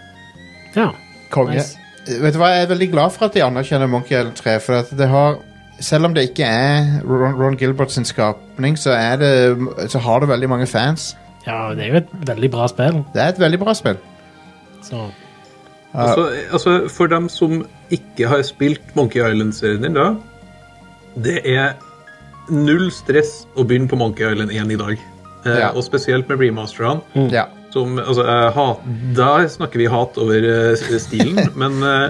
ja.
Konge.
Nice.
Vet du hva, Jeg er veldig glad for at de anerkjenner Monkey Island 3. For at det har, selv om det ikke er Ron, Ron Gilbert sin skapning, så, er det, så har det veldig mange fans.
ja, det er jo et veldig bra spill.
Det er et veldig bra spill.
Så.
Altså, altså, for dem som ikke har spilt Monkey Island-serien din, da Det er null stress å begynne på Monkey Island 1 i dag. Eh,
Ja.
Og spesielt med remasterne.
Ja.
Som, altså, jeg hat, der snakker vi hat over eh, s- stilen, men eh,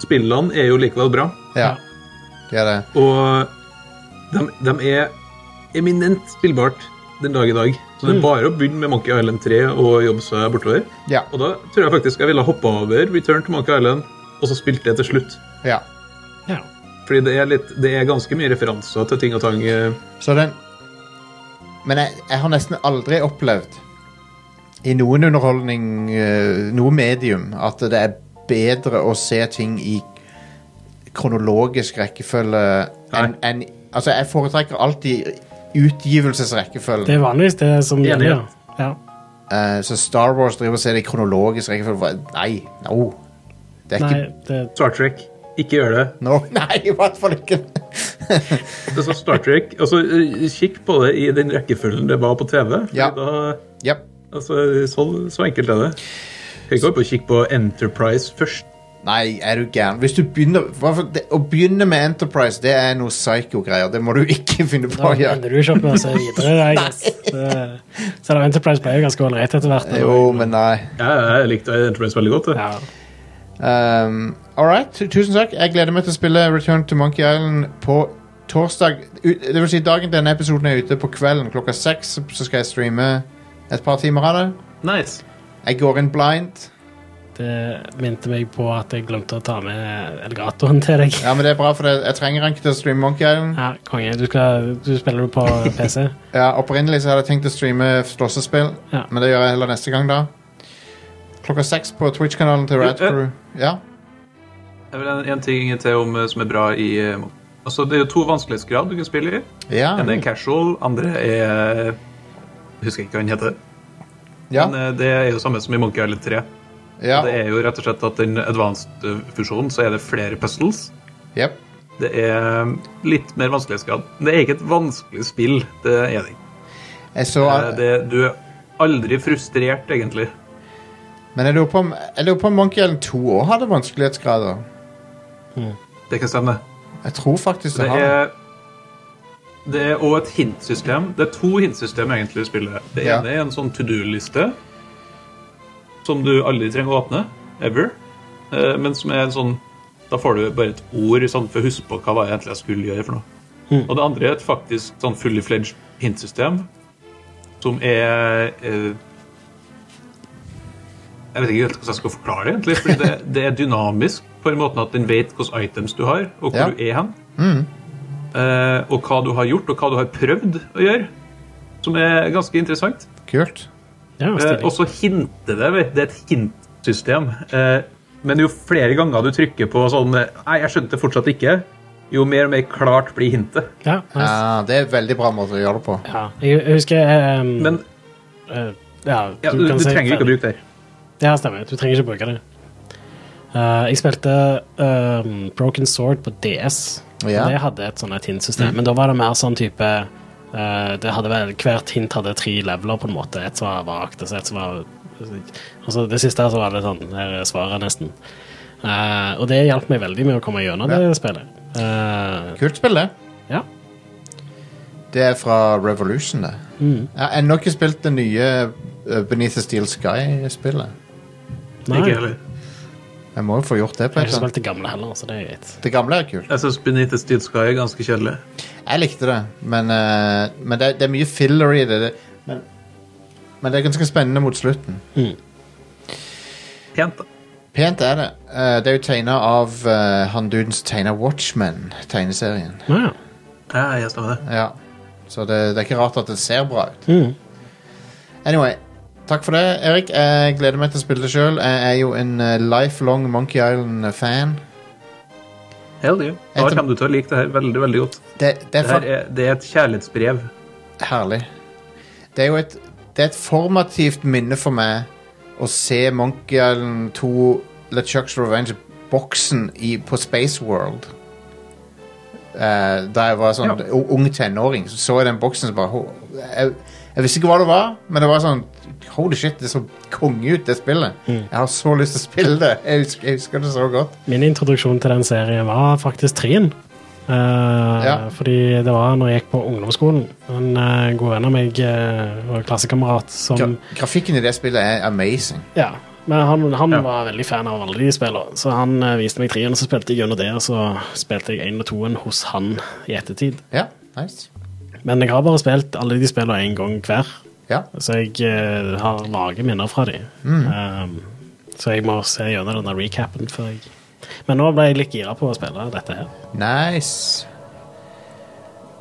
spillene er jo likevel bra.
ja. Det er det.
Og de, de er eminent spillbart den dag i dag. Så det er bare å begynne med Monkey Island 3 og jobbe seg bortover.
Ja.
Og da tror jeg faktisk jeg ville hoppa over Return to Monkey Island og så spilt det til slutt.
ja.
Ja.
Fordi det er, litt, det er ganske mye referanser til ting og tang. eh,
Så den Men jeg, jeg har nesten aldri opplevd i noen underholdning, eh, noe medium, at det er bedre å se ting i kronologisk rekkefølge enn enn- Altså, jeg foretrekker alltid utgivelsesrekkefølge.
Det er vanligvis det som
Enig,
gjelder. Ja. Ja.
Eh, så Star Wars driver og ser det i kronologisk rekkefølge. Hva- Nei, no. Det er
Nei,
ikke
det,
Star Trek. Ikke gjør det.
no. Nei, i hvert fall ikke.
Altså, Star Trek, altså, eh, Kikk på det i den rekkefølgen det var på TV. fordi
Ja.
Da,
Jep.
Altså, så, så enkelt er det. Skal ikke gå opp og kikke på Enterprise først.
Nei, er du gæren. Hvis du begynner hva for- det, Å begynne med Enterprise, det er noe psycho-greier. Det må du ikke finne på å
da
gjøre.
ender du ikke opp med å se videre. Jeg, guess. Så- Selv om Enterprise ble jo ganske ålreit etter hvert. da.
Jo, men nei.
Ja, jeg likte Enterprise veldig godt.
Ja.
Um, All right, tu- tusen takk. Jeg gleder meg til å spille Return to Monkey Island på torsdag. Ut- Det vil si dagen denne episoden er ute på kvelden klokka seks, så- så skal jeg streame et par timer av det.
Nice.
Jeg går inn blind.
Det minte meg på at jeg glemte å ta med elgatoren til deg.
Ja, men det er bra, for det- jeg trenger han ikke til å streame Monkey Island.
Ja, konge. Du, skal, du spiller jo på PC.
Ja, Opprinnelig så hadde jeg tenkt å streame slåssespill,
Ja.
men
Eh,
det gjør jeg heller neste gang, da. Klokka seks på Twitch-kanalen til Radcrew. Ja.
Det er vel en, en ting til om, eh, som er bra i eh, Mo- Altså, Det er jo to vanskelighetsgrad du kan spille i.
Ja,
Den ene er casual, andre er Jeg husker ikke hva den heter.
ja,
Men eh, det er jo samme som i Monkey Island 3.
ja,
Det er jo rett og slett at den advanced-fusjonen så er det flere puzzles.
jep.
Det er eh, litt mer vanskelighetsgrad. Men det er ikke et vanskelig spill. Det er det ikke.
Jeg så
Eh, Det, du er aldri frustrert, egentlig.
Men jeg lurer på om, jeg lurer på om Monkey Island 2 òg hadde vanskelighetsgrader.
Det kan stemme.
Jeg tror faktisk det
Det
har det.
er det er òg et hintsystem. Det er to hintsystem egentlig i spillet. Det
Ja.
ene er en sånn to do-liste som du aldri trenger å åpne. Ever. Eh, Men som er en sånn Da får du bare et ord sånn, for å huske på hva var det egentlig jeg skulle gjøre. for noe. Og det andre er et faktisk sånn fully fledged hintsystem som er eh, Jeg vet ikke helt hvordan jeg skal forklare det, egentlig. Fordi det, det er dynamisk på den måten at den vet hvilke items du har, og hvor
Ja.
du er hen. Eh, og hva du har gjort, og hva du har prøvd å gjøre. Som er ganske interessant.
Kult.
Ja,
Eh, og
stilig.
så hinter det. Vet, du, det er et hintsystem. Eh, men jo flere ganger du trykker på sånn eh, Nei, jeg skjønte det fortsatt ikke. Jo mer og mer klart blir hintet.
Ja, nice.
Ja, det er en veldig bra måte å gjøre det på.
ja. Jeg jeg husker ehm,
Men
eh, ja,
ja, du,
kan
du
si-
trenger jo ikke å bruke det. her.
Ja, stemmer. Du trenger ikke bruke det. Eh, jeg spilte ehm, Broken Sword på DS.
Ja. Mm.
Og Det hadde et sånn et hintsystem, men da var det mer sånn type eh, det hadde vel, Hvert hint hadde tre leveler, på en måte. Et som var vagt, og så et som var altså, Det siste her så var det sånn her er svaret, nesten. Eh, og det hjalp meg veldig med å komme gjennom
Ja.
det spillet. Eh,
Kult spill, det.
ja.
Det er fra Revolution, det.
Mm.
Jeg har ennå ikke spilt det nye uh, Beneath the Steel Sky-spillet.
Nei,
Ikke
jeg har
heller.
Jeg må jo få gjort det på et eller
ikke
annet.
spilt det gamle heller, så det er greit.
Det gamle er kult.
Jeg syns Benitez Steel Sky er ganske kjedelig.
Jeg likte det, men, eh, men det, det er mye filler i det. det men, men det er ganske spennende mot slutten.
Pent, da.
Pent er det. Eh, det er jo tegna av eh, han dudens tegner Watchmen, tegneserien.
Nå, ja.
Ja, jeg stemmer det.
Ja. Så det, det er ikke rart at det ser bra ut.
Mhm.
Anyway, takk for det, Erik. Jeg gleder meg til å spille det sjøl. Jeg er jo en eh, lifelong Monkey Island-fan.
Hell yeah. Da
Etter-
kommer du til å like det her veldig veldig godt.
Det, det
Det,
er
her
fa-
er, det er et kjærlighetsbrev.
herlig. Det er jo et, det er et formativt minne for meg å se Monkey Island 2 LeChucks Revenge-boksen i- på Space World. Eh, da jeg var sånn
Ja.
u- ung tenåring, så så jeg den boksen og bare ho- jeg, jeg visste ikke hva det var, men det var sånn Holy shit, det så konge ut, det spillet. Jeg har så lyst til å spille det. Jeg husker, jeg husker det så godt.
Min introduksjon til den serien var faktisk Trien. Eh,
Ja.
Fordi det var når jeg gikk på ungdomsskolen. En eh, god venn av meg eh, og klassekamerat som
Gra grafikken i det spillet er amazing.
Ja, men han, han
Ja.
var veldig fan av alle de spillene, så han eh, viste meg Trien, og så spilte jeg gjennom det, og så spilte jeg én og toen hos han i ettertid.
Ja, nice.
Men jeg har bare spilt alle de spillene én gang hver,
Ja,
så jeg eh, har vage minner fra de.
Mm.
Eh, så jeg må se gjennom denne recapen før jeg Men nå ble jeg litt gira på å spille dette her.
nice.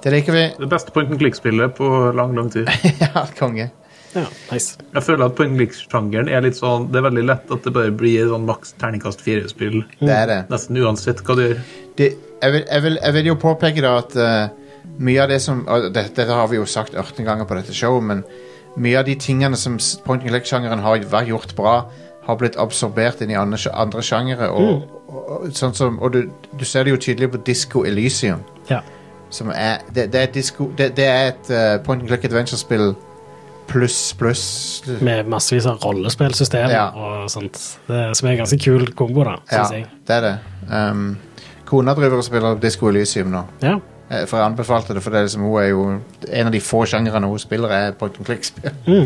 Det liker vi.
Det beste point and click-spillet på lang, lang tid.
Ja, konge.
Ja, nice.
Jeg føler at point and click-sjangeren er litt sånn Det er veldig lett at det bare blir sånn maks terningkast fire-spill.
Det er det.
Nesten uansett hva du gjør.
det jeg, vil, jeg, vil, jeg vil jo påpeke da at eh, mye av det som og det, Dette har vi jo sagt 18 ganger på dette showet, men mye av de tingene som s- point and click-sjangeren har vært gjort bra, har blitt absorbert inn i andre, sj- andre sjangere. Og, og, og, sånn som, og du, du ser det jo tydelig på Disco Elysium.
Ja.
Som er, det, det er, et disco, det, det er et eh, point and click adventure-spill pluss, pluss
Med massevis av rollespillsystem
Ja.
og sånt, det, som er en ganske kul kombo, da,
Ja,
syns jeg.
det er det. Um, kona driver og spiller Disco Elysium nå.
Ja.
Eh, For jeg anbefalte det, for det er liksom, hun er jo en av de få sjangrene hun spiller, er point and click-spill.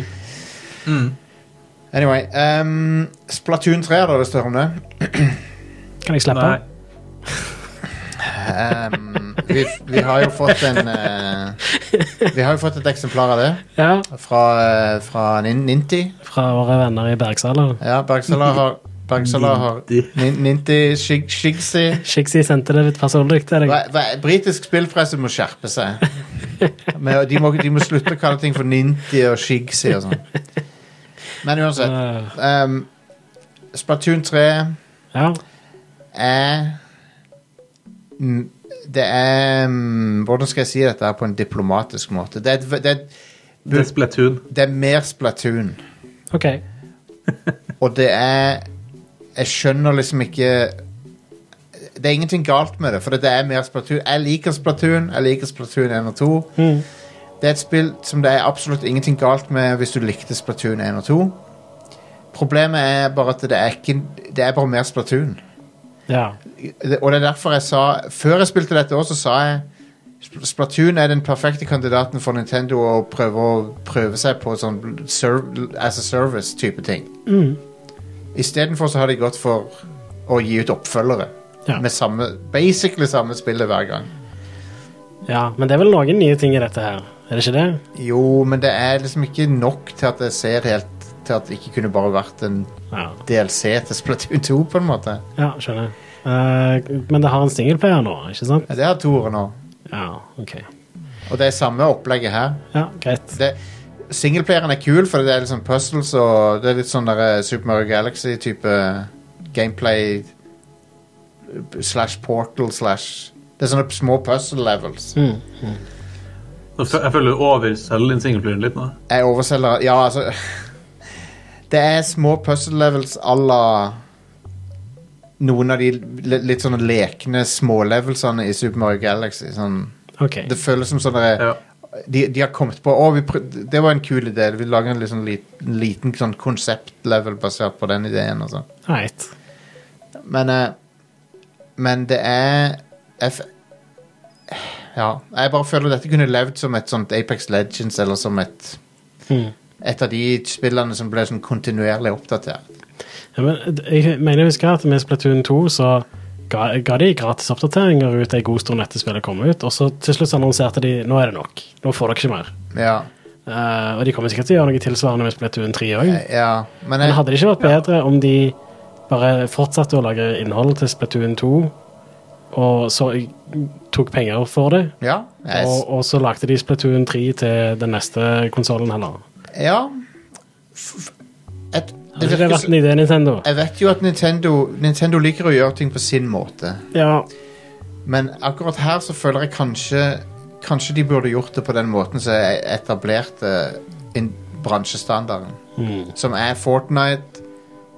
Mm.
Anyway ehm, Splatoon 3 er det det står om det.
Kan jeg slippe?
Nei,
Ehm, vi, vi har jo fått en eh, Vi har jo fått et eksemplar av det
Ja,
fra, eh, fra Nin- Ninti.
Fra våre venner i Bergsala.
Ja, Bergsala har, Bergsala har Nin- Ninti Shig, Shigsi
Shixi sendte det litt personlig til deg.
hva, hva, Britisk spillpresse må skjerpe seg. Men de, må, de må slutte å kalle ting for Ninti og Shigsi og sånn. Men uansett.
Eh,
Ehm, Splatoon 3
ja.
er n- Det er mm, Hvordan skal jeg si dette her på en diplomatisk måte? Det er, et v- det er,
Det er Splatoon.
det er mer Splatoon.
OK.
Og det er Jeg skjønner liksom ikke Det er ingenting galt med det, for det er mer Splatoon. Jeg liker Splatoon. Jeg liker Splatoon 1 og 2. Det er et spill som det er absolutt ingenting galt med hvis du likte Splatoon 1 og 2. Problemet er bare at det er ikke Det er bare mer Splatoon.
Ja.
Det- Og det er derfor jeg sa Før jeg spilte dette også, sa jeg Spl- Splatoon er den perfekte kandidaten for Nintendo å prøve, å prøve seg på sånn serv, as a service-type ting. Istedenfor så har de gått for å gi ut oppfølgere
Ja.
med samme, basically samme spillet hver gang.
ja. Men det er vel noen nye ting i dette her, er det ikke det?
Jo, men det er liksom ikke nok til at jeg ser helt til at det ikke kunne bare vært en
Ja.
DLC til Splatoon 2, på en måte.
ja skjønner. Eh, men det har en singleplayer nå, ikke sant?
Ja, Det har Tore nå.
Ja, OK.
Og det er samme opplegget her.
Ja, greit.
det, Singleplayeren er kul, for det er litt sånn puzzles og det er litt sånn der eh, Super Mario Galaxy-type gameplay eh, slash portal slash Det er sånne små puzzle levels.
Nå fø- Jeg føler du overselger den singelplayeren litt nå.
Jeg overselger Ja, altså Det er små puzzle levels à la noen av de li- litt sånne lekne smålevelsene i Super Mario Galaxy. Sånn,
OK.
det føles som sånne
Ja.
de, de har kommet på å, vi prøv, Det var en kul idé. Vi lager en litt sånn lit, liten sånn konseptlevel basert på den ideen. Og sånn.
Greit.
men, eh, men det er F Ja. Jeg bare føler dette kunne levd som et sånt Apex Legends eller som et
Mhm.
Et av de spillene som ble sånn kontinuerlig oppdatert.
Ja, men, d- jeg mener jeg husker at med Splatoon 2 så ga, ga de gratis oppdateringer ut en god stund etter spillet kom ut, og så til slutt så annonserte de nå er det nok, nå får dere ikke mer.
Ja.
Eh, og de kommer sikkert til å gjøre noe tilsvarende med Splatoon 3 òg.
eh, ja men
Hmm. Men
jeg,
hadde det ikke vært bedre om de bare fortsatte å lage innhold til Splatoon 2, og så tok penger for det,
ja, jeg,
og, og så lagde de Splatoon 3 til den neste konsollen heller?
ja. F- f- Et, det
Hadde ikke det
virker,
vært
som-
en idé, Nintendo?
jeg vet jo at Nintendo, Nintendo liker å gjøre ting på sin måte.
Ja,
Men akkurat her så føler jeg kanskje Kanskje de burde gjort det på den måten som jeg etablerte eh, in- bransjestandarden. Som er Fortnite,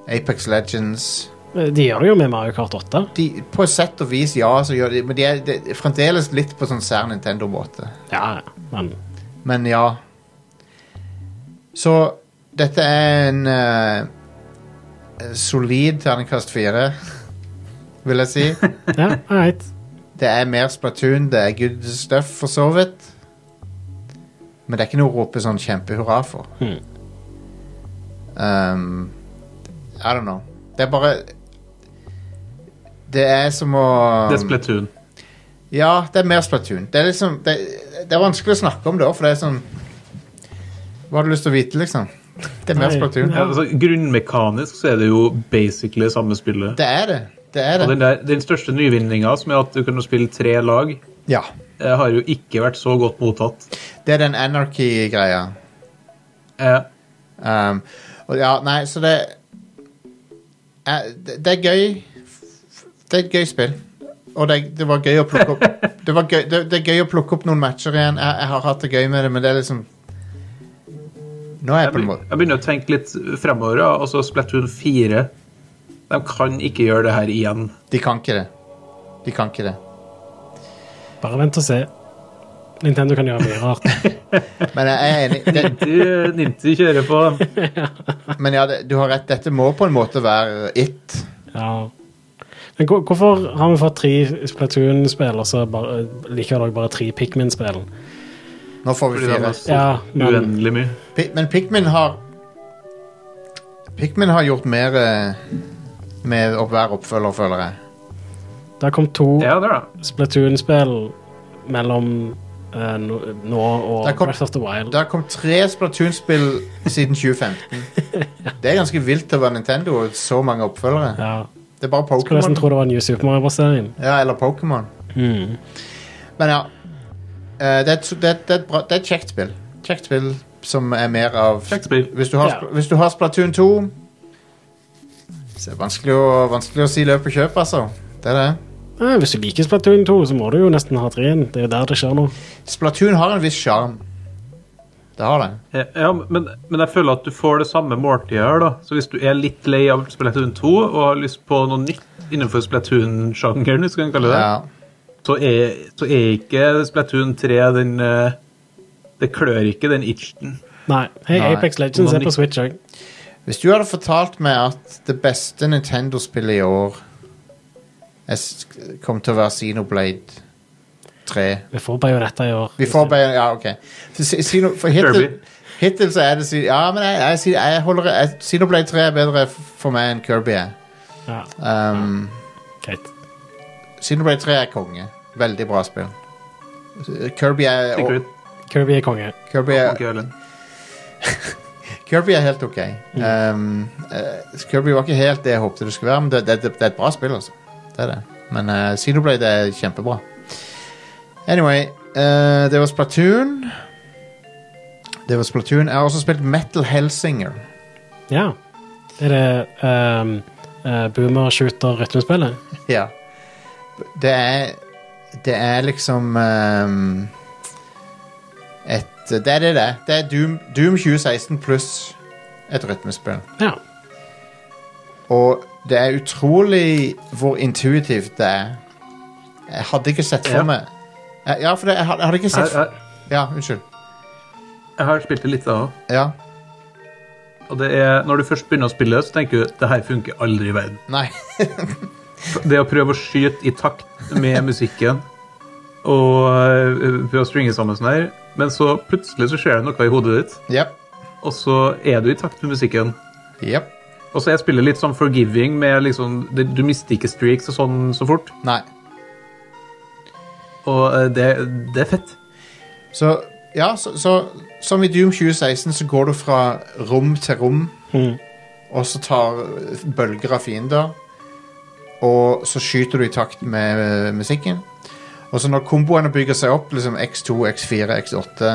Apex Legends
Eh, de gjør det jo med Mario Kart 8.
de, På sett og vis, ja, så gjør de men de er, de er fremdeles litt på sånn sær Nintendo-måte.
Ja, ja, men
Men ja. Så dette er en eh, solid terningkast fire, vil jeg si.
Ja, greit.
Det er mer Splatoon, det er good stuff for så vidt. Men det er ikke noe å rope sånn kjempehurra for.
Hmm.
Um, I don't know. Det er bare Det er som å
Det er Splatoon.
Ja, det er mer Splatoon. Det er liksom Det, det er vanskelig å snakke om det òg, for det er sånn Hva har du lyst til å vite, liksom? Det er mer
Nei.
Splatoon.
Ja, altså, grunnmekanisk så er det jo basically samme spillet.
Det er det. Det er
Og
det.
den, der, den største nyvinninga, som er at du kunne spille tre lag,
Ja.
eh, har jo ikke vært så godt mottatt.
Det er den anarchy-greia.
Eh,
Um, og ja, nei, så det Eh, Det det er gøy. Det er et gøy spill. Og det, det var gøy å plukke opp det, var gøy, det, det er gøy å plukke opp noen matcher igjen. Jeg, jeg har hatt det gøy med det, men det er liksom Nå er jeg
jeg,
på en
be-
måte
jeg begynner å tenke litt fremover. Ja. Altså Splatoon 4 De kan ikke gjøre det her igjen.
De kan ikke det. De kan ikke det.
Bare vent og se. Nintendo kan gjøre mye rart.
Men jeg er enig. Det,
De, eh, Ninty kjører på. dem.
men ja, det, du har rett. Dette må på en måte være it.
Ja. Men hvor- hvorfor har vi fått tre Splatoon-spill, og så bare, eh, liker dere bare tre Pikmin-spill?
Nå får vi
Fordi de
fire.
har så
Ja, men-
uendelig mye.
Pi men Pikmin har Pikmin har gjort mer eh, med opp- hver oppfølger, føler jeg.
Det har kommet to
Ja, det er det.
Splatoon-spill mellom eh, nå- nå
Det
og
kom-
Breath of the Wild.
Det har kommet tre Splatoon-spill siden 2015. Det er ganske vilt til å være Nintendo og så mange oppfølgere.
Ja.
Det er bare
Skulle nesten
Pokémon.
tro Mm. det var en New Super Mario-serien.
Ja, eller Pokémon. Men ja. eh, Det er, et- det, er- det, er et bra, det er et kjekt spill. Kjekt spill som er mer av
Kjekt spill.
Hvis du har,
Ja.
Spl- hvis du har Splatoon 2 så er det vanskelig å, vanskelig å si løp og kjøp, altså. Det er det.
Nei, Eh, hvis du liker Splatoon 2, så må du jo nesten ha 3-en. Det er jo der det skjer noe.
Splatoon har en viss sjarm. Det har det.
Ja, ja, men, men jeg føler at du får det samme måltidet her, da. Så hvis du er litt lei av Splatoon 2 og har lyst på noe nytt innenfor Splatoon-sjangeren, hvis du kan kalle det det,
Ja.
så, er, så er ikke Splatoon 3 den eh, Det klør ikke den itchen.
Nei. Hei,
Nei.
Apex Legends er på Switch òg.
Hvis du hadde fortalt meg at det beste Nintendo-spillet i år er s- kom til å være Xenoblade 3
Vi får Bajonetta i år.
Vi får bare Ja, OK. Så, si- si no- for hittil,
Kirby.
hittil så er det si- Ja, men jeg, jeg, sier- jeg holder jeg, Xenoblade 3 er bedre f- for meg enn Kirby er.
Ja,
Um,
greit.
Xenoblade 3 er konge. Veldig bra spill. Kirby er,
Stikker
og,
ut.
Kirby er konge.
Kirby
Ja.
er Kirby er helt ok. Um, eh, Kirby var ikke helt det jeg håpte det skulle være, men det, det, det, det er et bra spill, altså. Det er det. Men eh, Xenoblade er kjempebra. Anyway, eh, det var Splatoon. Det var Splatoon. Jeg har også spilt Metal Hellsinger.
Ja. Det er det um, uh, boomer-shooter-rytmespillet.
Ja. Det er Det er liksom ehm, et Det er det det er. Det er Doom, Doom 2016 pluss et rytmespill.
Ja.
Og det er utrolig hvor intuitivt det er. Jeg hadde ikke sett for
Ja.
meg Eh, Ja, for det, jeg had- jeg hadde ikke
Jeg,
sett for...
jeg,
Ja, unnskyld.
jeg har spilt det litt, da òg.
Ja.
Og det er, når du først begynner å spille, så tenker du det her funker aldri i verden.
Nei.
Det å prøve å skyte i takt med musikken og eh, prøve å stringe sammen sånn her, men så plutselig så skjer det noe i hodet ditt,
Jepp.
og så er du i takt med musikken.
Jepp.
Og så er spillet litt sånn forgiving, med liksom det- Du mister ikke streaks og sånn så fort.
Nei.
Og eh, det, det er fett.
Så ja, så, så som i Doom 2016 så går du fra rom til rom, og så tar bølger av fiender, og så skyter du i takt med eh, musikken. Og så når komboene bygger seg opp, liksom X2, X4, X8,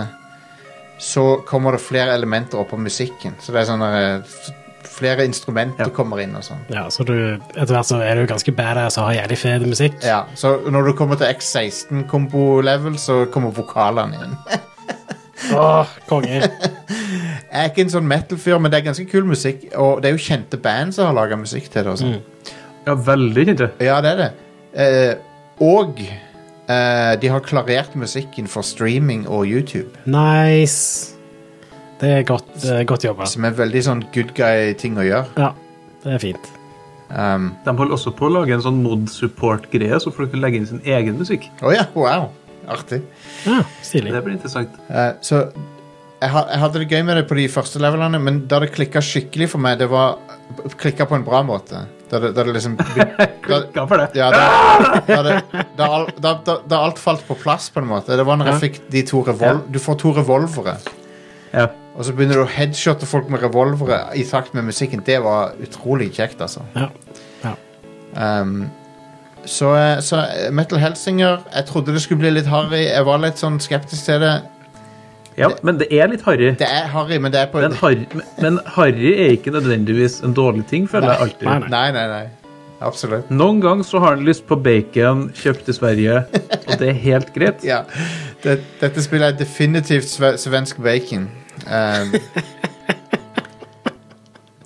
så kommer det flere elementer opp av musikken. Så det er sånn der, eh, Flere instrumenter
Ja.
kommer inn og sånn.
ja så du, etter hvert så er du ganske badass og har jævlig fet musikk.
Ja, så når du kommer til X16-kombo-level, så kommer vokalene inn.
Åh, konge.
Jeg er ikke en sånn metal-fyr, men det er ganske kul musikk. Og det er jo kjente band som har laga musikk til det. og sånn.
Ja, veldig kjente.
Ja, det er det. Eh, og eh, de har klarert musikken for streaming og YouTube,
Nice. Det er godt, eh, godt jobba.
som er veldig sånn good guy-ting å gjøre.
Ja, det er fint.
Um,
De holder også på å lage en sånn mod support-greie, så folk kan legge inn sin egen musikk.
Å ja, wow. Artig.
Ja,
Det
Stilig.
blir interessant.
Eh, så jeg, ha- jeg hadde det gøy med det på de første levelene, men da det klikka skikkelig for meg, det var klikka på en bra måte. Da det, da det liksom da,
Klikka for det.
Ja, da, da, det, da, al- da, da, da alt falt på plass, på en måte. Det var når jeg fikk de to revol Du får to revolvere,
Ja.
og så begynner du å headshotte folk med revolvere i takt med musikken. Det var utrolig kjekt, altså.
Ja.
Um, så, eh, så Metal Helsinger Jeg trodde det skulle bli litt harry. Jeg var litt sånn skeptisk til det.
ja, men det er litt harry.
Det er harry, men det er på
Men harry, men harry er ikke nødvendigvis en dårlig ting, føler jeg alltid.
Nei, nei.
Nei, nei, nei. Absolutt.
Noen ganger så har han lyst på bacon kjøpt i Sverige, og det er helt greit.
Ja. Det, dette spillet er definitivt sve, svensk bacon. Um,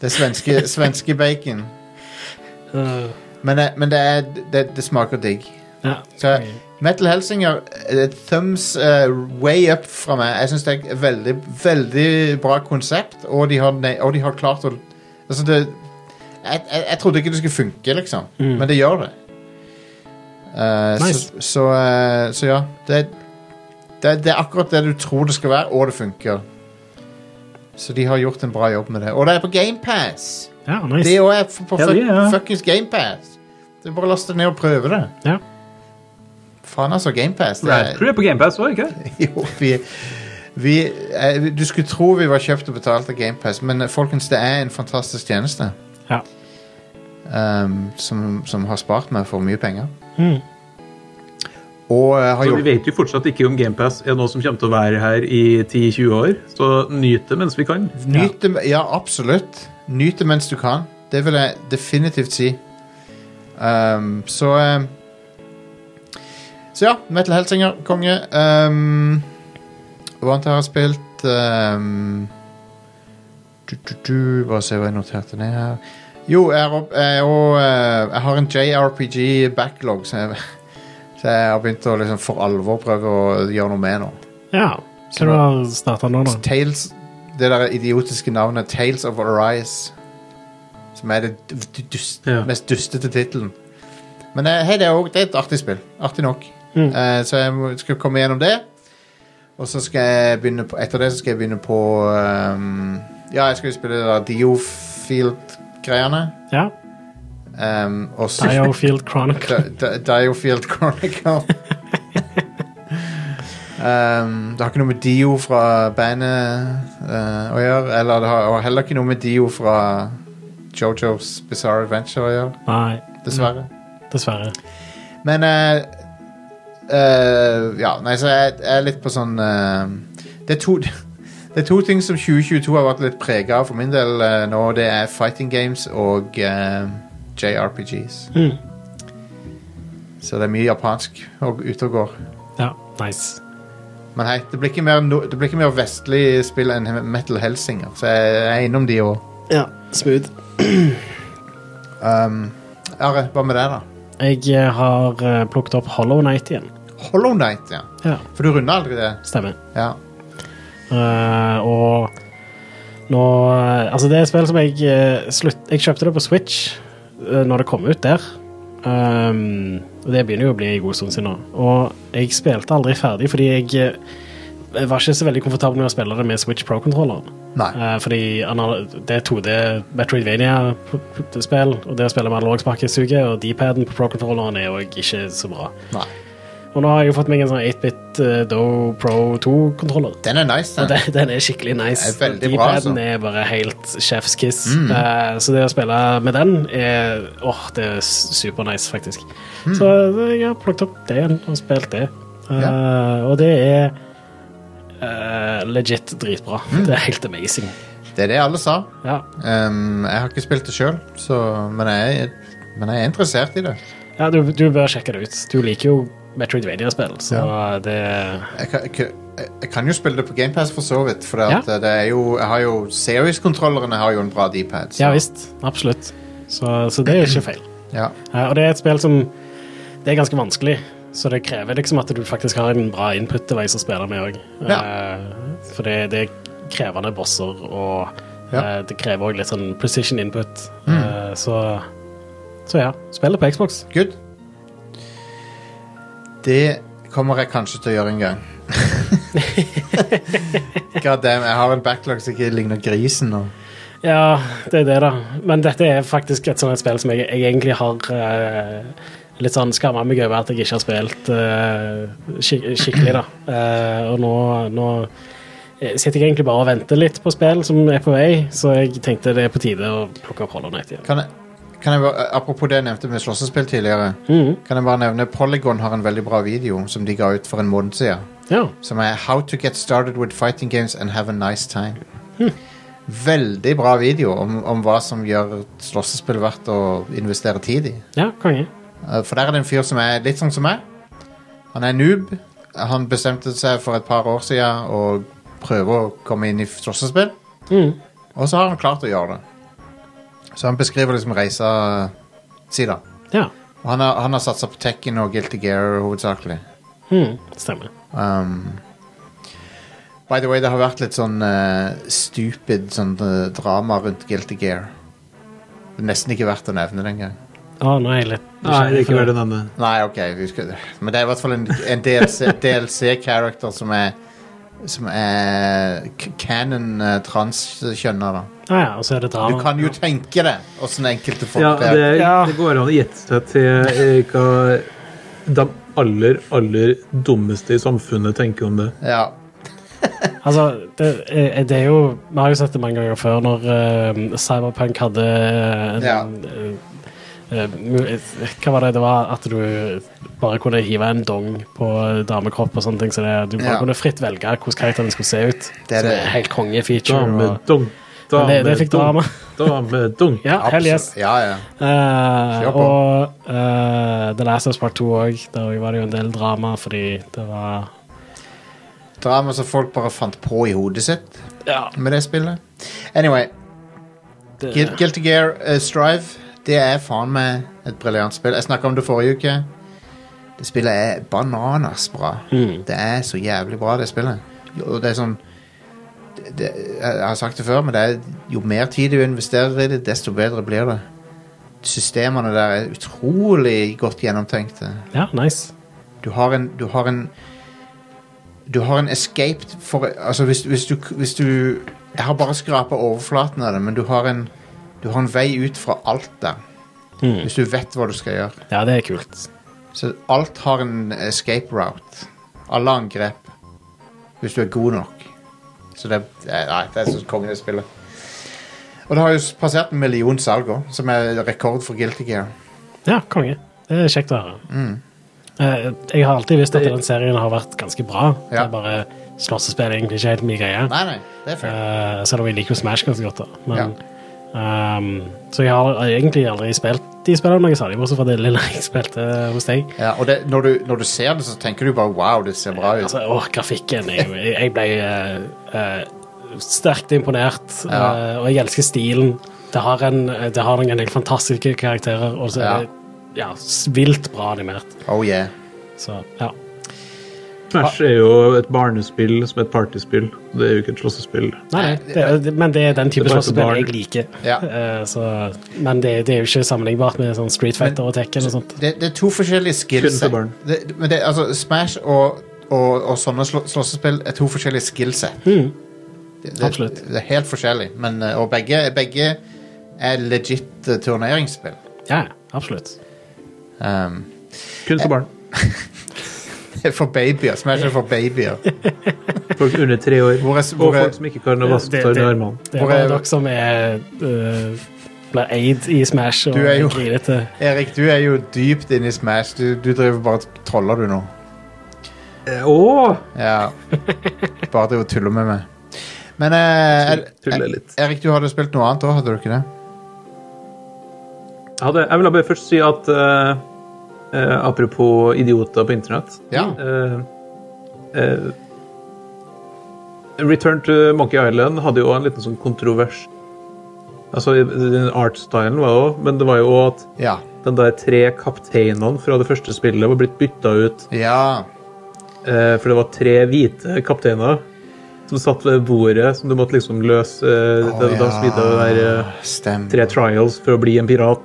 det er svenske, svenske bacon.
Eh,
Men, det- men det, er, det, det smaker digg.
ja.
Så Metal Helsinger eh, thumbs eh, way up fra meg. Jeg syns det er et veldig, veldig bra konsept, og de har, ne- og de har klart å Altså, det jeg, jeg, jeg trodde ikke det skulle funke, liksom,
Mm.
men det gjør det. Eh,
Nice.
så, så, eh, så ja. Det, det, det er akkurat det du tror det skal være, og det funker. Så de har gjort en bra jobb med det. Og det er på GamePass!
ja,
Det
nice.
òg er på, på
Hell
fuck,
yeah.
fuckings GamePass. Det er bare å laste ned og prøve det.
Ja.
Faen, altså. GamePass.
Red Crew er på GamePass òg, ikke sant?
Jo, vi, vi eh, Du skulle tro vi var kjøpt og betalt av GamePass, men eh, folkens, det er en fantastisk tjeneste
Ja.
ehm, som, som har spart meg for mye penger. Og eh, har
Så vi
gjort
vet jo fortsatt ikke om GamePass er noe som kommer til å være her i 10-20 år, så nyt det mens vi kan.
Nyt det, ja, absolutt. Nyt det mens du kan. Det vil jeg definitivt si. Um, så um, Så ja, Metal Helsinger, konge. Um, hva annet jeg har spilt um, du, du, du, Bare se hva jeg noterte ned her. Jo, jeg, er opp, jeg, er jo, eh, jeg har en JRPG-backlog, så, jeg- så jeg har begynt å liksom for alvor prøve å gjøre noe med nå.
Ja. Hva du har du starta nå, da?
Tales, det der idiotiske navnet Tales of Arise. Som er det d- d- dust,
Ja.
mest dustete tittelen. Men eh, hei, det, er også, det er et artig spill. Artig nok. Eh, så jeg må- skal komme gjennom det. Og så skal jeg begynne på Etter det så skal jeg begynne på ehm, Ja, jeg skal jo spille det der Diofield-greiene.
Ja.
Um, og så
Diofield Chronicle.
Di- Di- Diofield Chronicle. um, det har ikke noe med Dio fra bandet eh, å gjøre. Eller det har og heller ikke noe med Dio fra Jojo's Bizarre Adventure å gjøre,
Nei,
dessverre.
dessverre.
Men eh, eh, Ja, nei, så jeg, jeg er litt på sånn eh, det, er to, det er to ting som 2022 har vært litt prega av for min del eh, nå. Det er fighting games og eh, JRPGs.
Mm.
Så det er mye japansk og ute og går.
Ja, nice.
Men hei, det blir ikke mer, no, det blir ikke mer vestlig spill enn Metal Helsinger, så jeg er innom de òg.
Ja, smooth.
Um, Are, hva med deg, da?
Jeg eh, har eh, plukket opp Hollow Night igjen.
Hollow Night, ja.
Ja,
For du runder aldri det?
stemmer.
Ja.
Eh, og nå eh, Altså, det er et spill som jeg eh, slutt... Jeg kjøpte det på Switch uh, når det kom ut der. Um, og det begynner jo å bli en god stund siden nå. Og jeg spilte aldri ferdig fordi jeg, eh, jeg var ikke så veldig komfortabel med å spille det med Switch Pro-kontrolleren.
Nei.
Eh, fordi anal- det er 2D Metroidvania-spill, og det å spille med analogspakke suger, og D-paden på Pro-kontrolleren er jo ikke så bra.
Nei.
Og nå har jeg jo fått meg en sånn 8-bit eh, Do Pro 2-kontroller.
Den er nice, den.
Og den, den er skikkelig nice.
Det er veldig bra,
D-paden
altså. Mm.
er bare helt chef's kiss. Eh, så det å spille med den er åh, det er supernice, faktisk.
Mm.
Så eh, jeg har plukket opp det igjen og spilt det. Eh, Og det er eh, legit dritbra.
Mm.
Det er helt amazing.
Det er det alle sa.
Ja.
Um, jeg har ikke spilt det sjøl, men, jeg- men jeg er interessert i det.
ja, du, du bør sjekke det ut. Du liker jo Metroidvania-spill, så det
Jeg kan, ikke- jeg, jeg kan jo spille det på GamePass for så vidt, for det,
Ja.
at det er jo, jeg har jo Series-kontrollerne har jo en bra D-pad. så-
Ja visst. Absolutt. Så, så det er ikke feil.
Ja.
Eh, Og det er et spill som Det er ganske vanskelig, så det krever liksom at du faktisk har en bra input til å spille med òg.
Ja.
For det, det er krevende bosser, og
Ja. Mm.
eh, det krever òg litt sånn precision input. Eh, Så så ja, spiller på Xbox.
Good. Det kommer jeg kanskje til å gjøre en gang. God damn, jeg har en backlog som ikke ligner grisen nå.
Ja, det er det, da. Men dette er faktisk et sånt et spill som jeg, jeg egentlig har eh, litt sånn skamma meg over at jeg ikke har spilt eh, skik skikkelig, da. Eh, og nå, nå eh, sitter jeg egentlig bare og venter litt på spill som er på vei, så jeg tenkte det er på tide å plukke opp Hollow Night igjen.
Kan jeg, kan jeg bare, apropos det jeg nevnte med slåssespill tidligere,
Mm.
kan jeg bare nevne Polygon har en veldig bra video som de ga ut for en måned siden.
Ja.
Som er How to get started with fighting games and have a nice time. Veldig bra video om, om hva som gjør slåssespill verdt å investere tid i.
ja, konge.
Eh, For der er det en fyr som er litt sånn som meg. Han er noob. Han bestemte seg for et par år siden å prøve å komme inn i slåssespill. Og så har han klart å gjøre det. Så han beskriver liksom reisa si da.
Ja.
Og han har, han har satsa på Tekken og Guilty Gear hovedsakelig.
Mm, stemmer.
Um, by the way, det har vært litt sånn eh, stupid sånn, eh, drama rundt Guilty Gear. Det er nesten ikke verdt å nevne det engang.
Å, nå er jeg litt
Nei, det er ikke verdt å nevne.
Nei, ok. Vi skal, men det er i hvert fall en, en DLC-character som er som er k- canon eh, transkjønner, da.
Ah, ja, og så er det
Du
drama.
kan jo tenke det, åssen enkelte folk
Ja, det,
er.
Ja.
det går an å gjette seg til eh, hva de aller, aller dummeste i samfunnet tenker om det.
Ja.
Altså, det, eh, det er jo Vi har jo sett det mange ganger før, når eh, Cyberpunk hadde en,
Ja.
eh, mu- eh, Hva var det det var? At du bare kunne hive en dong på damekropp og sånne ting. Så det, du bare
Ja.
kunne fritt velge hvordan karakteren skulle se ut.
Det er
som
det.
er helt konge-feature.
Dame,
og-
dong. Da
Men det- det fikk drama.
Da var vi dunk.
Ja, hell yes.
Absolutt. Ja, ja.
Eh,
Kjør på.
og eh, The Last of Us Part 2 òg. Der var det jo en del drama fordi det var
Drama som folk bare fant på i hodet sitt
Ja.
med det spillet. Anyway,
Det,
Guil- Guilty Gear eh, Strive, det er faen meg et briljant spill. Jeg snakka om det forrige uke. Det spillet er bananas bra. Det er så jævlig bra, det spillet. Og det er sånn det, det, Jeg har sagt det før, men det er, jo mer tid du investerer i det, desto bedre blir det. Systemene der er utrolig godt gjennomtenkte.
ja, nice.
Du har en Du har en, du har en escape for Altså, hvis, hvis, du, hvis du Jeg har bare skrapa overflaten av det, men du har en Du har en vei ut fra alt der.
Mm.
Hvis du vet hva du skal gjøre.
Ja, det er kult.
Så alt har en escape route. Alle angrep. Hvis du er god nok. Så det, eh, nei, det er så kongen det spillet. Og det har jo s- passert en million salg òg, som er rekord for Guilty Gear.
Ja, konge. Det er kjekt å høre.
Mm.
Eh, jeg har alltid visst at den serien har vært ganske bra. Det
Ja.
er bare slåssespill er egentlig ikke helt min greie.
Nei, nei, det er fair.
Eh, selv om jeg liker jo Smash ganske godt. da Men, ehm, Så jeg har egentlig aldri spilt de spillene noe særlig, bortsett fra det lille jeg spilte hos deg.
Ja, og det, når, du, når du ser det, så tenker du bare wow, det ser bra ut.
Altså, åh, grafikken er jo Jeg jeg ble eh, eh, sterkt imponert,
Ja.
eh, og jeg elsker stilen. Det har, en, det har en del fantastiske karakterer, og så er
Ja.
det ja, s- vilt bra animert.
Oh yeah.
Så ja.
Smash er jo et barnespill som et partyspill. Det er jo ikke et slåssespill.
Nei, nei, det, er- det- men det er den type
Det er bare
slåssespill
barn.
jeg liker.
Ja.
Eh, så, men det, det er jo ikke sammenlignbart med sånn Street Fighter og Tekken og sånt.
Det, det er to forskjellige
Kun for
skillset.
barn.
Det, men det, altså, Smash og, og, og sånne slå, slåssespill er to forskjellige skillset. Det, det,
Mm. Absolutt.
Det er helt forskjellig, men, eh, og begge, begge er legit eh, turneringsspill.
Ja, absolutt.
Um,
Kun for barn.
det er for babyer. Smash er for babyer.
Folk under tre år.
Hvor er,
Og
hvor er,
folk som ikke kan å vaske
Det-
seg under
det-
armene.
Det er
Hvor
bare
er-
dere som er eh, blir eid i Smash og eh,
Du er jo-
grinete.
Erik, du er jo dypt inne i Smash. Du, du driver bare og troller, du nå.
Eh, Åh!
Ja. Bare driver og tuller med meg. Men eh, er,
Tuller litt.
Erik, du hadde spilt noe annet òg, hadde du ikke det?
Jeg, hadde, jeg ville bare først si at eh, eh, apropos idioter på internett
Ja.
Mm.
eh, eh, Return to Monkey Island hadde jo en liten sånn kontrovers. Altså, den Artstylen var jo Men det var jo også at
Ja.
den der tre kapteinene fra det første spillet var blitt bytta ut.
ja.
Eh, for det var tre hvite kapteiner som satt ved bordet som du måtte liksom løse. Eh,
Å,
det, Da
ja.
skulle det være eh,
Stemmer.
tre trials for å bli en pirat.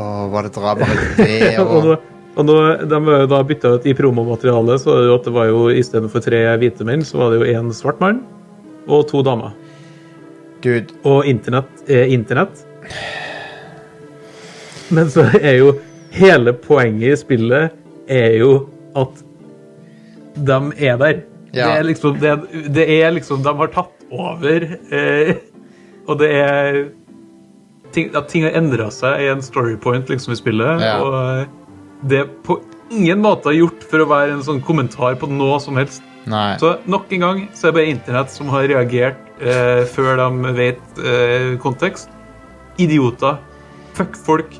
Åh, var det dra bare det
og
og
nå, og nå, de var jo da bytta ut i promomaterialet, så var det jo at det var jo istedenfor tre hvite menn, så var det jo én svart mann og to damer.
Dude,
Og internett er internett. Men så er jo hele poenget i spillet er jo at de er der.
Ja.
Det er liksom, det, det er liksom De har tatt over, eh, og det er ting, At ting har endra seg i en storypoint liksom, i spillet.
Ja.
Og eh, det er på ingen måte gjort for å være en sånn kommentar på noe som helst.
nei.
Så nok en gang så er det bare internett som har reagert eh, før de vet eh, kontekst. Idioter. Fuck folk.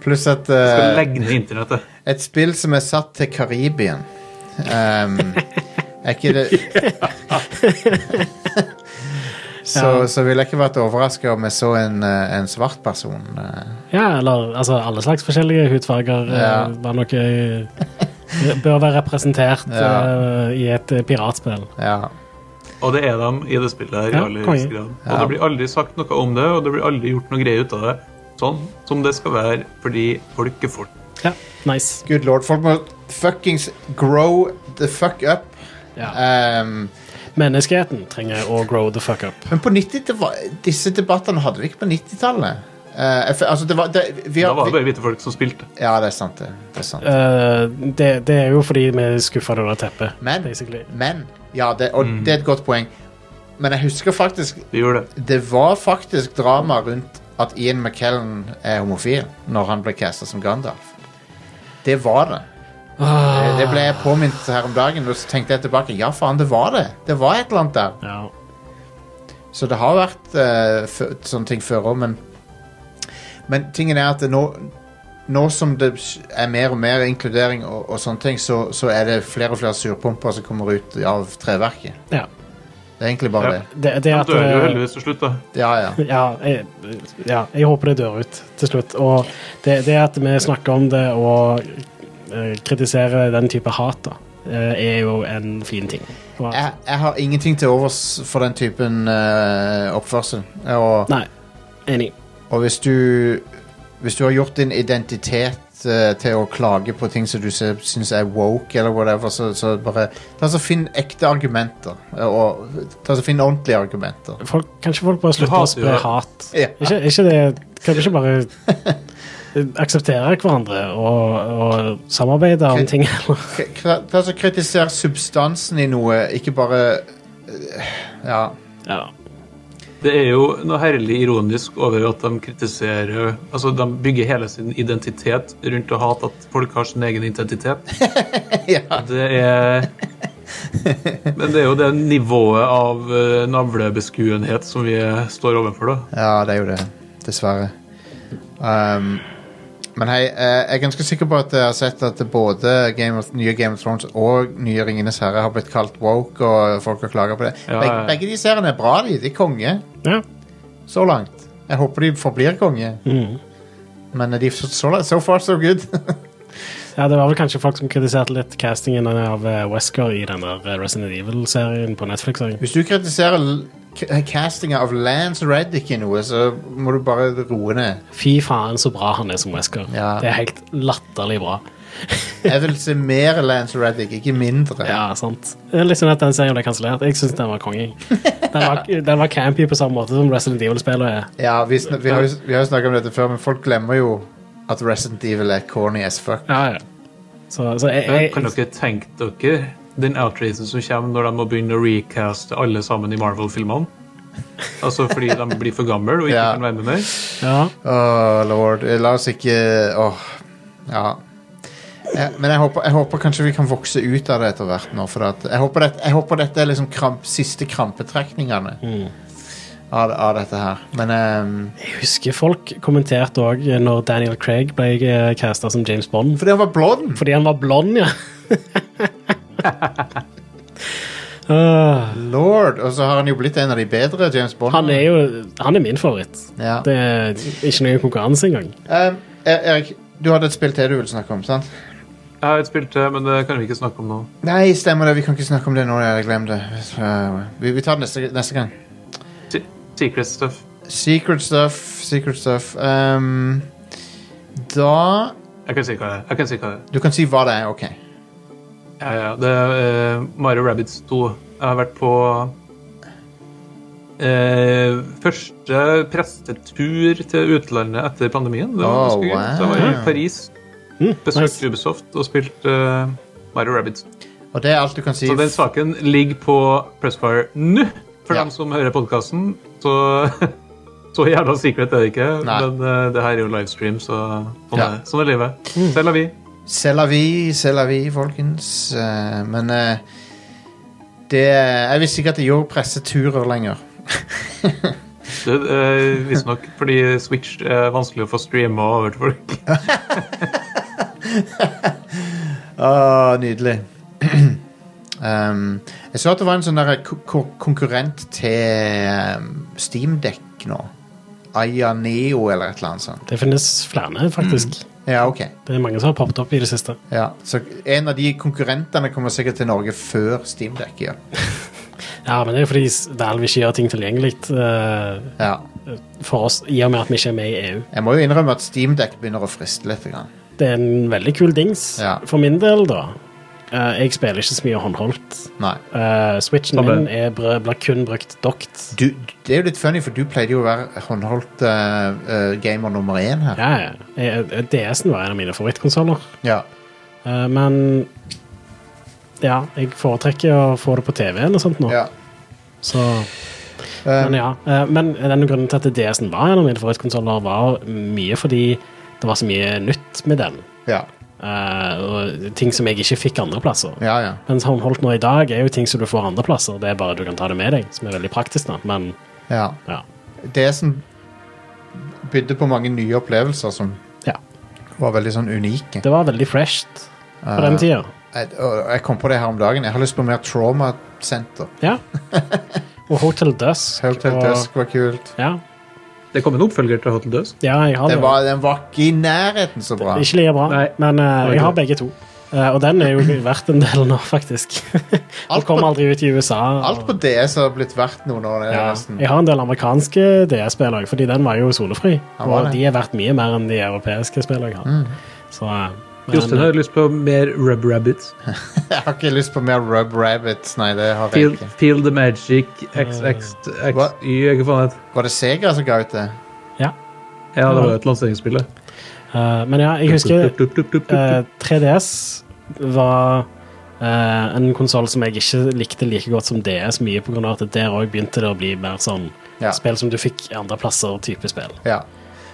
Pluss at
Skal
eh,
legge ned internettet.
et spill som er satt til Karibien um, Er ikke det så, så ville jeg ikke vært overraska om jeg så en, eh, en svart person. eh.
Ja, eller altså, alle slags forskjellige hudfarger
Ja.
eh, var noe, bør være representert
Ja.
eh, i et eh, piratspill.
Ja.
Og det er de i det spillet her.
Ja,
i aller
konge.
høyeste grad. Og
Ja.
det blir aldri sagt noe om det, og det blir aldri gjort noe greie ut av det. Sånn som det skal være, fordi folk er folk.
Ja, nice.
Good lord. Folk må fuckings grow the fuck up.
Ja.
Um,
Menneskeheten trenger å grow the fuck up.
men på 90 det var- disse debattene hadde vi ikke på 90-tallet. Eh, jeg f- altså, det var det, vi,
Da var det
vi,
bare hvite folk som spilte.
Ja, det er sant, det. det er sant.
Eh, det, det er jo fordi vi skuffa det under teppet,
Men-
basically.
Men Ja, det, og det er et godt poeng. Men jeg husker faktisk
Vi gjorde det.
Det var faktisk drama rundt at Ian McKellen er homofil når han ble casta som Gandalf. Det var det. Det, det ble jeg påminnet her om dagen, og så tenkte jeg tilbake. Ja, faen, det var det. Det var et eller annet der.
Ja.
Så det har vært eh, fø- sånne ting før òg, men Men tingen er at det nå, nå som det er mer og mer inkludering og, og sånne ting, så, så er det flere og flere surpumper som kommer ut av treverket.
Ja.
Det er egentlig bare
Ja.
det.
Det, det
Han
at eh,
dør jo
det-
heldigvis til slutt, da.
Ja, ja.
Ja jeg, ja, jeg håper det dør ut til slutt. Og det, det at vi snakker om det og eh, kritiserer den type hat, da, eh, er jo en fin ting. Og, at-
Jeg, jeg har ingenting til overs for den typen eh, oppførsel. Og,
nei, enig.
Og hvis du, hvis du har gjort din identitet eh, til å klage på ting som du ser- syns er woke, eller whatever, så, så bare ta så Finn ekte argumenter. eh, Og ta så Finn ordentlige argumenter.
Folk, kanskje folk bare slutter å
hater jo
spre
det.
hat.
Ja.
Ikke, ikke det, kan vi ikke bare akseptere hverandre og, og samarbeide om
Ok.
ting? eller?
K- k- Ta så Kritiser substansen i noe, ikke bare eh, Ja.
ja.
Det er jo noe herlig ironisk over at de kritiserer Altså, de bygger hele sin identitet rundt å hate at folk har sin egen identitet.
ja.
Det er Men det er jo det nivået av eh, navlebeskuenhet som vi står overfor, da.
Ja, det er jo det. Dessverre. Um, men hei, eh, jeg er ganske sikker på at jeg har sett at både Game of, nye Game of Thrones og nye Ringenes herre har blitt kalt woke, og folk har klaga på det.
Ja,
begge,
ja.
begge de seriene er bra, de. De er konge
ja.
så langt. Jeg håper de forblir konge. Men de er så, så, langt- so far, so good.
Ja, det var vel kanskje folk som kritiserte litt castingen av eh, Wesker i den der eh, Resident Evil-serien på Netflix. også.
Hvis du kritiserer l- k- castinga av Lance Reddick i noe, så må du bare roe ned.
Fy faen, så bra han er som Wesker.
Ja.
Det er helt latterlig bra.
Jeg vil se mer Lance Reddick, ikke mindre.
Ja, sant. Det er litt synd at den serien ble kansellert. Jeg syns den var konge. Den var, den var campy på samme måte som Resident Evil-spillet er.
Ja, vi, sn vi har jo vi har jo snakket om dette før, men folk glemmer jo at Resident Evil er corny as fuck.
Ja, ja. Så, så jeg,
Men Kan
jeg,
dere tenke dere den outracen som kommer når de må begynne å recaste alle sammen i Marvel-filmene? Altså fordi de blir for gamle og ikke
Ja.
kan være med mer?
ja.
Åh, lord. La oss ikke Åh. Ja. Eh, Men jeg håper, jeg håper kanskje vi kan vokse ut av det etter hvert. nå for at jeg, håper det, jeg håper dette er liksom kramp, siste krampetrekningene
Mm.
av, av dette her. Men ehm,
Jeg husker folk kommenterte òg når Daniel Craig ble eh, casta som James Bond.
Fordi han var blond!
Fordi han var blond, ja. Ah,
Lord! Og så har han jo blitt en av de bedre James Bond.
han er jo Han er min favoritt.
ja.
Det er ikke noen konkurranse engang.
Ehm, Er- Erik, du hadde et spill til du ville snakke om, sant?
Jeg har et spill til, men det kan vi ikke snakke om nå.
Nei, stemmer det. Vi kan ikke snakke om det nå. Jeg glemte det. Så, Vi, vi tar det neste, neste gang.
Se- Secret stuff.
Secret stuff, secret stuff. Ehm, da
Jeg kan si hva det er. Jeg kan si hva det er.
Du kan si hva det er, OK.
Ja, ja, det er eh, Mario Rabbids 2. Jeg har vært på eh, første prestetur til utlandet etter pandemien. Det var
Oh,
ganske gøy. Så jeg var
wow.
i Paris,
Mm,
besøkte
nice.
Ubisoft og spilte eh, Mario Rabbids.
Og det er alt du kan si.
Så den saken ligger på Pressfire nå, for
Ja.
dem som hører podkasten. Så, så jævla secret er det ikke,
Nei.
men eh, det her er jo livestream, så sånn,
Ja.
er, det. sånn er livet.
Mm.
Selv har vi.
C'est la vie, c'est la vie, folkens. Eh, men eh, det Jeg visste ikke at de gjorde presseturer lenger.
Det, eh, Visstnok fordi Switch er vanskelig å få streama over til folk.
Ah, nydelig. um, jeg så at det var en sånn der ko- ko- konkurrent til um, Steamdekk nå. Aya Neo eller et eller annet sånt.
Det finnes flere, faktisk.
Ja, ok.
Det er mange som har poppet opp i det siste.
Ja, så en av de konkurrentene kommer sikkert til Norge før Steamdekk gjør.
Ja, men det er jo fordi s- Valve ikke gjør ting tilgjengelig eh,
Ja.
for oss, i og med at vi ikke er med i EU.
Jeg må jo innrømme at Steamdekk begynner å friste litt. Grann.
Det er en veldig kul dings.
Ja.
For min del, da. eh, jeg spiller ikke så mye håndholdt.
Nei.
Eh, Switchen
Samme.
min er br blir kun brukt dokt.
Du, det er jo litt funny, for du pleide jo å være håndholdt eh, eh, gamer nummer én her.
Ja, ja. Jeg- DS-en var en av mine favorittkonsoller.
Ja.
Eh, men ja, jeg foretrekker å få det på TV eller sånt nå.
ja.
Så
Eh,
Men ja, eh, men denne grunnen til at DS-en var en av mine favorittkonsoller, var mye fordi det var så mye nytt med den.
ja.
eh, og ting som jeg ikke fikk andre plasser.
Ja, ja.
Mens håndholdt nå i dag er jo ting som du får andre plasser, det er bare du kan ta det med deg, som er veldig praktisk, da. Men
Ja.
Ja.
DS-en bydde på mange nye opplevelser som
Ja.
var veldig sånn unike.
Det var veldig fresht på
Eh.
den tida.
Jeg, og jeg kom på det her om dagen. Jeg har lyst på mer Trauma Center.
Ja. Og Hotel Dusk.
Hotel
og,
Dusk var kult.
Ja.
Det kom en oppfølger til Hotel Dusk.
ja, jeg har
Det
det.
var, den var ikke i nærheten så bra.
Ikke like bra,
Nei.
men eh,
Var ikke
jeg har
det.
begge to. Eh, og den er jo verdt en del nå, faktisk. Den
Alt på-
kom aldri ut i USA. og-
Alt på DS har blitt verdt noen år. det er
ja.
nesten.
Jeg har en del amerikanske DS-spill òg, fordi den var jo solefri.
Ja, var det. Mm.
Og de er verdt mye mer enn de europeiske spillene jeg har. Så, eh, men-
Jostein har lyst på mer Rub Rabbits.
Jeg har ikke lyst på mer Rub Rabbits. Nei, det har jeg
Feel,
ikke.
feel the Magic,
Eh,
XXXY, hva
Hva?
faen het
Var det Sega som ga ut det?
ja.
Ja, det var jo et lanseringsspill, det.
Eh, men ja, jeg husker
Dup, dup, dup, dup, dup, dup.
Eh, 3DS var eh, en konsoll som jeg ikke likte like godt som DS, mye på grunn av at der òg begynte det å bli mer sånn
Ja.
spill som du fikk i andre plasser, type spill.
Ja.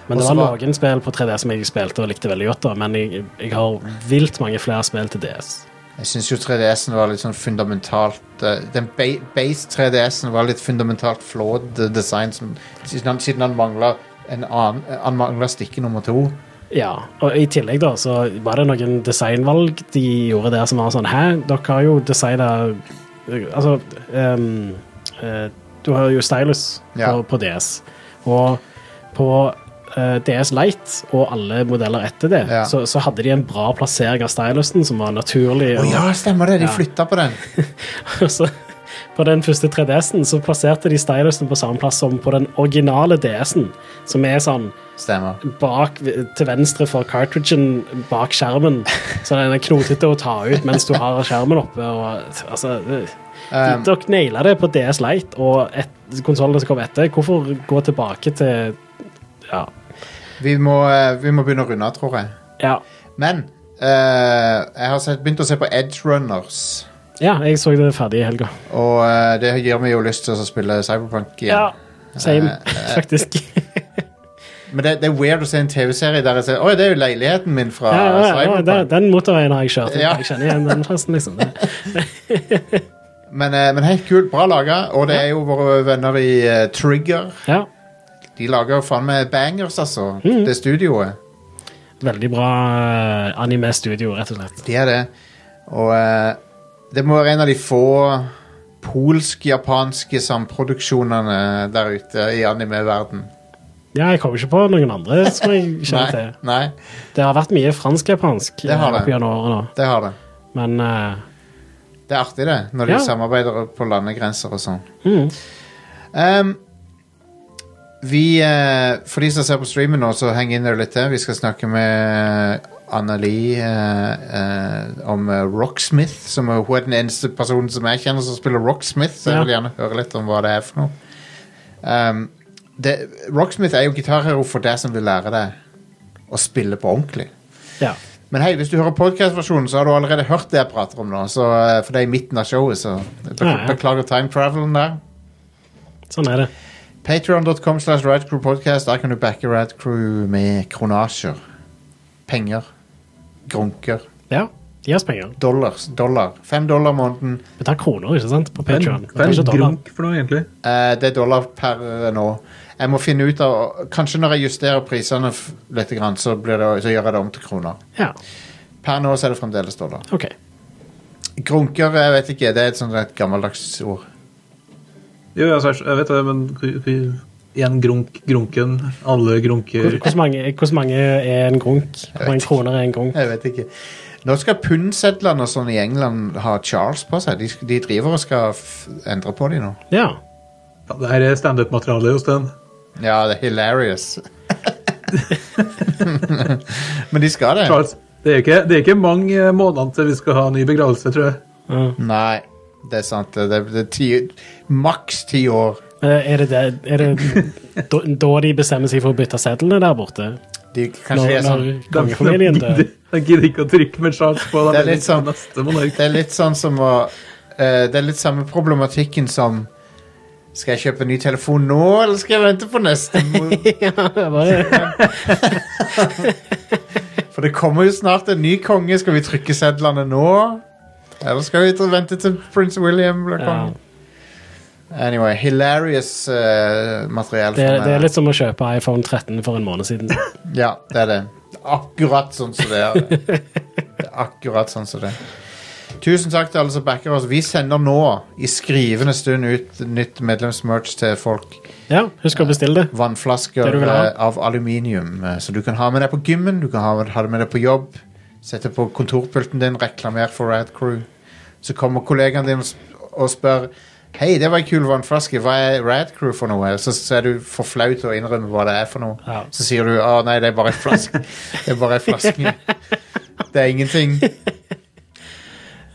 Men det
Også
var
var-
noen spill på 3DS som jeg spilte og likte veldig godt, da, men jeg, jeg har vilt mange flere spill til DS.
Jeg syns jo 3DS-en var litt sånn fundamentalt eh, Den ba base 3DS-en var litt fundamentalt flawed eh, design, som, siden han, siden han mangla en annen eh, Han mangla stikke nummer to.
Ja, og i tillegg da, så var det noen designvalg de gjorde der som var sånn Hæ, dere har jo designa Altså ehm, eh, Du har jo stylus
Ja.
på, på DS. Og på eh, DS Lite og alle modeller etter det,
Ja.
så, så hadde de en bra plassering av stylusen som var naturlig.
Å
og-
ja, stemmer det! De
Ja.
flytta på den.
og så på den første 3DS-en så plasserte de stylusen på samme plass som på den originale DS-en, som er sånn
Stemmer.
bak, til venstre for cartridgen bak skjermen. Så den er knotete å ta ut mens du har skjermen oppe. Og, altså,
Um,
dere naila det på DS Lite og et- konsollene som kom etter. Hvorfor gå tilbake til Ja.
Vi må, eh, vi må begynne å runde av, tror jeg.
Ja,
Men eh, jeg har sett, begynt å se på Edge Runners.
ja jeg så det ferdig i helga.
Og eh, det gir meg jo lyst til å spille Cyberpunk
Ja.
igjen. Uh,
Same, faktisk.
Men det, det er weird å se en TV-serie der jeg sier Oi, det er jo leiligheten min fra
Ja, ja, ja,
Cyberpunk.
den, den motorveien har jeg kjørt.
Ja.
Jeg kjenner igjen den plassen, liksom. Det-
Men, eh, men helt kult, bra laga. Og det er jo våre venner i eh, Trigger.
Ja,
De lager jo faen meg bangers, altså.
Mm.
Det studioet.
veldig bra eh, anime-studio, rett og slett.
De er det. Og eh, det må være en av de få polsk-japanske samproduksjonene der ute i anime-verden.
Ja, jeg kommer ikke på noen andre som jeg kjenner
Nei,
til.
nei,
Det har vært mye fransk-japansk
Det har
eh,
det.
opp gjennom årene, nå.
det har det.
men eh,
Det er artig, det, når de
Ja.
samarbeider på landegrenser og sånn.
Mhm.
Ehm, vi, eh, for de som ser på streamen nå, så heng inn der litt til. Vi skal snakke med Anneli eh, eh, om eh, Rocksmith. Som er, hun er den eneste personen som jeg kjenner som spiller Rocksmith, så jeg
Ja.
vil gjerne høre litt om hva det er for noe. Ehm, det, Rocksmith er jo gitarhero for deg som vil lære deg å spille på ordentlig.
ja.
Men hei, hvis du hører podcastversjonen, så har du allerede hørt det jeg prater om nå. Så, eh, for det er i midten av showet, så bek
Ja, ja.
beklager time travelen der.
Sånn er det.
Patreon.com slash radcrewpodcast. Der kan du backe Radcrew med kronasjer. Penger. Grunker.
Ja, gi oss penger.
Dollars. Dollar. Fem dollar måneden.
Vi tar kroner, ikke sant, på
Men
Patreon.
Hva er en grunk for noe, egentlig?
Eh, det er dollar per eh, nå. Jeg må finne ut av Kanskje når jeg justerer prisene f- litt, grann, så, blir det, så gjør jeg det om til kroner.
Ja,
Per nå så er det fremdeles dollar.
ok.
Grunker, jeg vet ikke. Det er et sånt et gammeldags ord.
Jo, ja, altså, jeg vet det, men k- k- igjen grunk, grunken. Alle grunker.
Hvor- Hvordan mange, hvordan mange er en grunk? Hvor mange kroner er en grunk?
Jeg vet ikke. Nå skal pundsedlene og sånn i England ha Charles på seg. De, de driver og skal f endre på de nå.
Ja.
Ja, det her er standup-materiale, Jostein.
Ja, det er hilarious. Men de skal det.
Charles, Det er, ikke, det er ikke mange eh, månedene til vi skal ha ny begravelse, tror jeg.
Nei, det er sant. Det er, det er ti, maks ti år.
Men Eh, Er det, det, er det da- da de bestemmer seg for å bytte sedlene der borte?
De, kanskje
Når,
de er sånn
når kongefamilien dør?
Jeg gidder ikke å trykke med Charles på da
Det er
blir
litt sånn-
neste monark.
Det er litt sånn som å eh, Det er litt samme problematikken som Skal jeg kjøpe en ny telefon nå, eller skal jeg vente på neste?
Ja, bare-
For det kommer jo snart en ny konge. Skal vi trykke sedlene nå? Eller skal vi vente til prins William blir
Ja.
konge? Anyway, hilarious eh, materiell.
Det,
for meg.
det er litt som å kjøpe iPhone 13 for en måned siden.
Ja, det er det. Akkurat sånn som det er. Det er akkurat sånn som det er. Tusen takk til alle som backer oss. Vi sender nå, i skrivende stund, ut nytt medlemsmerch til folk.
Ja, husk å bestille det.
Vannflasker
Det du vil ha.
eh, av aluminium, eh, så du kan ha med deg på gymmen, du kan ha, ha det med deg på jobb. Sette på kontorpulten din, reklamer for Rad Crew. Så kommer kollegaen din og sp- og spør Hei, det var ei kul vannflaske, hva er Rad Crew for noe? Så, så er du for flau til å innrømme hva det er for noe.
Ja.
Så sier du å nei, det er bare ei flaske. Det er bare ei flaske. Det er ingenting.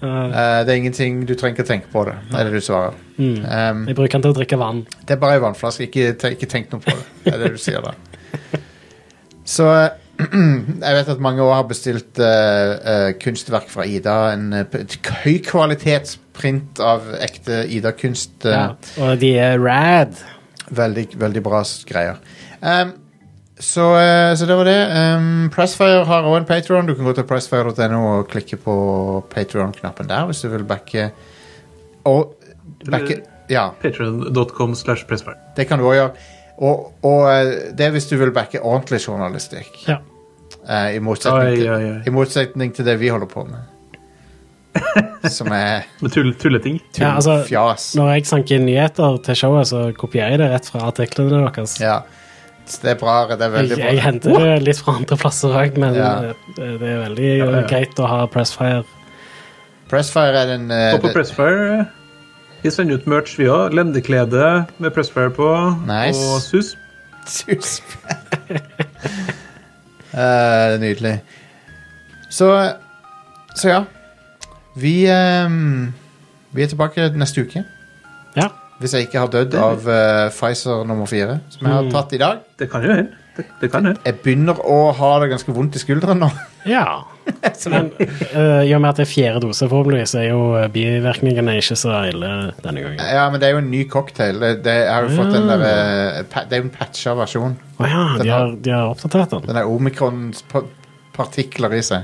Eh, det er ingenting, du trenger ikke tenke på det, er det du svarer.
Mm.
Um,
Jeg bruker den til å drikke vann.
det er bare ei vannflaske. Ikke, te- ikke tenk noe på det. Det er det du sier der. Så eh, jeg vet at mange også har bestilt eh, eh, kunstverk fra Ida. En eh, p- et høykvalitetsprint av ekte Ida-kunst. eh,
Ja. Og de er rad.
veldig, veldig bra s- greier. Ehm, så, eh, så det var det. Ehm, Pressfire har òg en Patreon Du kan gå til pressfire.no og klikke på patreon knappen der hvis du vil backe. Og backe Ja.
Patreon.com slash pressfire.
Det kan du òg gjøre. Og, og eh, det er hvis du vil backe ordentlig journalistikk.
Ja.
Eh, i, motsetning
Oi,
til,
oi, oi.
I motsetning til det vi holder på med. Som er
Med tull, tulleting.
tull,
Ja, altså,
fjas.
Når jeg sanker inn nyheter til showet, så kopierer jeg det rett fra artiklene deres.
Ja. Så Det er bra. Det er
Jeg,
veldig
jeg
bra.
henter det litt fra andre plasser òg, men
Ja.
eh, det er veldig eh, greit å ha Pressfire.
Pressfire er den eh,
Og på
det-
Pressfire eh, Vi sender ut merch, vi òg. Lendeklede med Pressfire på.
Nice.
Og SUS.
Sus. Eh, nydelig. Så Så ja. Vi ehm, Vi er tilbake neste uke.
Ja.
Hvis jeg ikke har dødd av eh, Pfizer nummer fire, som
Mm.
jeg har tatt i dag.
Det kan jo hende. Det, det kan hende.
Jeg begynner å ha det ganske vondt i skulderen nå.
ja. Men eh, i og med at det er fjerde dose, forhåpentligvis, er jo eh, bivirkningene ikke så ille denne gangen.
Ja, men det er jo en ny cocktail. Det, det, jeg har jo fått den der, eh, pa- det er jo en patcha versjon.
Å ja,
Den
de
har-
har, de har oppdatert den.
Den er omikron-partikler i seg.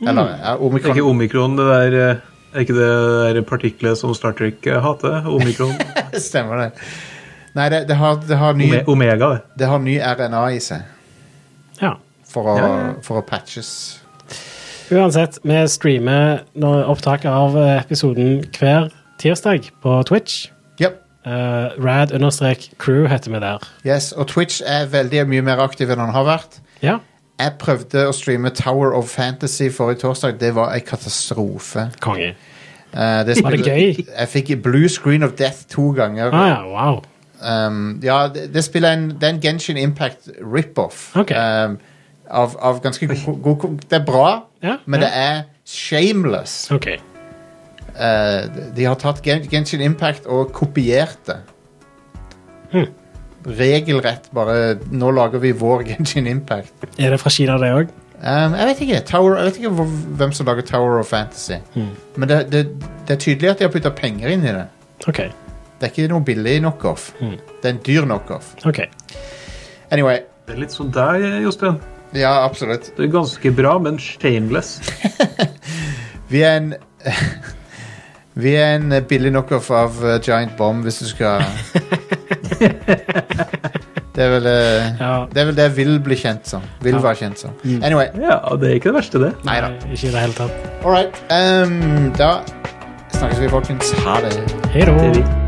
Eller ja,
Mm. Det er ikke
omikron
omikron, det der eh, Er ikke det der partiklet som Star Trek eh, hater? Omikron.
Stemmer det. Nei, det, det, har, det, har ny,
Ome omega, det.
det har ny RNA i seg
Ja.
for å,
Ja, ja.
for å patches.
Uansett, vi streamer nå- opptak av eh, episoden hver tirsdag på Twitch.
Yep.
Eh, Rad-crew heter vi der.
Yes, og Twitch er veldig mye mer aktiv enn han har vært.
Ja.
Jeg prøvde å streame Tower of Fantasy forrige torsdag. Det var en katastrofe.
Konge.
Eh, det
Var det
spillet-
gøy?
Jeg fikk blue screen of death to ganger.
Ah, ja, wow.
Um, ja, det, det spiller en Det er en Genshin Impact rip-off.
Ok.
Um, av, av ganske god, god kon- Det er bra,
Ja,
men
ja.
det er shameless.
OK.
Eh, de har tatt Gen Genshin Impact og kopiert det.
Hmm.
Regelrett bare Nå lager vi vår Genshin Impact.
Er det fra Kina, det òg?
Um, jeg vet ikke Tower, Jeg vet ikke hvor, hvem som lager Tower of Fantasy. Men det, det, det er tydelig at de har putta penger inn i det.
OK.
Det er ikke noe billig knockoff. Det er en dyr knockoff.
ok.
Anyway.
Det er litt sånn der, eh, Jostein.
Ja, absolutt.
Det er ganske bra, men shameless.
Vi er en Vi er en billig knockoff av eh, Giant Bomb, hvis du skal Det er vel eh,
Ja.
Det er vel det jeg vil bli kjent som. Vil være kjent som. Anyway.
Ja, det er ikke det verste, det.
Nei da.
Ikke i det hele tatt.
All right. Um, da snakkes vi, folkens. Ha det.
Hei
det er
da.
vi.